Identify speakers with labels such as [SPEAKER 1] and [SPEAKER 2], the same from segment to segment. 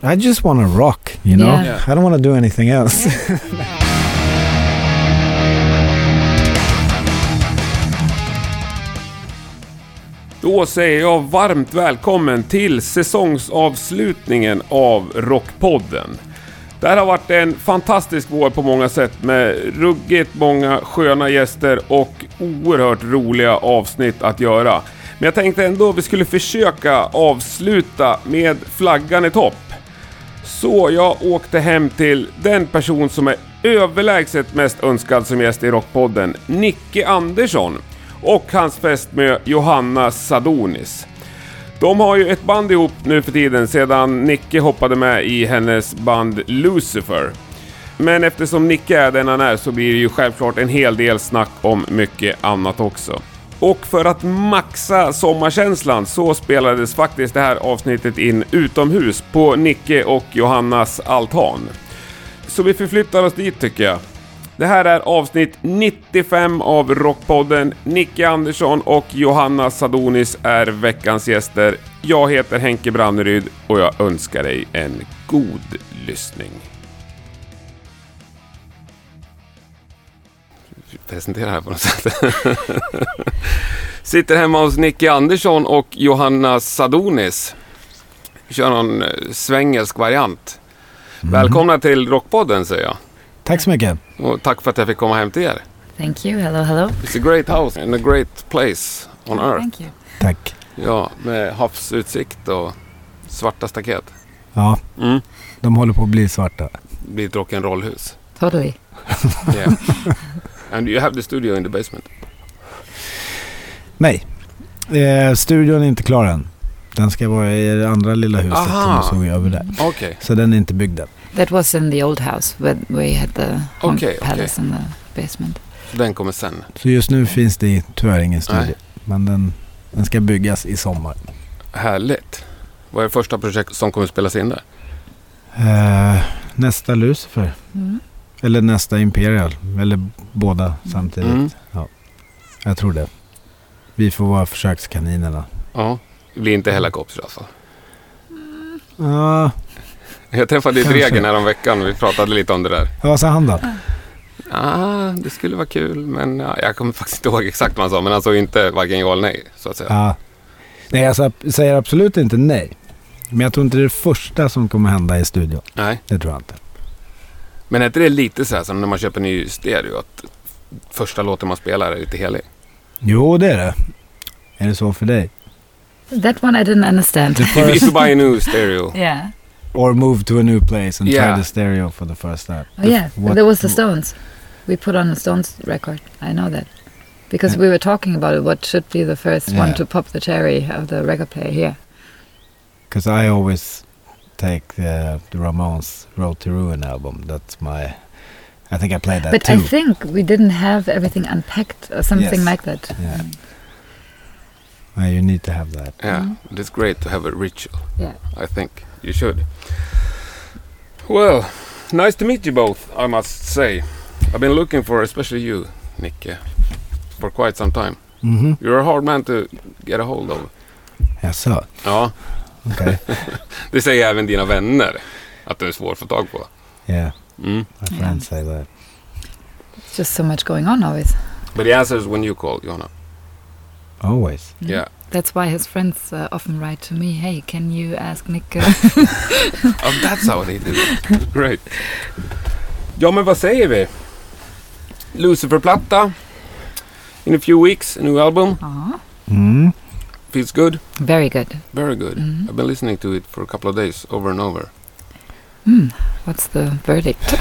[SPEAKER 1] I just want to rock, you know?
[SPEAKER 2] Yeah.
[SPEAKER 3] Yeah.
[SPEAKER 1] I don't want to do anything else.
[SPEAKER 3] Då säger jag varmt välkommen till säsongsavslutningen av Rockpodden. Det här har varit en fantastisk vår på många sätt med ruggigt många sköna gäster och oerhört roliga avsnitt att göra. Men jag tänkte ändå vi skulle försöka avsluta med flaggan i topp. Så jag åkte hem till den person som är överlägset mest önskad som gäst i Rockpodden, Nicke Andersson och hans fästmö Johanna Sadonis. De har ju ett band ihop nu för tiden sedan Nicke hoppade med i hennes band Lucifer. Men eftersom Nicke är den han är så blir det ju självklart en hel del snack om mycket annat också. Och för att maxa sommarkänslan så spelades faktiskt det här avsnittet in utomhus på Nicke och Johannas altan. Så vi förflyttar oss dit tycker jag. Det här är avsnitt 95 av Rockpodden. Nicke Andersson och Johanna Sadonis är veckans gäster. Jag heter Henke Branneryd och jag önskar dig en god lyssning. Presentera här på något sätt. Sitter hemma hos Nicke Andersson och Johanna Sadonis. Kör någon eh, svengelsk variant. Välkomna till Rockpodden säger jag.
[SPEAKER 1] Tack så mycket.
[SPEAKER 3] Och tack för att jag fick komma hem till er.
[SPEAKER 2] Thank you. Hello, hello.
[SPEAKER 3] It's a great house and a great place on earth.
[SPEAKER 2] Thank you.
[SPEAKER 1] Tack.
[SPEAKER 3] Ja, med havsutsikt och svarta staket.
[SPEAKER 1] Ja,
[SPEAKER 3] Mm.
[SPEAKER 1] de håller på att bli svarta.
[SPEAKER 3] Det blir ett rock'n'roll-hus.
[SPEAKER 2] Totally.
[SPEAKER 3] Yeah. and you have the studio in the basement.
[SPEAKER 1] Nej, eh, studion är inte klar än. Den ska vara i det andra lilla huset
[SPEAKER 3] Aha.
[SPEAKER 1] som vi såg över där.
[SPEAKER 3] Okej.
[SPEAKER 1] Så den är inte byggd än.
[SPEAKER 2] That was in the old house where we had the home
[SPEAKER 3] Okay, okay.
[SPEAKER 2] palace in the basement.
[SPEAKER 3] så Den kommer sen.
[SPEAKER 1] Så just nu finns det tyvärr ingen studio.
[SPEAKER 3] Nej.
[SPEAKER 1] Men den, den ska byggas i sommar.
[SPEAKER 3] Härligt. Vad är det första projekt som kommer spelas in där?
[SPEAKER 1] Eh, nästa Lucifer.
[SPEAKER 2] Mm.
[SPEAKER 1] Eller nästa Imperial. Eller båda samtidigt.
[SPEAKER 3] Mm.
[SPEAKER 1] Jag tror det. Vi får vara försökskaninerna.
[SPEAKER 3] Ja. Det blir inte helikopter alltså.
[SPEAKER 1] Ja,
[SPEAKER 3] Jag träffade ditt
[SPEAKER 1] Kanske.
[SPEAKER 3] Regen häromveckan. Vi pratade lite om det där.
[SPEAKER 1] vad sa han då?
[SPEAKER 3] Ah, det skulle vara kul, men ja, jag kommer faktiskt inte ihåg exakt vad han sa. Men han sa ju inte varken ja eller nej, så att säga.
[SPEAKER 1] Ja. Nej, alltså, jag sa- säger absolut inte nej. Men jag tror inte det är det första som kommer hända i studion.
[SPEAKER 3] Nej.
[SPEAKER 1] Det tror jag inte.
[SPEAKER 3] Men är inte det lite så här som när man köper ny stereo? Att första låten man spelar är lite helig?
[SPEAKER 1] Jo, det är det. Är det så för dig?
[SPEAKER 2] That one I didn't understand.
[SPEAKER 1] The
[SPEAKER 3] If
[SPEAKER 1] first,
[SPEAKER 3] you buy a new stereo.
[SPEAKER 2] yeah.
[SPEAKER 1] or move to a new place and
[SPEAKER 3] Yeah.
[SPEAKER 1] try the stereo for the first time.
[SPEAKER 2] Oh yeah,
[SPEAKER 1] What-
[SPEAKER 2] there was the Stones. We put on the Stones record. I know that because we were talking about it. What should be the first one
[SPEAKER 1] Yeah.
[SPEAKER 2] to pop the cherry of the record player here?
[SPEAKER 1] Because I always take the, the Ramones Road to Ruin album. That's my... I think I played that
[SPEAKER 2] but
[SPEAKER 1] too.
[SPEAKER 2] I think we didn't have everything unpacked or something
[SPEAKER 1] Yes.
[SPEAKER 2] like that.
[SPEAKER 1] Yeah. Uh, you need to have that.
[SPEAKER 3] Yeah, it's great to have a ritual.
[SPEAKER 2] Yeah.
[SPEAKER 3] I think you should. Well, nice to meet you both, I must say. I've been looking for, especially you, Nick, for quite some time.
[SPEAKER 1] Mhm.
[SPEAKER 3] You're a hard man to get a hold of.
[SPEAKER 1] Jaså?
[SPEAKER 3] Ja,
[SPEAKER 1] Okej.
[SPEAKER 3] det säger även dina vänner. Att du är svår att få tag på.
[SPEAKER 1] Yeah,
[SPEAKER 3] Mm.
[SPEAKER 1] my
[SPEAKER 2] Yeah.
[SPEAKER 1] friends say that.
[SPEAKER 2] It's just so much going on always.
[SPEAKER 3] But the answer is when you call, Johanna.
[SPEAKER 1] Always.
[SPEAKER 2] Mm.
[SPEAKER 3] Yeah.
[SPEAKER 2] That's why his friends uh, often write to me, "Hey, can you ask Nick?" Uh,
[SPEAKER 3] Oh, that's how they do it. Great. Ja, men vad säger vi? Lucifer-platta. In a few weeks, a new album.
[SPEAKER 2] Aw.
[SPEAKER 1] Mm.
[SPEAKER 3] Feels good. Mm-hmm.
[SPEAKER 2] Very good.
[SPEAKER 3] Very good.
[SPEAKER 2] Mhm.
[SPEAKER 3] I've been listening to it for a couple of days, over and over.
[SPEAKER 2] Hmm. What's the verdict?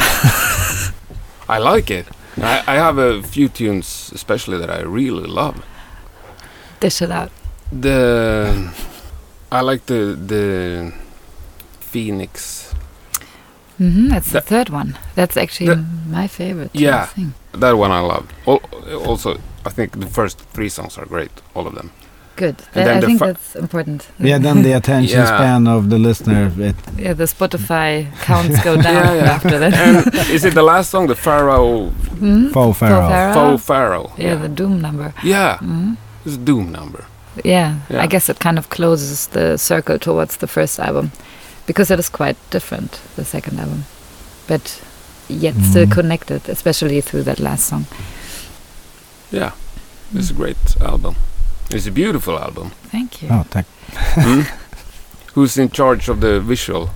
[SPEAKER 3] I like it. I, I have a few tunes, especially that I really love.
[SPEAKER 2] Dish it out.
[SPEAKER 3] The I like the the Phoenix.
[SPEAKER 2] hmm That's the
[SPEAKER 3] That-
[SPEAKER 2] third one. That's actually
[SPEAKER 3] That-
[SPEAKER 2] my favorite.
[SPEAKER 3] Yeah.
[SPEAKER 2] Thing.
[SPEAKER 3] That one I loved. Al- Also, I think the first three songs are great, all of them.
[SPEAKER 2] Good.
[SPEAKER 3] And
[SPEAKER 2] That-
[SPEAKER 3] then
[SPEAKER 2] I
[SPEAKER 3] the
[SPEAKER 2] think
[SPEAKER 3] fi-
[SPEAKER 2] that's important.
[SPEAKER 1] Yeah, then the attention
[SPEAKER 3] Yeah.
[SPEAKER 1] span of the listener, it,
[SPEAKER 2] Yeah, the Spotify counts go down
[SPEAKER 3] Yeah, yeah.
[SPEAKER 2] after that.
[SPEAKER 3] And is it the last song, the Pharaoh?
[SPEAKER 2] Mm?
[SPEAKER 1] Faux Pharaoh.
[SPEAKER 3] Faux Pharaoh.
[SPEAKER 2] Yeah, the Doom number.
[SPEAKER 3] Yeah,
[SPEAKER 2] Mm?
[SPEAKER 3] it's a Doom number.
[SPEAKER 2] Yeah,
[SPEAKER 3] Yeah.
[SPEAKER 2] I guess it kind of closes the circle towards the first album. because it is quite different the second album, but yet still
[SPEAKER 1] Mhm.
[SPEAKER 2] connected, especially through that last song.
[SPEAKER 4] Yeah, it's a great album. It's a beautiful album.
[SPEAKER 2] Thank you.
[SPEAKER 1] Ja, tack.
[SPEAKER 3] Hmm?
[SPEAKER 4] Mm. Who's in charge of the visual?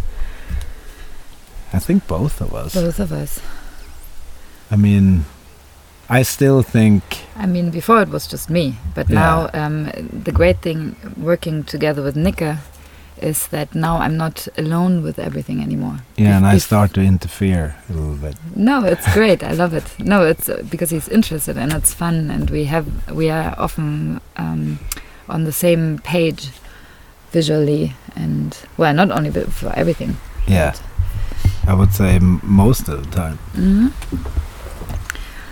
[SPEAKER 1] I think both of us.
[SPEAKER 2] Both of us.
[SPEAKER 1] I mean, I still think
[SPEAKER 2] I mean, before it was just me, but now um, the great thing working together with Nika is that now I'm not alone with everything anymore.
[SPEAKER 1] yeah, and I
[SPEAKER 2] Bef-
[SPEAKER 1] start to interfere a little bit.
[SPEAKER 2] No, it's great. I love it. No, it's uh, because he's interested and it's fun, and we have we are often um, on the same page visually and well, not only but for everything.
[SPEAKER 1] Yeah, I would say m- most of the time.
[SPEAKER 2] hmm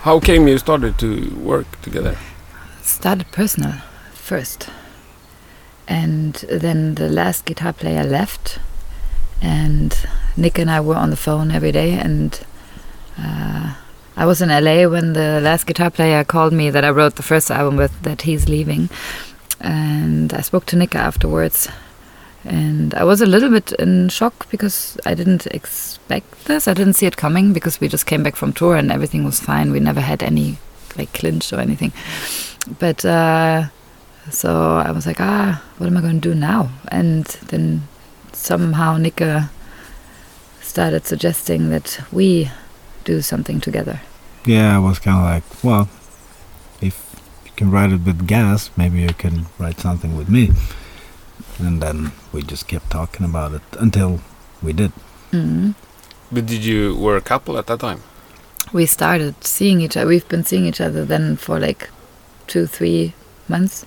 [SPEAKER 4] How came you started to work together?
[SPEAKER 2] started personal first. And then the last guitar player left, and Nick and I were on the phone every day. And uh, I was in LA when the last guitar player called me that I wrote the first album with, that he's leaving. And I spoke to Nick afterwards, and I was a little bit in shock because I didn't expect this. I didn't see it coming because we just came back from tour and everything was fine. We never had any like clinch or anything but uh, so I was like, ah, what am I going to do now? And then somehow Nika started suggesting that we do something together.
[SPEAKER 1] Yeah, I was kind of like, well, if you can write it with Gas, maybe you can write something with me. And then we just kept talking about it until we did.
[SPEAKER 2] Mm-hmm.
[SPEAKER 4] But did you were a couple at that time?
[SPEAKER 2] We started seeing each other. We've been seeing each other then for like two, three months.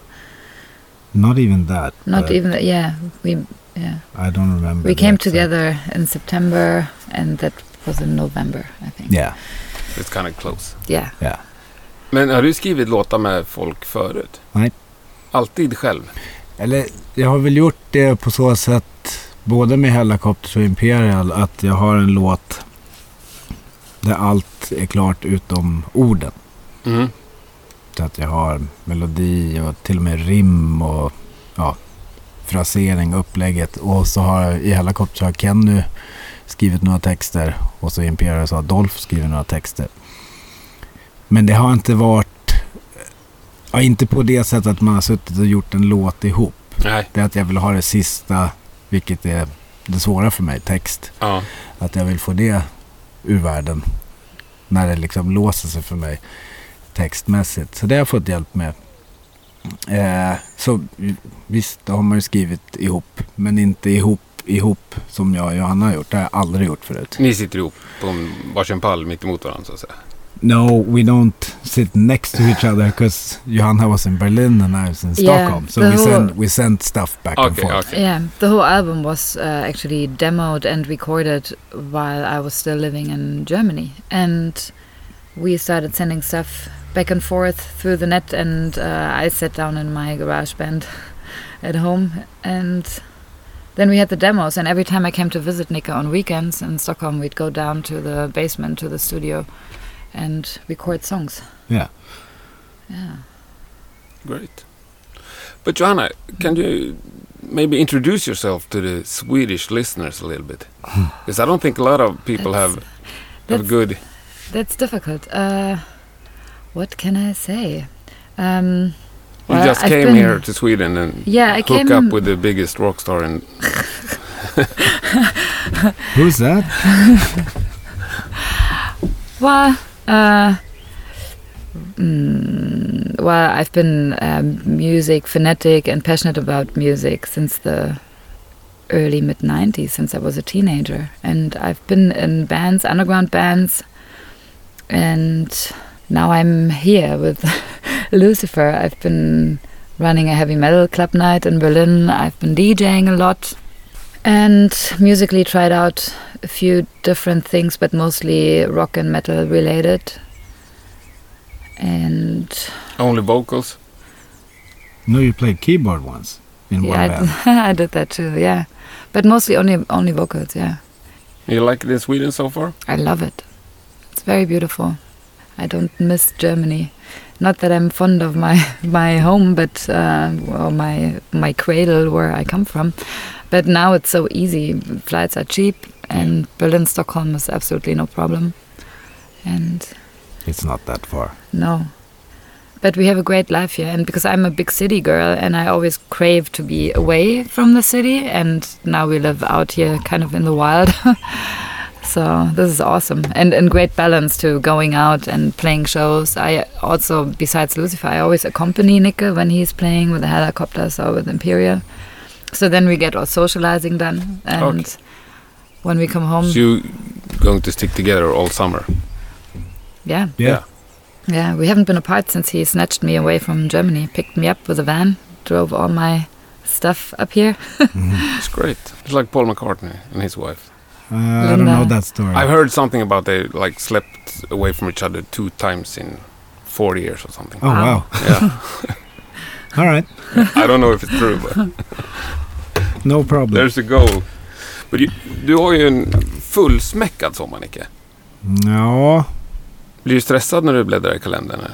[SPEAKER 1] Not even that.
[SPEAKER 2] Not
[SPEAKER 1] but
[SPEAKER 2] even that. Yeah, we yeah
[SPEAKER 1] I don't remember.
[SPEAKER 2] we came
[SPEAKER 1] that, uh, so-
[SPEAKER 2] together in September, and that was in November, I think.
[SPEAKER 1] Yeah,
[SPEAKER 4] It's kind of close.
[SPEAKER 2] Yeah.
[SPEAKER 1] yeah.
[SPEAKER 4] Men har du skrivit låtar med folk förut?
[SPEAKER 1] Nej.
[SPEAKER 4] Alltid själv?
[SPEAKER 1] Eller jag har väl gjort det på så sätt, både med Hellacopters och Imperial, att jag har en låt där allt är klart utom orden.
[SPEAKER 2] Mm-hmm.
[SPEAKER 4] Mm.
[SPEAKER 1] Så att jag har melodi och till och med rim och ja, frasering, upplägget. Och så har jag, i Hellacopters har Kenny skrivit några texter och så i Imperial så har Dolph skrivit några texter. Men det har inte varit, ja, inte på det sättet att man har suttit och gjort en låt ihop.
[SPEAKER 4] Nej.
[SPEAKER 1] Det är att jag vill ha det sista, vilket är det svåra för mig, text.
[SPEAKER 4] Ja.
[SPEAKER 1] Att jag vill få det ur världen. När det liksom låser sig för mig textmässigt. Så det har jag fått hjälp med. Eh, så visst, det har man ju skrivit ihop. Men inte ihop, ihop som jag och Johanna har gjort. Det har jag aldrig gjort förut.
[SPEAKER 4] Ni sitter ihop på en varsin pall mitt emot varandra så att säga.
[SPEAKER 1] No, we don't sit next to each other because Johanna was in Berlin and I was in
[SPEAKER 2] Yeah,
[SPEAKER 1] Stockholm. so
[SPEAKER 2] the
[SPEAKER 1] we
[SPEAKER 2] whole-
[SPEAKER 1] sent, we sent stuff back and
[SPEAKER 4] Okej,
[SPEAKER 1] forth.
[SPEAKER 4] okej.
[SPEAKER 2] Yeah, the whole album was uh, actually demoed and recorded while I was still living in Germany, and we started sending stuff back and forth through the net. And uh, I sat down in my garage band at home, and then we had the demos. And every time I came to visit Nika on weekends in Stockholm, we'd go down to the basement to the studio and record songs.
[SPEAKER 1] Yeah.
[SPEAKER 2] Yeah.
[SPEAKER 4] Great. But Johanna, can you maybe introduce yourself to the Swedish listeners a little bit? Because I don't think a lot of people
[SPEAKER 2] That's-
[SPEAKER 4] have, have a
[SPEAKER 2] that's-
[SPEAKER 4] good.
[SPEAKER 2] That's difficult. Uh, what can I say? Um,
[SPEAKER 4] You
[SPEAKER 2] well,
[SPEAKER 4] just
[SPEAKER 2] I've
[SPEAKER 4] came
[SPEAKER 2] been-
[SPEAKER 4] here to Sweden and
[SPEAKER 2] Yeah, I
[SPEAKER 4] hook
[SPEAKER 2] came.
[SPEAKER 4] up with the biggest rock star in
[SPEAKER 1] Who's that?
[SPEAKER 2] Well, uh, mm, well, I've been um, music fanatic and passionate about music since the early mid '90s, since I was a teenager, and I've been in bands, underground bands, and now I'm here with Lucifer. I've been running a heavy metal club night in Berlin. I've been DJing a lot, and musically tried out a few different things, but mostly rock and metal related. And
[SPEAKER 4] only vocals.
[SPEAKER 1] No, you played keyboard once in one
[SPEAKER 2] yeah,
[SPEAKER 1] band.
[SPEAKER 2] I, I did that too. Yeah, but mostly only only vocals. Yeah,
[SPEAKER 4] You like it in Sweden so far?
[SPEAKER 2] I love it. It's very beautiful. I don't miss Germany. Not that I'm fond of my my home, but uh, or my my cradle where I come from. But now it's so easy. Flights are cheap, and Berlin Stockholm is absolutely no problem. And
[SPEAKER 1] It's not that far.
[SPEAKER 2] no. But we have a great life here, and because I'm a big city girl and I always crave to be away from the city, and now we live out here kind of in the wild. so this is awesome and, and great balance to going out and playing shows. I also, besides Lucifer, I always accompany Nicke when he's playing with the helicopters or with Imperial. So then we get our socializing done, and
[SPEAKER 4] Okay.
[SPEAKER 2] when we come home,
[SPEAKER 1] Um,
[SPEAKER 3] So you going to stick together all summer?
[SPEAKER 2] yeah,
[SPEAKER 4] Yeah.
[SPEAKER 2] Yeah, we haven't been apart since he snatched me away from Germany, picked me up with a van, drove all my stuff up here.
[SPEAKER 1] Mm-hmm.
[SPEAKER 3] It's great. It's like Paul McCartney and his wife.
[SPEAKER 1] Uh, I don't
[SPEAKER 2] Linda.
[SPEAKER 1] know that story.
[SPEAKER 3] I've heard something about they like slept away from each other two times in four years or something.
[SPEAKER 1] oh, wow.
[SPEAKER 3] Yeah.
[SPEAKER 1] All right.
[SPEAKER 3] I don't know if it's true, but
[SPEAKER 1] No problem.
[SPEAKER 3] there's a goal. Men du, du har ju en fullsmäckad sommar, Nicke.
[SPEAKER 1] Ja,
[SPEAKER 3] Blir du stressad när du bläddrar i kalendern? eller?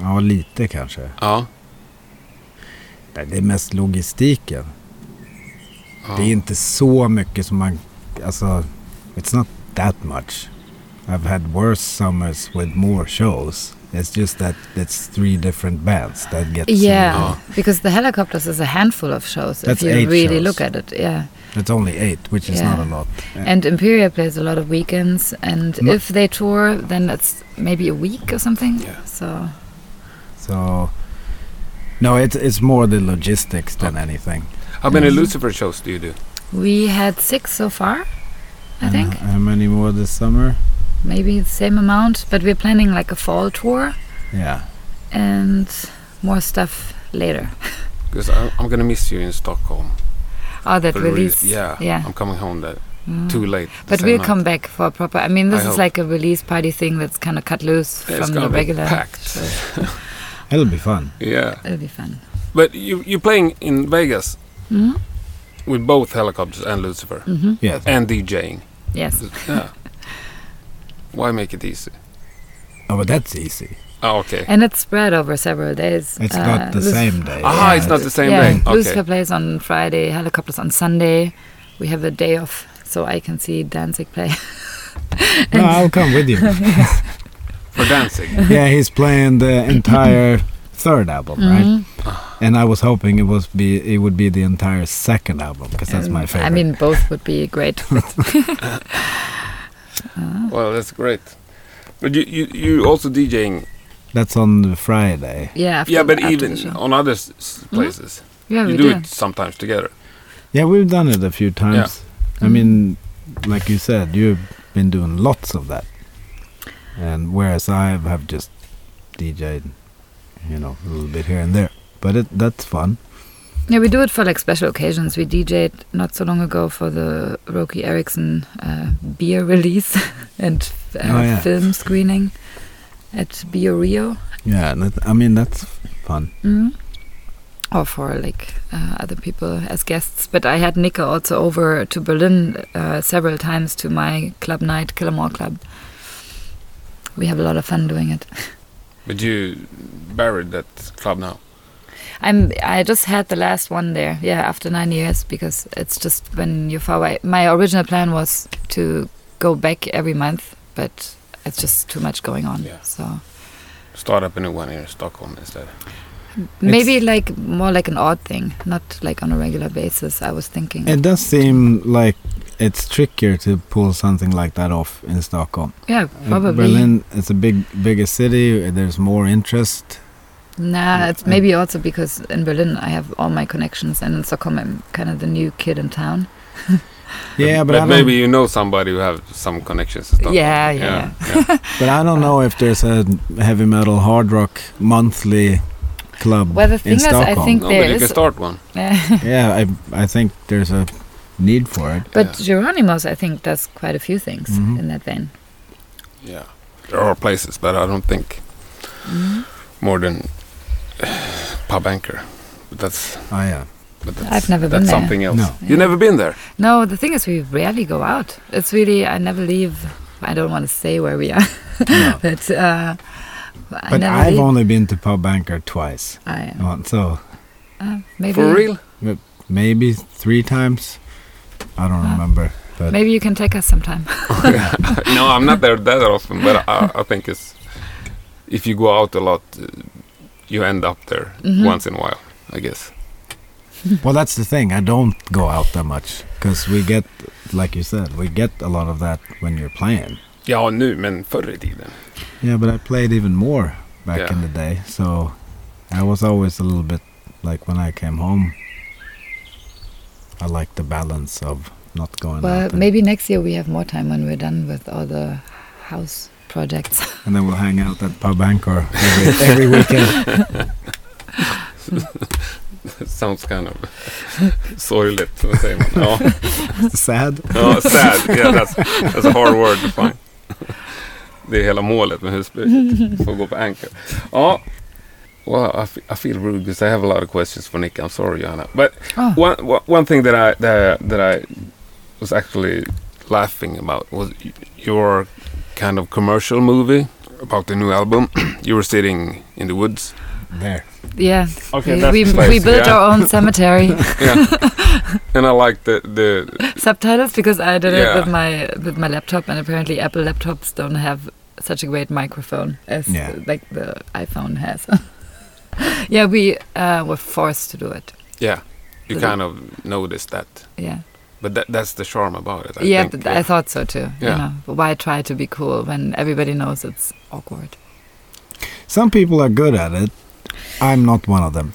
[SPEAKER 1] ja, lite kanske.
[SPEAKER 3] Ja.
[SPEAKER 1] Nej, Det är mest logistiken.
[SPEAKER 3] ja.
[SPEAKER 1] Det är inte så mycket som man... Alltså, it's not that much. I've had worse summers with more shows. It's just that it's three different bands that get...
[SPEAKER 2] Yeah,
[SPEAKER 3] Oh.
[SPEAKER 2] because the helicopters is a handful of shows
[SPEAKER 1] That's
[SPEAKER 2] if you
[SPEAKER 1] eight
[SPEAKER 2] really
[SPEAKER 1] shows.
[SPEAKER 2] look at it. Yeah.
[SPEAKER 1] It's only eight, which is
[SPEAKER 2] Yeah.
[SPEAKER 1] not a lot.
[SPEAKER 2] And Imperial plays a lot of weekends, and
[SPEAKER 1] No.
[SPEAKER 2] if they tour, then it's maybe a week or something.
[SPEAKER 3] Yeah.
[SPEAKER 2] So,
[SPEAKER 1] So... No, it's, it's more the logistics than
[SPEAKER 2] Oh.
[SPEAKER 1] anything.
[SPEAKER 3] How many Lucifer shows do you do?
[SPEAKER 2] we had six so far, I
[SPEAKER 1] And uh,
[SPEAKER 2] think.
[SPEAKER 1] How many more this summer?
[SPEAKER 2] Maybe the same amount, but we're planning like a fall tour
[SPEAKER 1] Yeah.
[SPEAKER 2] and more stuff later.
[SPEAKER 3] Because I'm, I'm gonna miss you in Stockholm.
[SPEAKER 2] Oh, that
[SPEAKER 3] For the re-
[SPEAKER 2] release.
[SPEAKER 3] Yeah,
[SPEAKER 2] Yeah.
[SPEAKER 3] I'm coming home that
[SPEAKER 2] Mm.
[SPEAKER 3] too late. the
[SPEAKER 2] But
[SPEAKER 3] same
[SPEAKER 2] we'll
[SPEAKER 3] night.
[SPEAKER 2] come back for a proper. I mean, this
[SPEAKER 3] I
[SPEAKER 2] is
[SPEAKER 3] hope.
[SPEAKER 2] like a release party thing that's kind of cut loose
[SPEAKER 3] Yeah, it's
[SPEAKER 2] from
[SPEAKER 3] gonna
[SPEAKER 2] the
[SPEAKER 3] be
[SPEAKER 2] regular.
[SPEAKER 3] packed.
[SPEAKER 2] shows.
[SPEAKER 1] It'll be fun.
[SPEAKER 3] Yeah,
[SPEAKER 2] It'll be fun.
[SPEAKER 3] but you you're playing in Vegas
[SPEAKER 2] Mhm.
[SPEAKER 3] with both helicopters and Lucifer
[SPEAKER 2] Mhm.
[SPEAKER 1] Yes.
[SPEAKER 3] and DJing.
[SPEAKER 2] Yes.
[SPEAKER 3] Yeah. Why make it easy?
[SPEAKER 1] Oh, but that's easy.
[SPEAKER 3] Ah, okay.
[SPEAKER 2] And it's spread over several days.
[SPEAKER 1] It's
[SPEAKER 2] Uh,
[SPEAKER 1] not the
[SPEAKER 2] Lucif-
[SPEAKER 1] same day.
[SPEAKER 3] Aha, it's not the same
[SPEAKER 2] yeah,
[SPEAKER 3] day.
[SPEAKER 2] Lucifer
[SPEAKER 3] Okay.
[SPEAKER 2] plays on Friday, helicopters on Sunday. We have a day off, so I can see Danzig play.
[SPEAKER 1] No, I'll come with you.
[SPEAKER 3] For dancing.
[SPEAKER 1] yeah, he's playing the entire third album, right?
[SPEAKER 2] Mm-hmm.
[SPEAKER 1] And I was hoping it was be it would be the entire second album because that's my
[SPEAKER 2] And,
[SPEAKER 1] favorite.
[SPEAKER 2] Um, I mean, both would be great.
[SPEAKER 3] Well, that's great. But you you you also DJing.
[SPEAKER 1] that's on the Friday.
[SPEAKER 2] yeah. After,
[SPEAKER 3] yeah, but
[SPEAKER 2] after
[SPEAKER 3] even
[SPEAKER 2] the show. Mm-hmm.
[SPEAKER 3] on other s- s- places,
[SPEAKER 2] yeah, we
[SPEAKER 3] you do
[SPEAKER 2] do.
[SPEAKER 3] it sometimes together.
[SPEAKER 1] Yeah, we've done it a few times. I mean, like you said, you've been doing lots of that, and whereas I have just DJed, you know, a little bit here and there. But it that's fun.
[SPEAKER 2] Yeah, we do it for like special occasions. We DJ'd not so long ago for the Roki Erickson uh, beer release and uh,
[SPEAKER 1] Oh, yeah.
[SPEAKER 2] film screening at Bio Rio,
[SPEAKER 1] Yeah, and that, I mean that's fun.
[SPEAKER 2] mm or for like uh, other people as guests. But I had Nika also over to Berlin uh, several times to my club night, Killamore Club. We have a lot of fun doing it.
[SPEAKER 3] But you buried that club now.
[SPEAKER 2] I'm. I just had the last one there. Yeah, after nine years, because it's just when you're far away. My original plan was to go back every month, but it's just too much going on.
[SPEAKER 3] Yeah.
[SPEAKER 2] So
[SPEAKER 3] Start up a new one here in Stockholm instead.
[SPEAKER 2] maybe like more like an odd thing, not like on a regular basis. I was thinking.
[SPEAKER 1] It does seem like it's trickier to pull something like that off in Stockholm.
[SPEAKER 2] yeah,
[SPEAKER 1] Uh,
[SPEAKER 2] probably.
[SPEAKER 1] Berlin is a big, bigger city. uh, There's more interest.
[SPEAKER 2] Nah,
[SPEAKER 1] Mm,
[SPEAKER 2] it's maybe also because in Berlin I have all my connections, and in Stockholm I'm kind of the new kid in town.
[SPEAKER 1] Yeah, but, I
[SPEAKER 3] but
[SPEAKER 1] don't,
[SPEAKER 3] maybe you know somebody who have some connections. and stuff.
[SPEAKER 2] Yeah, yeah, yeah.
[SPEAKER 3] yeah.
[SPEAKER 1] But I don't know if there's a heavy metal hard rock monthly club.
[SPEAKER 2] Well, the thing
[SPEAKER 1] in
[SPEAKER 2] is, I
[SPEAKER 1] Stockholm.
[SPEAKER 2] think-
[SPEAKER 3] no,
[SPEAKER 2] There
[SPEAKER 3] but you
[SPEAKER 2] is-
[SPEAKER 3] can start one.
[SPEAKER 1] yeah, I I think there's a need for it.
[SPEAKER 2] but Geronimo's I think does quite a few things
[SPEAKER 1] Mhm.
[SPEAKER 2] in that vein.
[SPEAKER 3] Yeah, there are places, but I don't think
[SPEAKER 2] Mm-hmm.
[SPEAKER 3] more than Pub Anchor. But that's,
[SPEAKER 1] Oh yeah,
[SPEAKER 3] but that's
[SPEAKER 2] I've never
[SPEAKER 3] that's
[SPEAKER 2] been there.
[SPEAKER 3] something else.
[SPEAKER 1] No.
[SPEAKER 3] You've never been there.
[SPEAKER 2] No, the thing is, we rarely go out. It's really, I never leave. I don't want to say where we are,
[SPEAKER 1] No.
[SPEAKER 2] but uh, I
[SPEAKER 1] but
[SPEAKER 2] never
[SPEAKER 1] I've
[SPEAKER 2] leave.
[SPEAKER 1] only been to Pub Anchor twice.
[SPEAKER 2] I,
[SPEAKER 1] Oh, So
[SPEAKER 2] uh, maybe
[SPEAKER 3] For real?
[SPEAKER 1] but maybe three times. I don't
[SPEAKER 2] Wow.
[SPEAKER 1] remember. But
[SPEAKER 2] Maybe you can take us sometime.
[SPEAKER 3] no, I'm not there that often, but I, I think it's if you go out a lot, uh, you end up there
[SPEAKER 2] Mhm.
[SPEAKER 3] once in a while, I guess.
[SPEAKER 1] well, that's the thing. I don't go out that much because we get, like you said, we get a lot of that when you're playing.
[SPEAKER 3] Ja, nu, men förr i tiden.
[SPEAKER 1] Yeah, but I played even more back
[SPEAKER 3] Yeah.
[SPEAKER 1] in the day. So I was always a little bit like when I came home. I like the balance of not going
[SPEAKER 2] well,
[SPEAKER 1] out. and-
[SPEAKER 2] maybe next year we have more time when we're done with all the house projects.
[SPEAKER 1] And then we'll hang out at Pub Anchor every, every weekend.
[SPEAKER 3] Sounds kind of sorgligt, vad säger man? Ja,
[SPEAKER 1] Sad.
[SPEAKER 3] ja sad. Yeah, that's, that's a hard word to find. Det är hela målet med husbruket, få gå på anchor. Ja, well, I, fe- I feel rude because I have a lot of questions for Nick. I'm sorry, Johanna. But
[SPEAKER 2] Oh,
[SPEAKER 3] one one- one thing that I that I, that I was actually laughing about was y- your kind of commercial movie about the new album. you were sitting in the woods.
[SPEAKER 1] There.
[SPEAKER 2] yeah.
[SPEAKER 3] Okay,
[SPEAKER 2] we
[SPEAKER 3] that's
[SPEAKER 2] we,
[SPEAKER 3] the place,
[SPEAKER 2] we built
[SPEAKER 3] yeah.
[SPEAKER 2] our own cemetery
[SPEAKER 3] Yeah, and I like the the
[SPEAKER 2] subtitles because I did
[SPEAKER 3] Yeah.
[SPEAKER 2] it with my with my laptop, and apparently Apple laptops don't have such a great microphone as
[SPEAKER 1] Yeah.
[SPEAKER 2] like the iPhone has. yeah, we uh, were forced to do it.
[SPEAKER 3] yeah. You
[SPEAKER 2] The-
[SPEAKER 3] kind of noticed that,
[SPEAKER 2] Yeah.
[SPEAKER 3] but that that's the charm about it. I
[SPEAKER 2] yeah,
[SPEAKER 3] think.
[SPEAKER 2] th- I thought so too.
[SPEAKER 3] Yeah.
[SPEAKER 2] You know, but why try to be cool when everybody knows it's awkward?
[SPEAKER 1] Some people are good at it. I'm not one of them.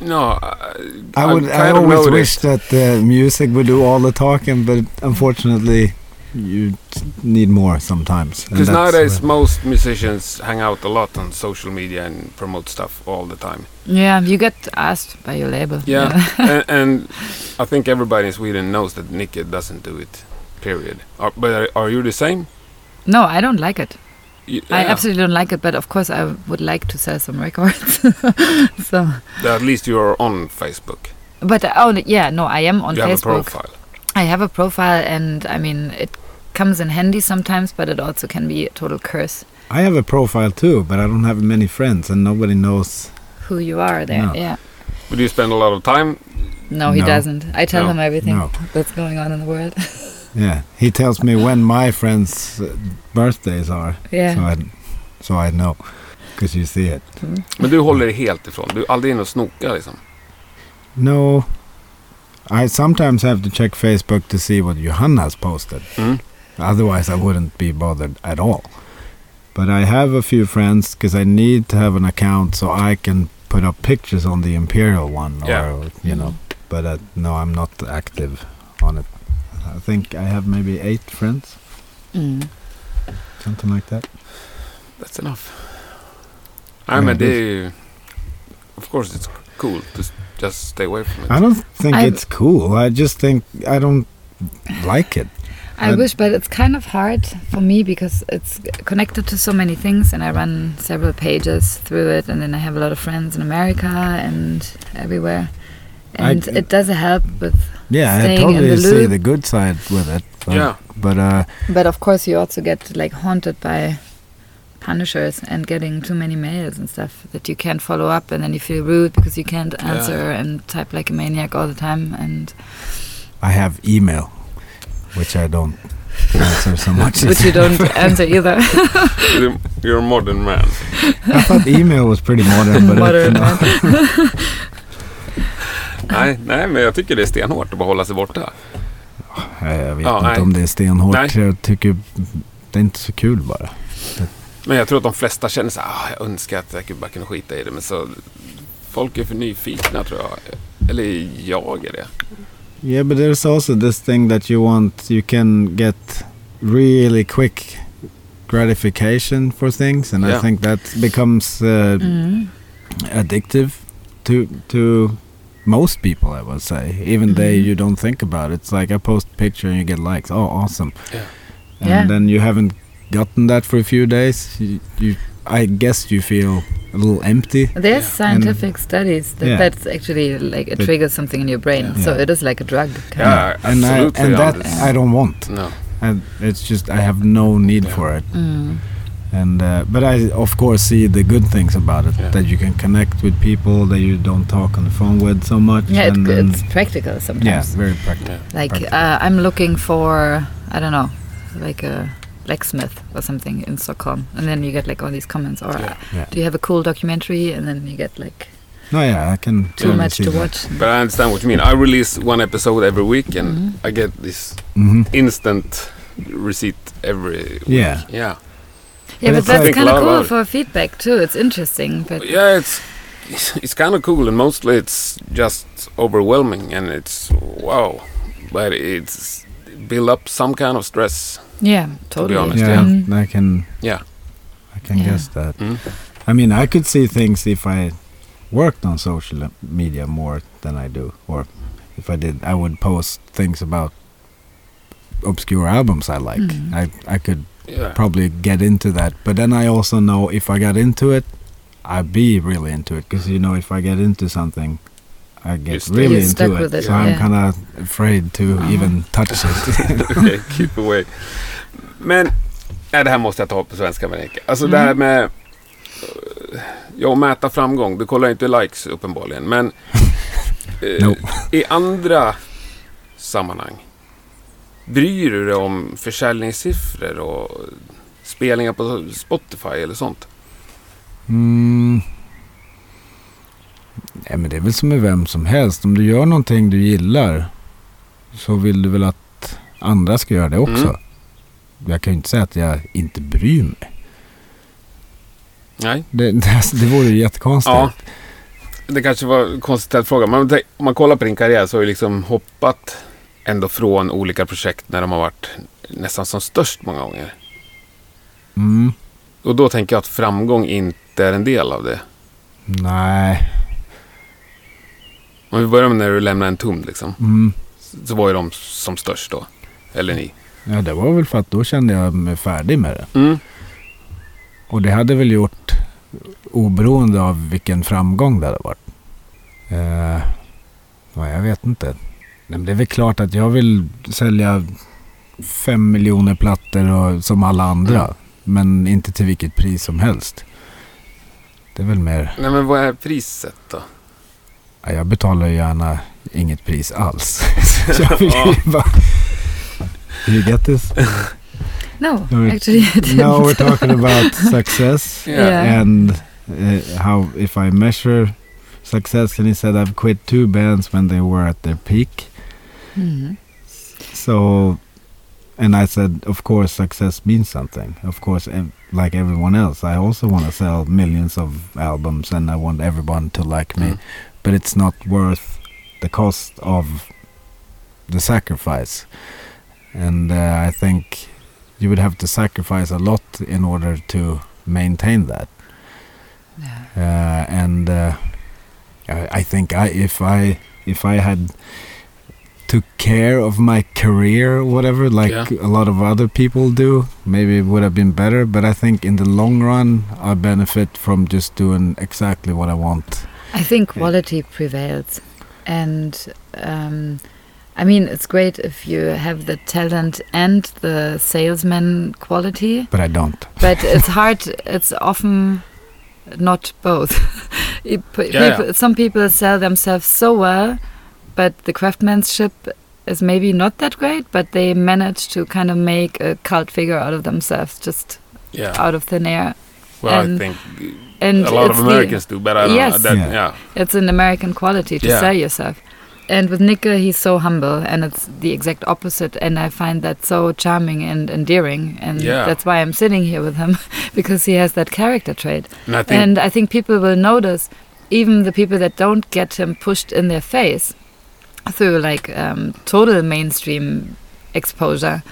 [SPEAKER 3] no, I,
[SPEAKER 1] I would. I
[SPEAKER 3] kind of
[SPEAKER 1] always wish
[SPEAKER 3] noticed.
[SPEAKER 1] that uh, music would do all the talking, but unfortunately, you t- need more sometimes. And
[SPEAKER 3] Because
[SPEAKER 1] that's
[SPEAKER 3] nowadays
[SPEAKER 1] where-
[SPEAKER 3] most musicians hang out a lot on social media and promote stuff all the time.
[SPEAKER 2] Yeah, you get asked by your label.
[SPEAKER 3] Yeah, and, and I think everybody in Sweden knows that Nicky doesn't do it. Period. Are, but are, are you the same?
[SPEAKER 2] No, I don't like it.
[SPEAKER 3] You-
[SPEAKER 2] I
[SPEAKER 3] yeah.
[SPEAKER 2] absolutely don't like it. But of course, I would like to sell some records. so,
[SPEAKER 3] At least you are on Facebook.
[SPEAKER 2] but oh yeah, no, I am on
[SPEAKER 3] you have a
[SPEAKER 2] Facebook.
[SPEAKER 3] profile.
[SPEAKER 2] I have a profile, and I mean it comes in handy sometimes, but it also can be a total curse
[SPEAKER 1] I have a profile too, but I don't have many friends, and nobody knows.
[SPEAKER 2] who you are there.
[SPEAKER 1] No.
[SPEAKER 2] Yeah.
[SPEAKER 3] But you spend a lot of time.
[SPEAKER 2] No, he
[SPEAKER 1] No.
[SPEAKER 2] doesn't. I tell
[SPEAKER 3] No.
[SPEAKER 2] him everything
[SPEAKER 1] No.
[SPEAKER 2] that's going on in the world.
[SPEAKER 1] Yeah, he tells me when my friends' uh, birthdays are,
[SPEAKER 2] yeah.
[SPEAKER 1] so I, so I know, because you see it.
[SPEAKER 3] Men du håller dig helt ifrån. Du är aldrig inne och snokar liksom.
[SPEAKER 1] No, I sometimes have to check Facebook to see what Johanna's posted.
[SPEAKER 3] Mm.
[SPEAKER 1] Otherwise, I wouldn't be bothered at all. But I have a few friends because I need to have an account so I can put up pictures on the Imperial one, or
[SPEAKER 3] Yeah.
[SPEAKER 1] you know. But uh, no, I'm not active on it. I think I have maybe eight friends,
[SPEAKER 2] Mm.
[SPEAKER 1] something like that.
[SPEAKER 3] That's enough. Nej men
[SPEAKER 1] Mm.
[SPEAKER 3] det är ju... Of course it's cool to s- just stay away from it.
[SPEAKER 1] I don't think
[SPEAKER 2] I'm-
[SPEAKER 1] it's cool. I just think I don't like it.
[SPEAKER 2] I
[SPEAKER 1] And-
[SPEAKER 2] wish, but it's kind of hard for me because it's connected to so many things, and I run several pages through it, and then I have a lot of friends in America and everywhere,
[SPEAKER 1] I-
[SPEAKER 2] and it does help with.
[SPEAKER 1] Yeah, I
[SPEAKER 2] Staying in
[SPEAKER 1] totally
[SPEAKER 2] the
[SPEAKER 1] see
[SPEAKER 2] loop.
[SPEAKER 1] the good side with it. But,
[SPEAKER 3] Yeah.
[SPEAKER 1] but uh,
[SPEAKER 2] But of course, you also get like haunted by punishers and getting too many mails and stuff that you can't follow up, and then you feel rude because you can't answer and type like a maniac all the time, and
[SPEAKER 1] I have email, which I don't answer so much.
[SPEAKER 2] but you don't answer either.
[SPEAKER 3] You're- You're a modern man.
[SPEAKER 1] I thought email was pretty modern, but
[SPEAKER 2] Modern,
[SPEAKER 1] it,
[SPEAKER 2] man.
[SPEAKER 3] nej, nej men jag tycker det är stenhårt att bara hålla sig borta.
[SPEAKER 1] Nej, jag vet
[SPEAKER 3] Ja,
[SPEAKER 1] inte
[SPEAKER 3] nej.
[SPEAKER 1] om det är stenhårt.
[SPEAKER 3] Nej.
[SPEAKER 1] Jag tycker det är inte så kul bara.
[SPEAKER 3] Men jag tror att de flesta känner så här, ah, jag önskar att jag kunde- bara kunde skita i det. Men så, folk är för nyfikna tror jag. Eller jag är det.
[SPEAKER 1] Yeah, but there's also this thing that you want, you can get really quick gratification for things, and I
[SPEAKER 3] Yeah.
[SPEAKER 1] think that becomes uh,
[SPEAKER 2] Mm.
[SPEAKER 1] addictive to to most people i would say even they
[SPEAKER 3] Mm-hmm.
[SPEAKER 1] you don't think about it. it's like i post picture and you get likes oh awesome
[SPEAKER 3] Yeah.
[SPEAKER 1] and
[SPEAKER 2] Yeah.
[SPEAKER 1] then you haven't gotten that for a few days you, you i guess you feel a little empty
[SPEAKER 2] There's
[SPEAKER 3] Yeah.
[SPEAKER 2] scientific studies that
[SPEAKER 1] Yeah.
[SPEAKER 2] that's actually like it
[SPEAKER 1] That-
[SPEAKER 2] triggers something in your brain,
[SPEAKER 1] Yeah.
[SPEAKER 2] so it is like a drug. Kind
[SPEAKER 3] Yeah.
[SPEAKER 1] and I,
[SPEAKER 3] absolutely
[SPEAKER 1] and that
[SPEAKER 3] understand.
[SPEAKER 1] i don't want
[SPEAKER 3] No.
[SPEAKER 1] and it's just i have no need
[SPEAKER 3] Yeah.
[SPEAKER 1] for it
[SPEAKER 2] of. Mm.
[SPEAKER 1] and uh, but I of course see the good things about it
[SPEAKER 3] Yeah.
[SPEAKER 1] that you can connect with people that you don't talk on the phone with so much.
[SPEAKER 2] Yeah, it,
[SPEAKER 1] and,
[SPEAKER 2] it's practical sometimes.
[SPEAKER 1] yeah, very practical.
[SPEAKER 2] Like
[SPEAKER 1] Perfect.
[SPEAKER 2] uh, I'm looking for I don't know, like a blacksmith or something in Stockholm, and then you get like all these comments. Or
[SPEAKER 3] Yeah.
[SPEAKER 1] Yeah.
[SPEAKER 2] do you have a cool documentary? And then you get like
[SPEAKER 1] No, yeah, I can
[SPEAKER 2] too
[SPEAKER 1] totally
[SPEAKER 2] much
[SPEAKER 1] see
[SPEAKER 2] to
[SPEAKER 1] that.
[SPEAKER 2] watch.
[SPEAKER 3] But I understand what you mean. I release one episode every week and I get this
[SPEAKER 1] Mhm.
[SPEAKER 3] instant receipt every week.
[SPEAKER 1] Yeah.
[SPEAKER 3] Yeah.
[SPEAKER 2] Yeah,
[SPEAKER 1] But
[SPEAKER 2] but,
[SPEAKER 1] it's
[SPEAKER 2] that's
[SPEAKER 3] like-
[SPEAKER 2] kind of
[SPEAKER 3] Think a lot
[SPEAKER 2] cool
[SPEAKER 3] about it.
[SPEAKER 2] for feedback too. It's interesting, but
[SPEAKER 3] Yeah, it's it's kind of cool and mostly it's just overwhelming and it's wow. But it's build up some kind of stress.
[SPEAKER 2] yeah, totally.
[SPEAKER 3] honest,
[SPEAKER 1] Yeah,
[SPEAKER 2] Mm.
[SPEAKER 1] I can.
[SPEAKER 3] Yeah.
[SPEAKER 1] I can
[SPEAKER 2] Yeah.
[SPEAKER 1] guess that.
[SPEAKER 3] Mm.
[SPEAKER 1] I mean, I could see things if I worked on social media more than I do, or if I did, I would post things about obscure albums I like.
[SPEAKER 2] Mm.
[SPEAKER 1] I I could
[SPEAKER 3] Yeah.
[SPEAKER 1] probably get into that, but then I also know if I got into it, I'd be really into it because you know if I get into something. I get
[SPEAKER 3] stay-
[SPEAKER 1] really
[SPEAKER 2] You're stuck
[SPEAKER 1] into it,
[SPEAKER 2] with it,
[SPEAKER 1] so I'm
[SPEAKER 2] yeah.
[SPEAKER 1] kind of afraid to
[SPEAKER 2] Uh-huh.
[SPEAKER 1] even touch it.
[SPEAKER 3] Okej, keep away. Men, nej, det här måste jag ta på svenska Veronica. Alltså det här med... eh, Ja, att mäta framgång. Du kollar inte likes uppenbarligen. Men eh,
[SPEAKER 1] No.
[SPEAKER 3] i andra sammanhang. Bryr du dig om försäljningssiffror och spelningar på Spotify eller sånt?
[SPEAKER 1] Mm. Nej, men det är väl som med vem som helst. Om du gör någonting du gillar så vill du väl att andra ska göra det också.
[SPEAKER 3] Mm.
[SPEAKER 1] Jag kan ju inte säga att jag inte bryr mig.
[SPEAKER 3] Nej.
[SPEAKER 1] Det, det, det vore ju jättekonstigt.
[SPEAKER 3] Ja. Det kanske var en konstigt ställd fråga. Men tänk- om man kollar på din karriär så har du liksom hoppat ändå från olika projekt när de har varit nästan som störst många gånger.
[SPEAKER 1] Mm.
[SPEAKER 3] Och då tänker jag att framgång inte är en del av det.
[SPEAKER 1] Nej.
[SPEAKER 3] Om vi börjar med när du lämnade en tum liksom.
[SPEAKER 1] Mm.
[SPEAKER 3] Så var ju de som störst då. Eller ni.
[SPEAKER 1] Ja, det var väl för att då kände jag mig färdig med det.
[SPEAKER 3] Mm.
[SPEAKER 1] Och det hade väl gjort oberoende av vilken framgång det hade varit. Eh, nej, jag vet inte. Nej, men det är väl klart att jag vill sälja fem miljoner plattor och, som alla andra. Men inte till vilket pris som helst. Det är väl mer,
[SPEAKER 3] Nej men vad är priset då?
[SPEAKER 1] ja, jag betalar ju gärna inget pris alls. Så jag vill
[SPEAKER 3] Ja.
[SPEAKER 1] ju bara... You get this?
[SPEAKER 2] No,
[SPEAKER 1] No, it-
[SPEAKER 2] actually, I didn't.
[SPEAKER 1] Now we're talking about success.
[SPEAKER 2] Yeah.
[SPEAKER 1] and uh, how if I measure success, and he said I've quit two bands when they were at their peak.
[SPEAKER 2] Mhm.
[SPEAKER 1] So, and I said, of course, success means something. Of course, ev- like everyone else, I also want to sell millions of albums, and I want everyone to like me.
[SPEAKER 3] Mm.
[SPEAKER 1] But it's not worth the cost of the sacrifice. And uh, I think you would have to sacrifice a lot in order to maintain that
[SPEAKER 2] Yeah.
[SPEAKER 1] uh, and uh, I, I think I if I if I had took care of my career or whatever like
[SPEAKER 3] Yeah.
[SPEAKER 1] a lot of other people do maybe it would have been better but I think in the long run I benefit from just doing exactly what I want
[SPEAKER 2] I think
[SPEAKER 1] Yeah.
[SPEAKER 2] quality prevails, and um, I mean it's great if you have the talent and the salesman quality,
[SPEAKER 1] but I don't
[SPEAKER 2] but it's hard. It's often not both. It- p-
[SPEAKER 3] Yeah, yeah.
[SPEAKER 2] people- Some people sell themselves so well, but the craftsmanship is maybe not that great. But they manage to kind of make a cult figure out of themselves, just
[SPEAKER 3] Yeah.
[SPEAKER 2] out of thin air.
[SPEAKER 3] Well I
[SPEAKER 2] and-
[SPEAKER 3] think
[SPEAKER 2] And
[SPEAKER 3] a
[SPEAKER 2] it's
[SPEAKER 3] lot of
[SPEAKER 2] the-
[SPEAKER 3] Americans do. But I don't
[SPEAKER 2] Yes.
[SPEAKER 3] know. That,
[SPEAKER 1] Yeah.
[SPEAKER 3] yeah.
[SPEAKER 2] It's an American quality to
[SPEAKER 3] Yeah.
[SPEAKER 2] sell yourself. And with Nickel, he's so humble, and it's the exact opposite. And I find that so charming and endearing, and
[SPEAKER 3] Yeah.
[SPEAKER 2] that's why I'm sitting here with him because he has that character trait.
[SPEAKER 3] And I think
[SPEAKER 2] And I think people will notice, even the people that don't get him pushed in their face through like um, total mainstream exposure,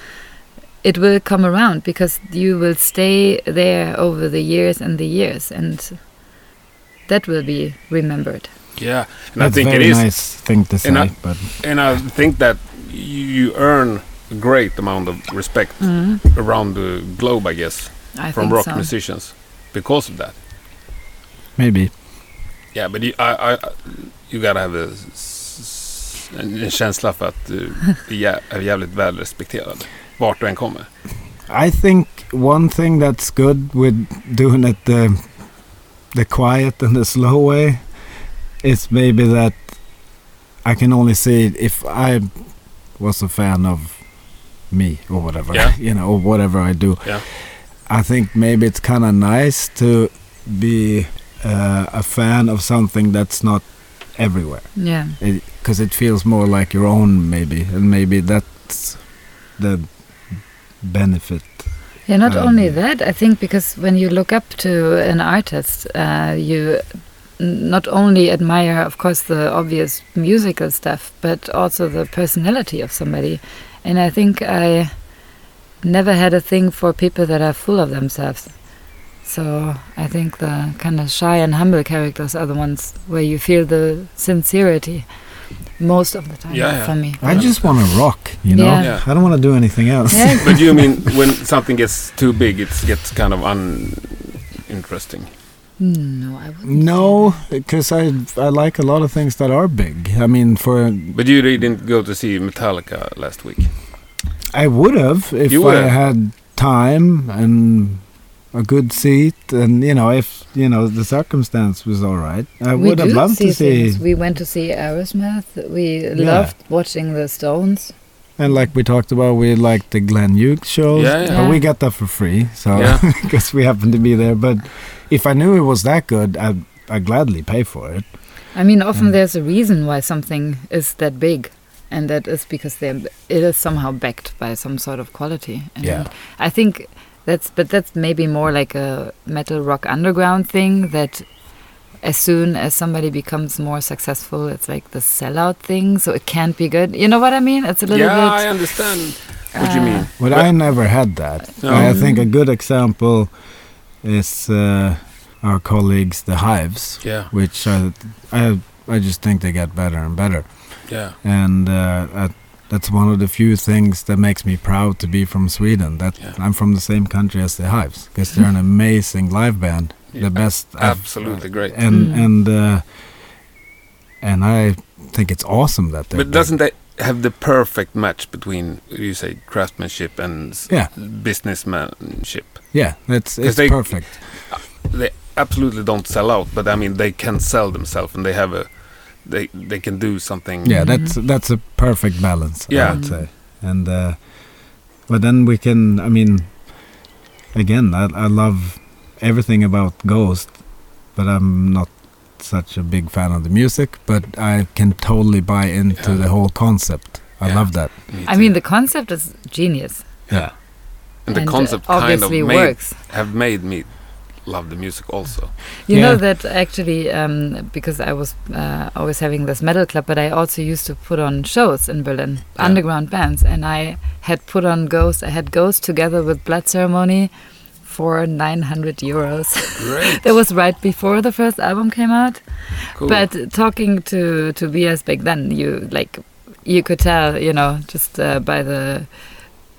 [SPEAKER 2] it will come around because you will stay there over the years and the years, and that will be remembered.
[SPEAKER 3] yeah. And
[SPEAKER 1] that's
[SPEAKER 3] I think it
[SPEAKER 1] very
[SPEAKER 3] is
[SPEAKER 1] nice thing to say
[SPEAKER 3] And I-
[SPEAKER 1] but
[SPEAKER 3] and I think that you earn a great amount of respect around the globe I guess.
[SPEAKER 2] Mm-hmm. I
[SPEAKER 3] from
[SPEAKER 2] think
[SPEAKER 3] rock
[SPEAKER 2] so.
[SPEAKER 3] musicians because of that.
[SPEAKER 1] maybe
[SPEAKER 3] Yeah, but you, I, I, I- you gotta have a, s- eh, en, en känsla för att du är jä- är jävligt väl respekterad. Vart du än kommer.
[SPEAKER 1] I think one thing that's good with doing it the the quiet and the slow way is maybe that I can only see it if I was a fan of me or whatever
[SPEAKER 3] Yeah.
[SPEAKER 1] you know or whatever I do.
[SPEAKER 3] Yeah.
[SPEAKER 1] I think maybe it's kind of nice to be uh, a fan of something that's not everywhere
[SPEAKER 2] Yeah.
[SPEAKER 1] because it feels more like your own maybe and maybe that's the benefit
[SPEAKER 2] Yeah, not
[SPEAKER 1] Um,
[SPEAKER 2] only that, I think because when you look up to an artist, uh, you n- not only admire, of course, the obvious musical stuff, but also the personality of somebody. And I think I never had a thing for people that are full of themselves. So I think the kind of shy and humble characters are the ones where you feel the sincerity most of the time
[SPEAKER 3] Yeah, yeah.
[SPEAKER 2] for me.
[SPEAKER 1] i just want to rock you know
[SPEAKER 2] Yeah.
[SPEAKER 3] Yeah.
[SPEAKER 1] i don't want to do anything else
[SPEAKER 2] Yeah,
[SPEAKER 3] But you mean when something gets too big, it gets kind of uninteresting.
[SPEAKER 2] Hmm, No, I wouldn't.
[SPEAKER 1] no because i i like a lot of things that are big i mean for
[SPEAKER 3] But you didn't go to see Metallica last week.
[SPEAKER 1] i would have if
[SPEAKER 3] You
[SPEAKER 1] i
[SPEAKER 3] would've.
[SPEAKER 1] had time and a good seat and you know if you know the circumstance was all right i
[SPEAKER 2] we
[SPEAKER 1] would have
[SPEAKER 2] do
[SPEAKER 1] loved
[SPEAKER 2] see
[SPEAKER 1] to see
[SPEAKER 2] things. We went to see Aerosmith. We
[SPEAKER 1] Yeah.
[SPEAKER 2] loved watching the Stones.
[SPEAKER 1] and like we talked about we liked the glenn hughes shows
[SPEAKER 3] Yeah, yeah.
[SPEAKER 1] but we got that for free so
[SPEAKER 3] Yeah.
[SPEAKER 1] because we happened to be there. But if I knew it was that good, I'd, I'd gladly pay for it.
[SPEAKER 2] I mean, often
[SPEAKER 1] Mm.
[SPEAKER 2] there's a reason why something is that big, and that is because they're, it is somehow backed by some sort of quality. And
[SPEAKER 1] Yeah.
[SPEAKER 2] I think that's, but that's maybe more like a metal rock underground thing that. As soon as somebody becomes more successful, it's like the sellout thing, so it can't be good. You know what I mean? It's a little
[SPEAKER 3] yeah, I
[SPEAKER 2] bit. Uh,
[SPEAKER 3] understand what you mean.
[SPEAKER 1] But I never had that.
[SPEAKER 3] No.
[SPEAKER 1] I think a good example is uh, our colleagues, the Hives,
[SPEAKER 3] Yeah,
[SPEAKER 1] which I, I, I just think they get better and better.
[SPEAKER 3] yeah,
[SPEAKER 1] And uh, I, that's one of the few things that makes me proud to be from Sweden. That
[SPEAKER 3] Yeah.
[SPEAKER 1] I'm from the same country as the Hives because they're an amazing live band,
[SPEAKER 3] Yeah,
[SPEAKER 1] the best I've uh,
[SPEAKER 3] absolutely great.
[SPEAKER 1] and
[SPEAKER 2] Mm.
[SPEAKER 1] and uh, and I think it's awesome that they're
[SPEAKER 3] But
[SPEAKER 1] big.
[SPEAKER 3] doesn't that have the perfect match between you say craftsmanship and s-
[SPEAKER 1] Yeah.
[SPEAKER 3] businessmanship?
[SPEAKER 1] yeah it's
[SPEAKER 3] 'Cause
[SPEAKER 1] it's
[SPEAKER 3] they-
[SPEAKER 1] perfect
[SPEAKER 3] They absolutely don't sell out, but I mean they can sell themselves and they have a they they can do something.
[SPEAKER 1] yeah that's that's a perfect balance I
[SPEAKER 3] Yeah.
[SPEAKER 1] would say and uh, but then we can I mean again I, I love everything about Ghost but I'm not such a big fan of the music but I can totally buy into
[SPEAKER 3] Yeah.
[SPEAKER 1] the whole concept I
[SPEAKER 3] Yeah.
[SPEAKER 1] love that
[SPEAKER 2] I mean, the concept is genius.
[SPEAKER 1] yeah
[SPEAKER 3] and the concept kind of
[SPEAKER 2] obviously
[SPEAKER 3] made,
[SPEAKER 2] works.
[SPEAKER 3] have made me love the music also.
[SPEAKER 2] You know
[SPEAKER 1] Yeah.
[SPEAKER 2] that actually, um, because I was uh, always having this metal club, but I also used to put on shows in Berlin,
[SPEAKER 3] Yeah.
[SPEAKER 2] underground bands, and I had put on Ghost. I had Ghost together with Blood Ceremony for 900 euros.
[SPEAKER 3] Great,
[SPEAKER 2] that was right before the first album came out.
[SPEAKER 3] cool.
[SPEAKER 2] But talking to to BS back then, you like you could tell, you know, just uh, by the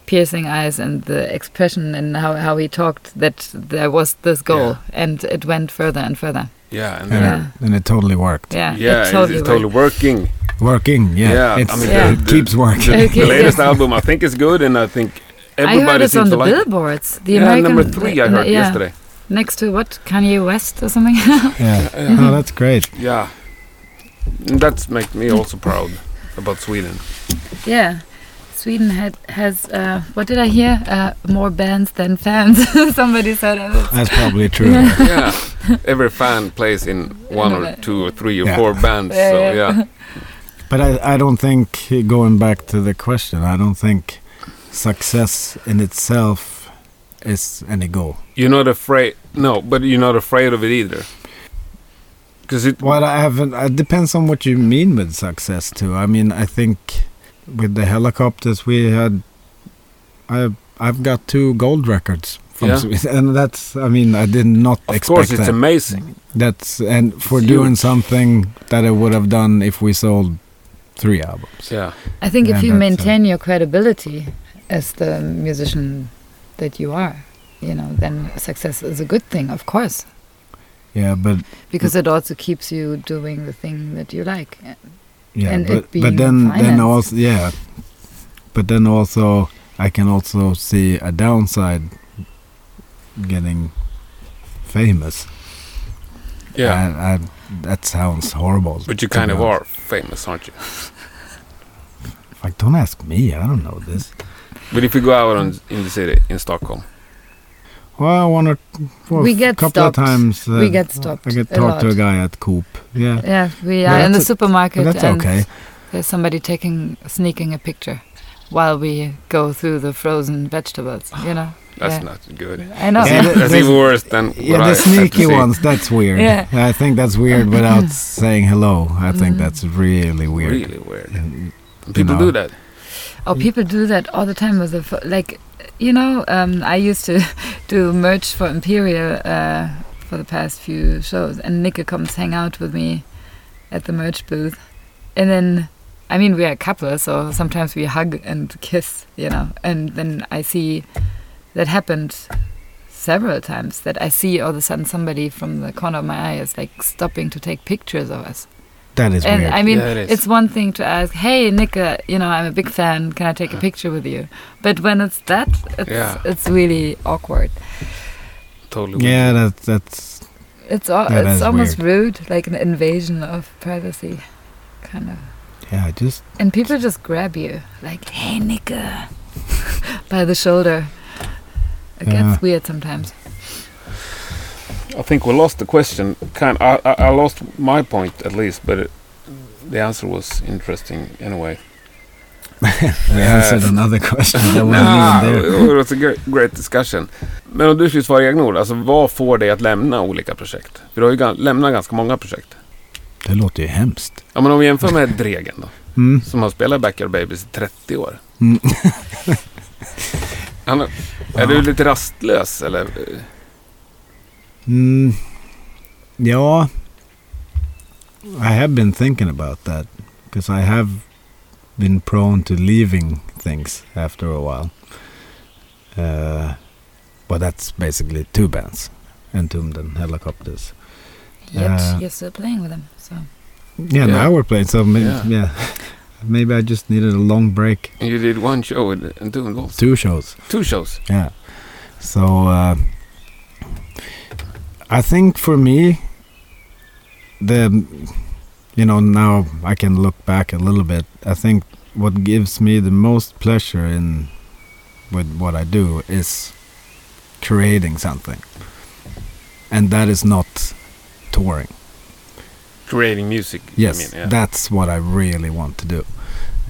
[SPEAKER 2] piercing eyes and the expression and how how he talked that there was this goal, and it went further and further.
[SPEAKER 3] yeah, and
[SPEAKER 1] and,
[SPEAKER 3] they're-
[SPEAKER 2] Yeah.
[SPEAKER 1] It, and it totally worked
[SPEAKER 2] Yeah,
[SPEAKER 3] yeah,
[SPEAKER 2] it
[SPEAKER 3] it's
[SPEAKER 2] totally,
[SPEAKER 3] it's totally
[SPEAKER 2] worked.
[SPEAKER 3] working.
[SPEAKER 1] working yeah,
[SPEAKER 3] Yeah, I
[SPEAKER 1] It's,
[SPEAKER 3] mean,
[SPEAKER 2] the-
[SPEAKER 1] it
[SPEAKER 3] the-
[SPEAKER 1] keeps working
[SPEAKER 3] The,
[SPEAKER 2] Okay,
[SPEAKER 3] the latest
[SPEAKER 2] yes.
[SPEAKER 3] album I think is good, and I think
[SPEAKER 2] I
[SPEAKER 3] everybody
[SPEAKER 2] heard it's
[SPEAKER 3] seems
[SPEAKER 2] on the
[SPEAKER 3] to like. it.
[SPEAKER 2] billboards. The
[SPEAKER 3] yeah,
[SPEAKER 2] American
[SPEAKER 3] number three I
[SPEAKER 2] the-
[SPEAKER 3] heard
[SPEAKER 2] yeah,
[SPEAKER 3] yesterday.
[SPEAKER 2] next to what Kanye West or something.
[SPEAKER 1] yeah
[SPEAKER 2] Mm-hmm.
[SPEAKER 1] oh, that's great
[SPEAKER 3] Yeah, And that's make me also proud about Sweden.
[SPEAKER 2] yeah. Sweden had, has uh, what did I hear? Uh, more bands than fans. Somebody said uh,
[SPEAKER 1] that's probably true
[SPEAKER 3] yeah, every fan plays in one or two or three or
[SPEAKER 1] Yeah.
[SPEAKER 3] four bands.
[SPEAKER 2] Yeah,
[SPEAKER 3] so
[SPEAKER 2] yeah.
[SPEAKER 3] yeah,
[SPEAKER 1] But I, I don't think, going back to the question, I don't think success in itself is any goal.
[SPEAKER 3] you're not afraid. No, but you're not afraid of it either. Because it.
[SPEAKER 1] Well, I haven't, it depends on what you mean with success, too. I mean, I think with the helicopters, we had, I, I've got two gold records from
[SPEAKER 3] Yeah.
[SPEAKER 1] Sweden. And that's, I mean, I did not
[SPEAKER 3] Of
[SPEAKER 1] expect
[SPEAKER 3] course, it's
[SPEAKER 1] that.
[SPEAKER 3] amazing.
[SPEAKER 1] that's, and for
[SPEAKER 3] It's
[SPEAKER 1] doing
[SPEAKER 3] huge.
[SPEAKER 1] something that I would have done if we sold three albums.
[SPEAKER 3] Yeah,
[SPEAKER 2] I think
[SPEAKER 1] Yeah,
[SPEAKER 2] if you
[SPEAKER 1] that's, uh,
[SPEAKER 2] maintain your credibility as the musician that you are, you know, then success is a good thing, of course,
[SPEAKER 1] Yeah, but
[SPEAKER 2] because it also keeps you doing the thing that you like.
[SPEAKER 1] Mm. yeah,
[SPEAKER 2] And
[SPEAKER 1] but,
[SPEAKER 2] it
[SPEAKER 1] but
[SPEAKER 2] being
[SPEAKER 1] then then
[SPEAKER 2] financed.
[SPEAKER 1] also yeah, but then also I can also see a downside getting famous.
[SPEAKER 3] Yeah.
[SPEAKER 1] And I, that sounds horrible.
[SPEAKER 3] But you
[SPEAKER 1] to
[SPEAKER 3] kind
[SPEAKER 1] be
[SPEAKER 3] of
[SPEAKER 1] honest.
[SPEAKER 3] are famous, aren't you?
[SPEAKER 1] Like, don't ask me. I don't know this.
[SPEAKER 3] But if you go out on, in the city, in Stockholm.
[SPEAKER 1] Well, one or well,
[SPEAKER 2] We get
[SPEAKER 1] couple
[SPEAKER 2] stopped.
[SPEAKER 1] of times. uh,
[SPEAKER 2] We get stopped
[SPEAKER 1] I get
[SPEAKER 2] a
[SPEAKER 1] talked to a
[SPEAKER 2] lot.
[SPEAKER 1] guy at Coop. Yeah,
[SPEAKER 2] Yeah, we
[SPEAKER 1] Yeah,
[SPEAKER 2] are in the
[SPEAKER 1] that's a-
[SPEAKER 2] supermarket
[SPEAKER 1] but that's
[SPEAKER 2] and
[SPEAKER 1] okay.
[SPEAKER 2] there's somebody taking, sneaking a picture while we go through the frozen vegetables, you know?
[SPEAKER 3] That's
[SPEAKER 2] Yeah.
[SPEAKER 3] not good.
[SPEAKER 2] I know.
[SPEAKER 1] Yeah,
[SPEAKER 3] That's,
[SPEAKER 1] the-
[SPEAKER 3] that's
[SPEAKER 1] the-
[SPEAKER 3] even worse than what
[SPEAKER 1] Yeah,
[SPEAKER 3] I
[SPEAKER 1] the
[SPEAKER 3] had to
[SPEAKER 1] sneaky
[SPEAKER 3] see.
[SPEAKER 1] ones. That's weird.
[SPEAKER 2] Yeah. Mm-hmm.
[SPEAKER 1] I think that's weird without saying hello. I think that's really weird.
[SPEAKER 3] Really weird. People
[SPEAKER 1] know.
[SPEAKER 3] do that.
[SPEAKER 2] Oh, people do that all the time with the pho- like, you know. Um, I used to do merch for Imperial uh, for the past few shows, and Nika comes hang out with me at the merch booth, and then I mean we are a couple, so sometimes we hug and kiss, you know, and then I see that happened several times that I see all of a sudden somebody from the corner of my eye is like stopping to take pictures of us.
[SPEAKER 1] That is
[SPEAKER 2] And
[SPEAKER 1] weird.
[SPEAKER 2] I mean,
[SPEAKER 3] Yeah, it is.
[SPEAKER 2] it's one thing to ask, "Hey, Nika, you know, I'm a big fan. Can I take a picture with you?" But when it's that, it's,
[SPEAKER 3] Yeah.
[SPEAKER 2] it's really awkward.
[SPEAKER 3] Totally.
[SPEAKER 1] yeah, that, that's
[SPEAKER 2] It's al-
[SPEAKER 1] Yeah, that
[SPEAKER 2] it's
[SPEAKER 1] is
[SPEAKER 2] almost rude, like an invasion of privacy, kind of.
[SPEAKER 1] yeah. Just
[SPEAKER 2] And people just grab you, like, "Hey, Nika," by the shoulder. It
[SPEAKER 1] Yeah.
[SPEAKER 2] gets weird sometimes.
[SPEAKER 3] I think we lost the question. Kind, I, I, I lost my point at least, but it, the answer was interesting anyway.
[SPEAKER 1] We answered another question that
[SPEAKER 3] Nah,
[SPEAKER 1] wasn't even there.
[SPEAKER 3] it was a great, great discussion. Men om du skulle svara i egna ord, alltså vad får dig att lämna olika projekt? För du har ju gan- lämnat ganska många projekt.
[SPEAKER 1] Det låter ju hemskt.
[SPEAKER 3] Ja, men om vi jämför med Dregen då,
[SPEAKER 1] Mm.
[SPEAKER 3] som har spelat Backyard Babies i 30 år.
[SPEAKER 1] Mm.
[SPEAKER 3] Han, har- är du lite rastlös eller? eh,
[SPEAKER 1] Mm. Ja, I have been thinking about that because I have been prone to leaving things after a while. Uh, but that's basically two bands, Entombed and Helicopters.
[SPEAKER 2] Yet
[SPEAKER 1] Uh,
[SPEAKER 2] you're still playing with them, so
[SPEAKER 1] Yeah,
[SPEAKER 3] Yeah.
[SPEAKER 1] now we're playing, so maybe,
[SPEAKER 3] Yeah.
[SPEAKER 1] yeah. maybe I just needed a long break.
[SPEAKER 3] You did one show and- and two goals.
[SPEAKER 1] Two shows.
[SPEAKER 3] Two shows.
[SPEAKER 1] Yeah. So uh, I think for me, the you know now I can look back a little bit. I think what gives me the most pleasure in with what I do is creating something, and that is not touring.
[SPEAKER 3] Creating music. you
[SPEAKER 1] Yes,
[SPEAKER 3] mean, yeah.
[SPEAKER 1] that's what I really want to do.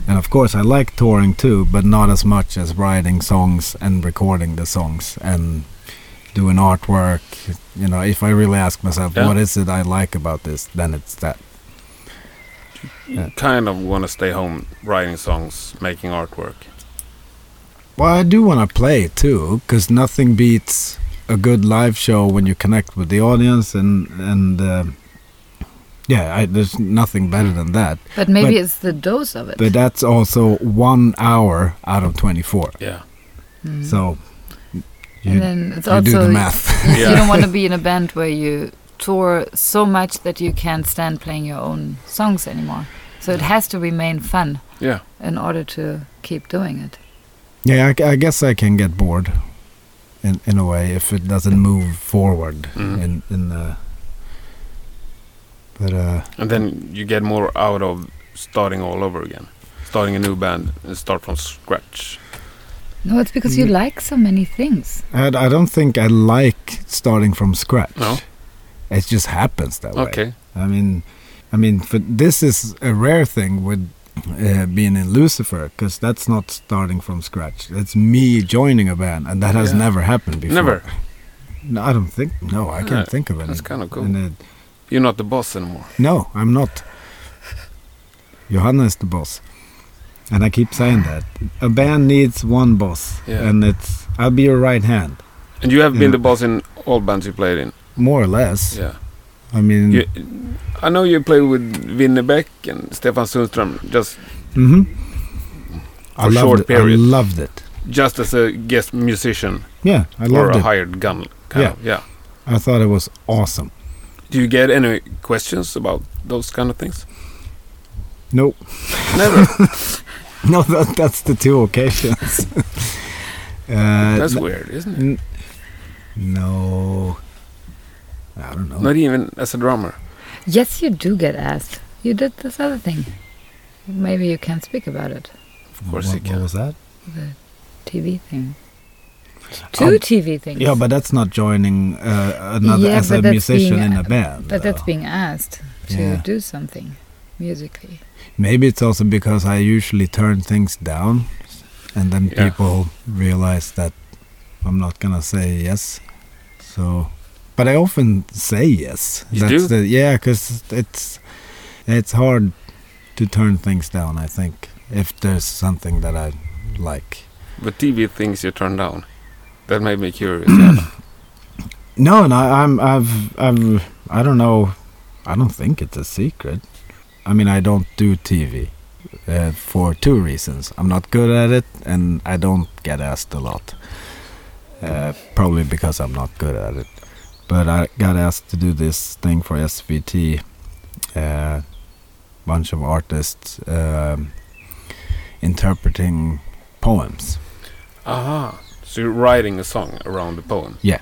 [SPEAKER 1] And of course, I like touring too, but not as much as writing songs and recording the songs and doing artwork. You know, if I really ask myself,
[SPEAKER 3] Yeah.
[SPEAKER 1] what is it I like about this, then it's that.
[SPEAKER 3] You kind of want to stay home writing songs, making artwork.
[SPEAKER 1] Well, I do want to play too, because nothing beats a good live show when you connect with the audience, and and uh, yeah, I, there's nothing better than that.
[SPEAKER 2] but maybe
[SPEAKER 1] But-
[SPEAKER 2] it's the dose of it.
[SPEAKER 1] But that's also one hour out of 24.
[SPEAKER 3] Yeah.
[SPEAKER 2] Mm.
[SPEAKER 1] So
[SPEAKER 2] and
[SPEAKER 1] you,
[SPEAKER 2] then it's
[SPEAKER 1] you do the
[SPEAKER 2] also
[SPEAKER 1] math.
[SPEAKER 2] You-
[SPEAKER 3] Yeah.
[SPEAKER 2] You don't want to be in a band where you tour so much that you can't stand playing your own songs anymore. So it has to remain fun
[SPEAKER 3] Yeah.
[SPEAKER 2] in order to keep doing it.
[SPEAKER 1] yeah, I, I guess I can get bored in, in a way if it doesn't move forward
[SPEAKER 3] Mhm.
[SPEAKER 1] in in the. But uh,
[SPEAKER 3] And then you get more out of starting all over again. Starting a new band and start from scratch.
[SPEAKER 2] No, it's because
[SPEAKER 1] Mm.
[SPEAKER 2] you like so many things.
[SPEAKER 1] I, I don't think I like starting from scratch.
[SPEAKER 3] No.
[SPEAKER 1] It just happens that way.
[SPEAKER 3] Okay.
[SPEAKER 1] I mean, I mean, for, this is a rare thing with uh, being in Lucifer because that's not starting from scratch. That's me joining a band, and that has
[SPEAKER 3] Yeah.
[SPEAKER 1] never happened before.
[SPEAKER 3] Never.
[SPEAKER 1] No, I don't think. No, I can't
[SPEAKER 3] Yeah,
[SPEAKER 1] think of any.
[SPEAKER 3] that's kinda cool.
[SPEAKER 1] any-
[SPEAKER 3] You're not the boss anymore.
[SPEAKER 1] no, I'm not. Johanna is the boss, and I keep saying that a band needs one boss,
[SPEAKER 3] Yeah.
[SPEAKER 1] and it's I'll be your right hand,
[SPEAKER 3] And you have
[SPEAKER 1] Yeah.
[SPEAKER 3] been the boss in all bands you played in.
[SPEAKER 1] more or less.
[SPEAKER 3] Yeah.
[SPEAKER 1] I mean,
[SPEAKER 3] You, I know you played with Winnerbäck and Stefan Sundström just
[SPEAKER 1] mhm. I
[SPEAKER 3] For
[SPEAKER 1] loved
[SPEAKER 3] short
[SPEAKER 1] it.
[SPEAKER 3] period.
[SPEAKER 1] I loved it.
[SPEAKER 3] just as a guest musician
[SPEAKER 1] Yeah, I
[SPEAKER 3] or
[SPEAKER 1] loved
[SPEAKER 3] a
[SPEAKER 1] it.
[SPEAKER 3] hired gun. Kind
[SPEAKER 1] Yeah.
[SPEAKER 3] Of. yeah.
[SPEAKER 1] I thought it was awesome.
[SPEAKER 3] Do you get any questions about those kind of things?
[SPEAKER 1] Nope.
[SPEAKER 3] Never.
[SPEAKER 1] No, that, that's the two occasions. uh,
[SPEAKER 3] That's weird, isn't it?
[SPEAKER 1] n- no. I don't know.
[SPEAKER 3] Not even as a drummer.
[SPEAKER 2] Yes, you do get asked. You did this other thing. Maybe you can speak about it.
[SPEAKER 3] Of course
[SPEAKER 1] what,
[SPEAKER 3] you
[SPEAKER 1] What
[SPEAKER 3] can.
[SPEAKER 1] was that?
[SPEAKER 2] TV thing. Two
[SPEAKER 1] Oh,
[SPEAKER 2] TV things.
[SPEAKER 1] Yeah, but that's not joining uh, another
[SPEAKER 2] Yeah,
[SPEAKER 1] as
[SPEAKER 2] but
[SPEAKER 1] a
[SPEAKER 2] that's
[SPEAKER 1] musician
[SPEAKER 2] being- uh,
[SPEAKER 1] in a band.
[SPEAKER 2] But that's
[SPEAKER 1] though.
[SPEAKER 2] being asked to
[SPEAKER 1] Yeah.
[SPEAKER 2] do something musically.
[SPEAKER 1] Maybe it's also because I usually turn things down, and then
[SPEAKER 3] Yeah.
[SPEAKER 1] people realize that I'm not gonna say yes. So, but I often say yes.
[SPEAKER 3] You do?
[SPEAKER 1] The, yeah, because it's it's hard to turn things down. I think if there's something that I like.
[SPEAKER 3] But TV things you turn down. That made me curious. yeah.
[SPEAKER 1] No, no, I'm, I've, I've, I don't know. I don't think it's a secret. I mean, I don't do TV uh, for two reasons. I'm not good at it, and I don't get asked a lot. Uh, probably because I'm not good at it. But I got asked to do this thing for SVT. uh, bunch of artists um, interpreting poems.
[SPEAKER 3] Aha. So you're writing a song around the poem.
[SPEAKER 1] Yeah.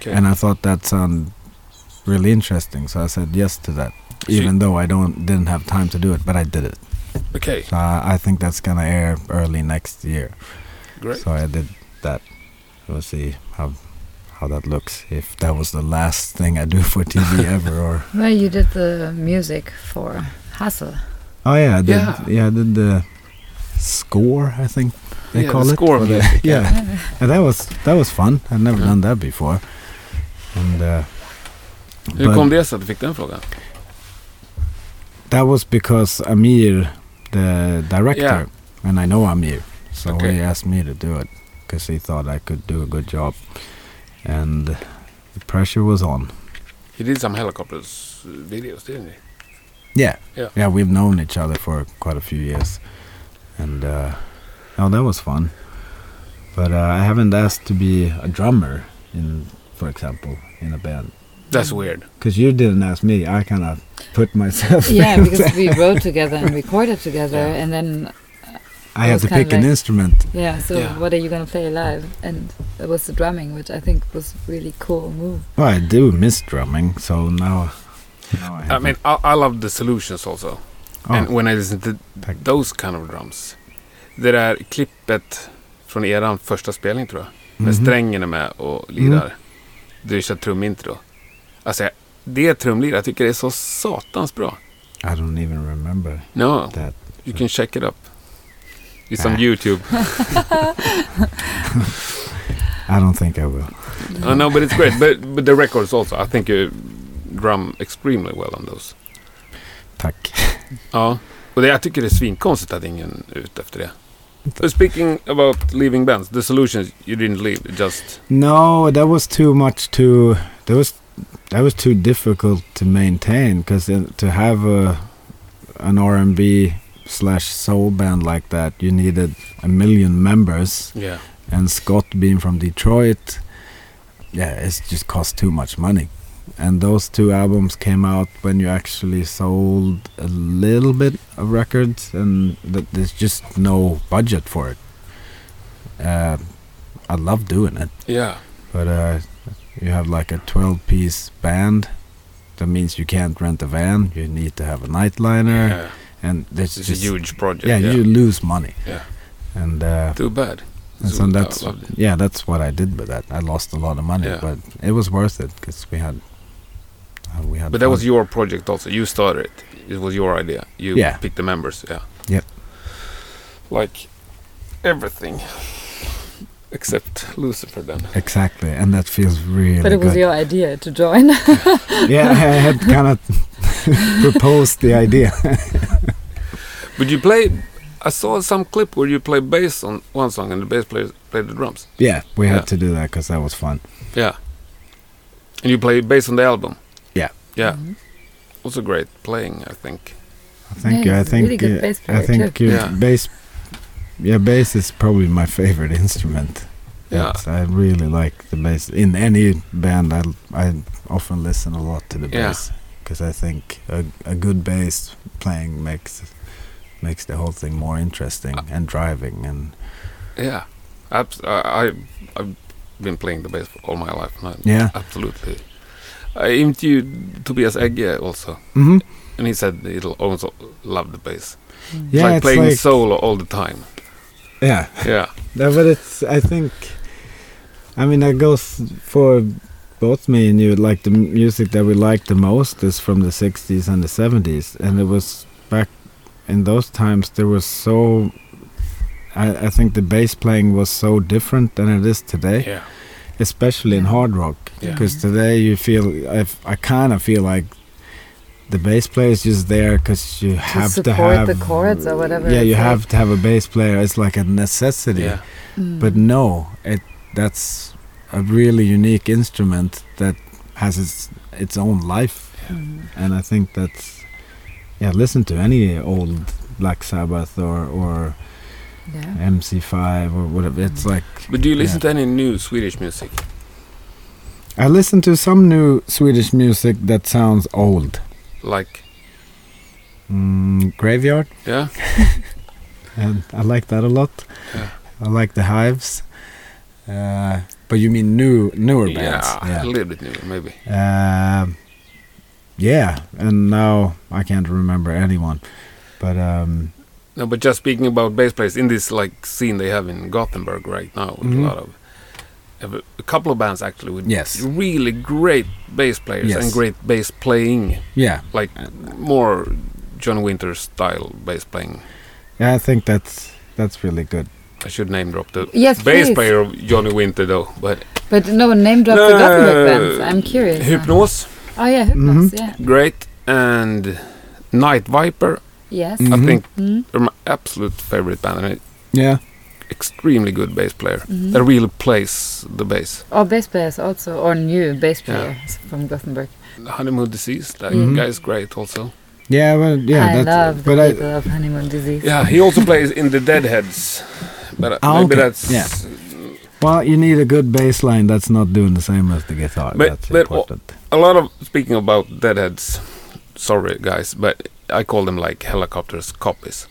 [SPEAKER 3] Okay.
[SPEAKER 1] And I thought that sounded really interesting, so I said yes to that,
[SPEAKER 3] So you-
[SPEAKER 1] even though I don't didn't have time to do it, but I did it.
[SPEAKER 3] okay.
[SPEAKER 1] So I, I think that's gonna air early next year.
[SPEAKER 3] Great.
[SPEAKER 1] So I did that. We'll see how how that looks. If that was the last thing I do for TV ever, or
[SPEAKER 2] Well, you did the music for Hustle.
[SPEAKER 1] oh yeah, I did,
[SPEAKER 3] Yeah.
[SPEAKER 1] yeah, I did the score. I think they
[SPEAKER 3] Yeah, the
[SPEAKER 1] call it
[SPEAKER 3] score
[SPEAKER 1] for the-
[SPEAKER 3] music,
[SPEAKER 1] yeah, and that was that was fun. I've never done that before, and. Uh,
[SPEAKER 3] Hur
[SPEAKER 1] but-
[SPEAKER 3] kom det sig att du fick den frågan?
[SPEAKER 1] That was because Amir, the director,
[SPEAKER 3] Yeah.
[SPEAKER 1] and I know Amir, so
[SPEAKER 3] Okay.
[SPEAKER 1] he asked me to do it because he thought I could do a good job, and the pressure was on.
[SPEAKER 3] He did some helicopters uh, videos, didn't he?
[SPEAKER 1] Yeah,
[SPEAKER 3] Yeah.
[SPEAKER 1] yeah. We've known each other for quite a few years, and uh, oh, that was fun. But uh, I haven't asked to be a drummer in, for example, in a band.
[SPEAKER 3] That's weird.
[SPEAKER 1] Because you didn't ask me, I kind of put myself.
[SPEAKER 2] Yeah,
[SPEAKER 1] in
[SPEAKER 2] because we wrote together and recorded together, and then
[SPEAKER 1] I
[SPEAKER 2] it
[SPEAKER 1] had
[SPEAKER 2] was
[SPEAKER 1] to
[SPEAKER 2] kinda
[SPEAKER 1] pick an
[SPEAKER 2] like-
[SPEAKER 1] instrument.
[SPEAKER 2] yeah. So
[SPEAKER 3] Yeah.
[SPEAKER 2] what are you gonna play live? And it was the drumming, which I think was really cool move.
[SPEAKER 1] Well, I do miss drumming, so now. now have
[SPEAKER 3] I mean, I, I love the solutions also.
[SPEAKER 1] Oh.
[SPEAKER 3] And when I listen to
[SPEAKER 1] Tack.
[SPEAKER 3] those kind of drums. Det där klippet från eran första spelning tror jag. När
[SPEAKER 1] Mhm. Mm.
[SPEAKER 3] strängen är med och lirar. Du kör trumintro. Alltså, jag- det trumlir, jag tycker det är så satans bra.
[SPEAKER 1] I don't even remember
[SPEAKER 3] No,
[SPEAKER 1] that.
[SPEAKER 3] you can check it up. It's on
[SPEAKER 1] Ah.
[SPEAKER 3] YouTube.
[SPEAKER 1] I don't think I will.
[SPEAKER 3] I know, Uh, but it's great. But, but the records also. I think you drum extremely well on those.
[SPEAKER 1] Tack.
[SPEAKER 3] Ja, och det, jag tycker det är svinkonstigt att ingen är ute efter det. Uh, Speaking about leaving bands, the solutions you didn't leave, it just...
[SPEAKER 1] No, that was too much to. That was that was too difficult to maintain because to have a an R and B slash soul band like that, you needed a million members.
[SPEAKER 3] Yeah.
[SPEAKER 1] and Scott being from Detroit, yeah, it's just cost too much money. And those two albums came out when you actually sold a little bit of records, and th- there's just no budget for it. Uh, I love doing it,
[SPEAKER 3] Yeah.
[SPEAKER 1] but uh, you have like a 12 piece band. That means you can't rent a van, you need to have a nightliner,
[SPEAKER 3] yeah.
[SPEAKER 1] and there's
[SPEAKER 3] It's
[SPEAKER 1] just.
[SPEAKER 3] a huge project.
[SPEAKER 1] yeah,
[SPEAKER 3] Yeah,
[SPEAKER 1] you lose money.
[SPEAKER 3] Yeah.
[SPEAKER 1] And uh,
[SPEAKER 3] Too bad.
[SPEAKER 1] and
[SPEAKER 3] So
[SPEAKER 1] so
[SPEAKER 3] I
[SPEAKER 1] that's
[SPEAKER 3] loved it.
[SPEAKER 1] yeah, that's what I did with that. I lost a lot of money,
[SPEAKER 3] Yeah.
[SPEAKER 1] but it was worth it because we had uh, we had.
[SPEAKER 3] But that
[SPEAKER 1] fun.
[SPEAKER 3] was your project also. You started it. It was your idea. You
[SPEAKER 1] Yeah.
[SPEAKER 3] picked the members. Yeah.
[SPEAKER 1] Yep.
[SPEAKER 3] Like everything. Except Lucifer then.
[SPEAKER 1] exactly, and that feels really
[SPEAKER 2] But it was
[SPEAKER 1] good.
[SPEAKER 2] your idea to join.
[SPEAKER 1] yeah, I had kind of proposed the idea.
[SPEAKER 3] But you played... I saw some clip where you play bass on one song and the bass player played the drums.
[SPEAKER 1] Yeah, we had
[SPEAKER 3] Yeah.
[SPEAKER 1] to do that because that was fun.
[SPEAKER 3] Yeah. And you play based on the album.
[SPEAKER 1] Yeah.
[SPEAKER 3] Yeah.
[SPEAKER 2] Mhm.
[SPEAKER 3] Also great playing, I think.
[SPEAKER 1] I think
[SPEAKER 2] Yeah,
[SPEAKER 1] I
[SPEAKER 2] he's a
[SPEAKER 1] think
[SPEAKER 2] really good
[SPEAKER 1] uh,
[SPEAKER 2] bass
[SPEAKER 1] I
[SPEAKER 2] player,
[SPEAKER 1] think
[SPEAKER 3] too.
[SPEAKER 1] uh,
[SPEAKER 3] Yeah.
[SPEAKER 1] bass. Yeah, bass is probably my favorite instrument.
[SPEAKER 3] Yeah.
[SPEAKER 1] It's- I really like the bass. In any band, I, I often listen a lot to the
[SPEAKER 3] Yeah.
[SPEAKER 1] bass because I think a, a good bass playing makes makes the whole thing more interesting
[SPEAKER 3] Uh.
[SPEAKER 1] and driving and
[SPEAKER 3] Yeah, Abs- I, I, I've been playing the bass all my life. And I-
[SPEAKER 1] Yeah.
[SPEAKER 3] absolutely. I interviewed Tobias Egge also,
[SPEAKER 1] Mhm.
[SPEAKER 3] and he said he'll also love the bass. It's
[SPEAKER 1] yeah,
[SPEAKER 3] like
[SPEAKER 1] it's
[SPEAKER 3] playing
[SPEAKER 1] like
[SPEAKER 3] solo all the time.
[SPEAKER 1] yeah,
[SPEAKER 3] Yeah,
[SPEAKER 1] No, but it's I think, I mean that goes for both me and you. Like the music that we like the most is from the '60s and the '70s, and it was back in those times there was so. I, I think the bass playing was so different than it is today.
[SPEAKER 3] yeah,
[SPEAKER 1] especially in hard rock
[SPEAKER 3] Yeah.
[SPEAKER 1] because today you feel I, f- I kind of feel like the bass player is just there because you have to
[SPEAKER 2] support
[SPEAKER 1] have
[SPEAKER 2] the chords or whatever
[SPEAKER 1] yeah
[SPEAKER 2] it's
[SPEAKER 1] you
[SPEAKER 2] like.
[SPEAKER 1] have to have a bass player it's like a necessity
[SPEAKER 3] yeah.
[SPEAKER 2] Mm.
[SPEAKER 1] but no it that's a really unique instrument that has its its own life
[SPEAKER 2] Mm.
[SPEAKER 1] and I think that's yeah listen to any old Black Sabbath or or
[SPEAKER 2] Yeah.
[SPEAKER 1] MC5 or whatever it's like
[SPEAKER 3] But do you listen
[SPEAKER 1] Yeah.
[SPEAKER 3] to any new Swedish music?
[SPEAKER 1] I listen to some new Swedish music that sounds old.
[SPEAKER 3] Like,
[SPEAKER 1] Mm, graveyard,
[SPEAKER 3] yeah,
[SPEAKER 1] and I like that a lot.
[SPEAKER 3] Yeah.
[SPEAKER 1] I like the Hives. Uh, but you mean new, newer bands?
[SPEAKER 3] yeah, a little bit new, maybe.
[SPEAKER 1] Yeah. Um, yeah, and now I can't remember anyone. But um,
[SPEAKER 3] No, but just speaking about bass players in this like scene they have in Gothenburg right now, with
[SPEAKER 1] Mhm.
[SPEAKER 3] a lot of have a, a couple of bands actually with
[SPEAKER 1] Yes.
[SPEAKER 3] really great bass players
[SPEAKER 1] Yes. Uh,
[SPEAKER 3] and great bass playing,
[SPEAKER 1] yeah,
[SPEAKER 3] like more John Winter style bass playing.
[SPEAKER 1] yeah, I think that's that's really good.
[SPEAKER 3] I should name drop the
[SPEAKER 2] Yes,
[SPEAKER 3] bass
[SPEAKER 2] please.
[SPEAKER 3] player of Johnny Winter though, but
[SPEAKER 2] But no, name drop
[SPEAKER 3] No,
[SPEAKER 2] the
[SPEAKER 3] no, no,
[SPEAKER 2] Gothenburg
[SPEAKER 3] no, no.
[SPEAKER 2] bands. I'm curious. now.
[SPEAKER 3] Hypnos
[SPEAKER 2] Oh yeah,
[SPEAKER 1] Mhm.
[SPEAKER 2] Hypnos. Yeah.
[SPEAKER 3] great and Night Viper
[SPEAKER 2] Yes.
[SPEAKER 1] Mm. Mhm.
[SPEAKER 3] I think
[SPEAKER 2] Mm.
[SPEAKER 3] are my absolute favorite band and an
[SPEAKER 1] Yeah,
[SPEAKER 3] extremely good bass player
[SPEAKER 2] Mhm.
[SPEAKER 3] that really plays the bass.
[SPEAKER 2] Or bass players also, or new bass
[SPEAKER 3] Yeah.
[SPEAKER 2] players from Gothenburg.
[SPEAKER 3] Honeymoon Disease, that
[SPEAKER 1] Mhm.
[SPEAKER 3] guy's great also.
[SPEAKER 1] yeah, well, yeah.
[SPEAKER 2] I
[SPEAKER 1] that's,
[SPEAKER 2] love the
[SPEAKER 1] but I,
[SPEAKER 2] people of Honeymoon Disease.
[SPEAKER 3] Yeah, he also plays in the Deadheads, but uh,
[SPEAKER 1] Ah,
[SPEAKER 3] maybe
[SPEAKER 1] okay.
[SPEAKER 3] that's
[SPEAKER 1] Yeah. well, you need a good bass line that's not doing the same as the guitar.
[SPEAKER 3] But-
[SPEAKER 1] that's
[SPEAKER 3] but o-
[SPEAKER 1] important.
[SPEAKER 3] a lot of speaking about Deadheads. Sorry guys, but I call them like helicopters copies.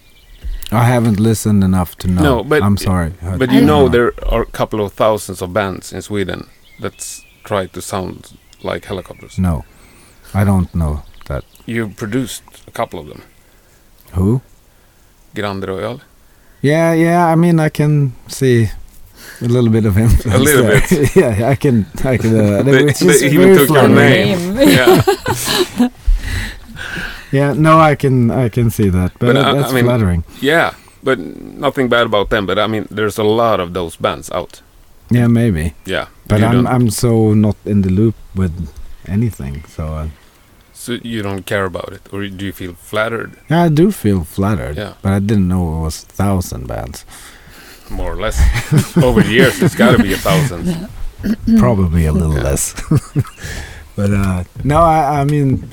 [SPEAKER 1] I haven't listened enough to know.
[SPEAKER 3] No, but-
[SPEAKER 1] I'm sorry. I-
[SPEAKER 3] But
[SPEAKER 2] I
[SPEAKER 3] you
[SPEAKER 2] don't
[SPEAKER 3] know
[SPEAKER 1] know.
[SPEAKER 3] there are a couple of thousands of bands in Sweden that try to sound like helicopters.
[SPEAKER 1] No, I don't know that.
[SPEAKER 3] You produced a couple of them.
[SPEAKER 1] Who?
[SPEAKER 3] Grande Royal.
[SPEAKER 1] Yeah, yeah. I mean, I can see a little bit of influence.
[SPEAKER 3] little
[SPEAKER 1] there. yeah, I can. I can. Uh,
[SPEAKER 3] They-
[SPEAKER 1] it's
[SPEAKER 3] they
[SPEAKER 1] just
[SPEAKER 3] even
[SPEAKER 1] very
[SPEAKER 3] took your
[SPEAKER 2] The
[SPEAKER 1] flattering.
[SPEAKER 3] name. yeah,
[SPEAKER 1] Yeah, no, I can. I can see that. But,
[SPEAKER 3] But uh,
[SPEAKER 1] it-
[SPEAKER 3] I-
[SPEAKER 1] that's
[SPEAKER 3] I mean-
[SPEAKER 1] flattering.
[SPEAKER 3] yeah. But nothing bad about them. But I mean, there's a lot of those bands out.
[SPEAKER 1] Yeah, maybe.
[SPEAKER 3] Yeah,
[SPEAKER 1] But
[SPEAKER 3] you
[SPEAKER 1] I'm
[SPEAKER 3] don't,
[SPEAKER 1] I'm so not in the loop with anything. So uh,
[SPEAKER 3] so you don't care about it, or do you feel flattered,
[SPEAKER 1] yeah, I do feel flattered.
[SPEAKER 3] Yeah.
[SPEAKER 1] But I didn't know it was thousand bands.
[SPEAKER 3] more or less? Over the years, it's got to be a thousand.
[SPEAKER 1] probably a little less. but uh, no, I, I mean,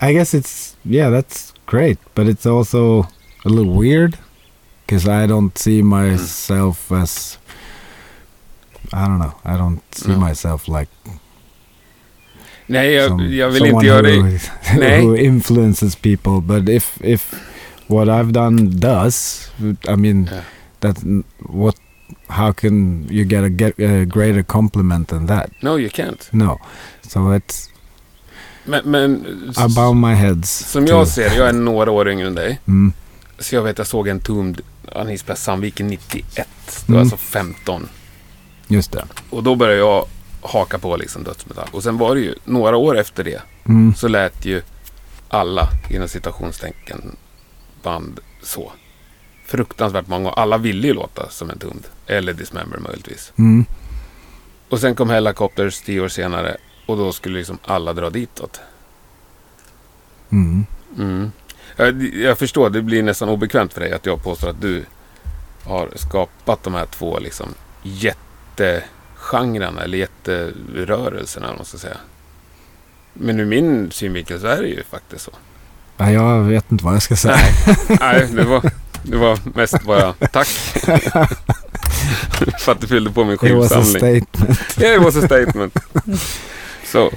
[SPEAKER 1] I guess it's yeah, that's great, but it's also a little weird because I don't see
[SPEAKER 3] Mm.
[SPEAKER 1] myself as I don't know, I don't see
[SPEAKER 3] No.
[SPEAKER 1] myself like
[SPEAKER 3] Nej, jag,
[SPEAKER 1] some,
[SPEAKER 3] jag vill
[SPEAKER 1] someone
[SPEAKER 3] inte göra
[SPEAKER 1] who,
[SPEAKER 3] det. Nej.
[SPEAKER 1] who influences people. But if if what I've done does, I mean,
[SPEAKER 3] Yeah.
[SPEAKER 1] that what how can you get a, get a greater compliment than that?
[SPEAKER 3] No, you can't.
[SPEAKER 1] No, so it's
[SPEAKER 3] Men, men
[SPEAKER 1] I bow my heads.
[SPEAKER 3] som
[SPEAKER 1] to-
[SPEAKER 3] jag ser jag är några år yngre än dig.
[SPEAKER 1] Mm.
[SPEAKER 3] Så jag vet, jag såg en Tombed, han ispelade Sandviken 91. Det
[SPEAKER 1] Mm.
[SPEAKER 3] var alltså 15.
[SPEAKER 1] Just det.
[SPEAKER 3] Och då började jag haka på liksom dödsmetall. Och sen var det ju, några år efter det,
[SPEAKER 1] Mm.
[SPEAKER 3] så lät ju alla, inom citationstecken, band så. Fruktansvärt många. Och alla ville ju låta som en Tombed. Eller Dismember möjligtvis.
[SPEAKER 1] Mm.
[SPEAKER 3] Och sen kom Helicopters tio år senare och då skulle liksom alla dra ditåt.
[SPEAKER 1] Mm.
[SPEAKER 3] Mm. Jag, jag förstår, det blir nästan obekvämt för dig att jag påstår att du har skapat de här två liksom jättegenrerna eller jätterörelserna eller vad man ska säga. Men ur min synvinkel så är det ju faktiskt så.
[SPEAKER 1] Ja, jag vet inte vad jag ska säga.
[SPEAKER 3] Nej, nej det, var, det var mest bara tack. för att du fyllde på min
[SPEAKER 1] It was a
[SPEAKER 3] skivsamling.
[SPEAKER 1] statement.
[SPEAKER 3] Yeah, it was a statement. so,
[SPEAKER 1] I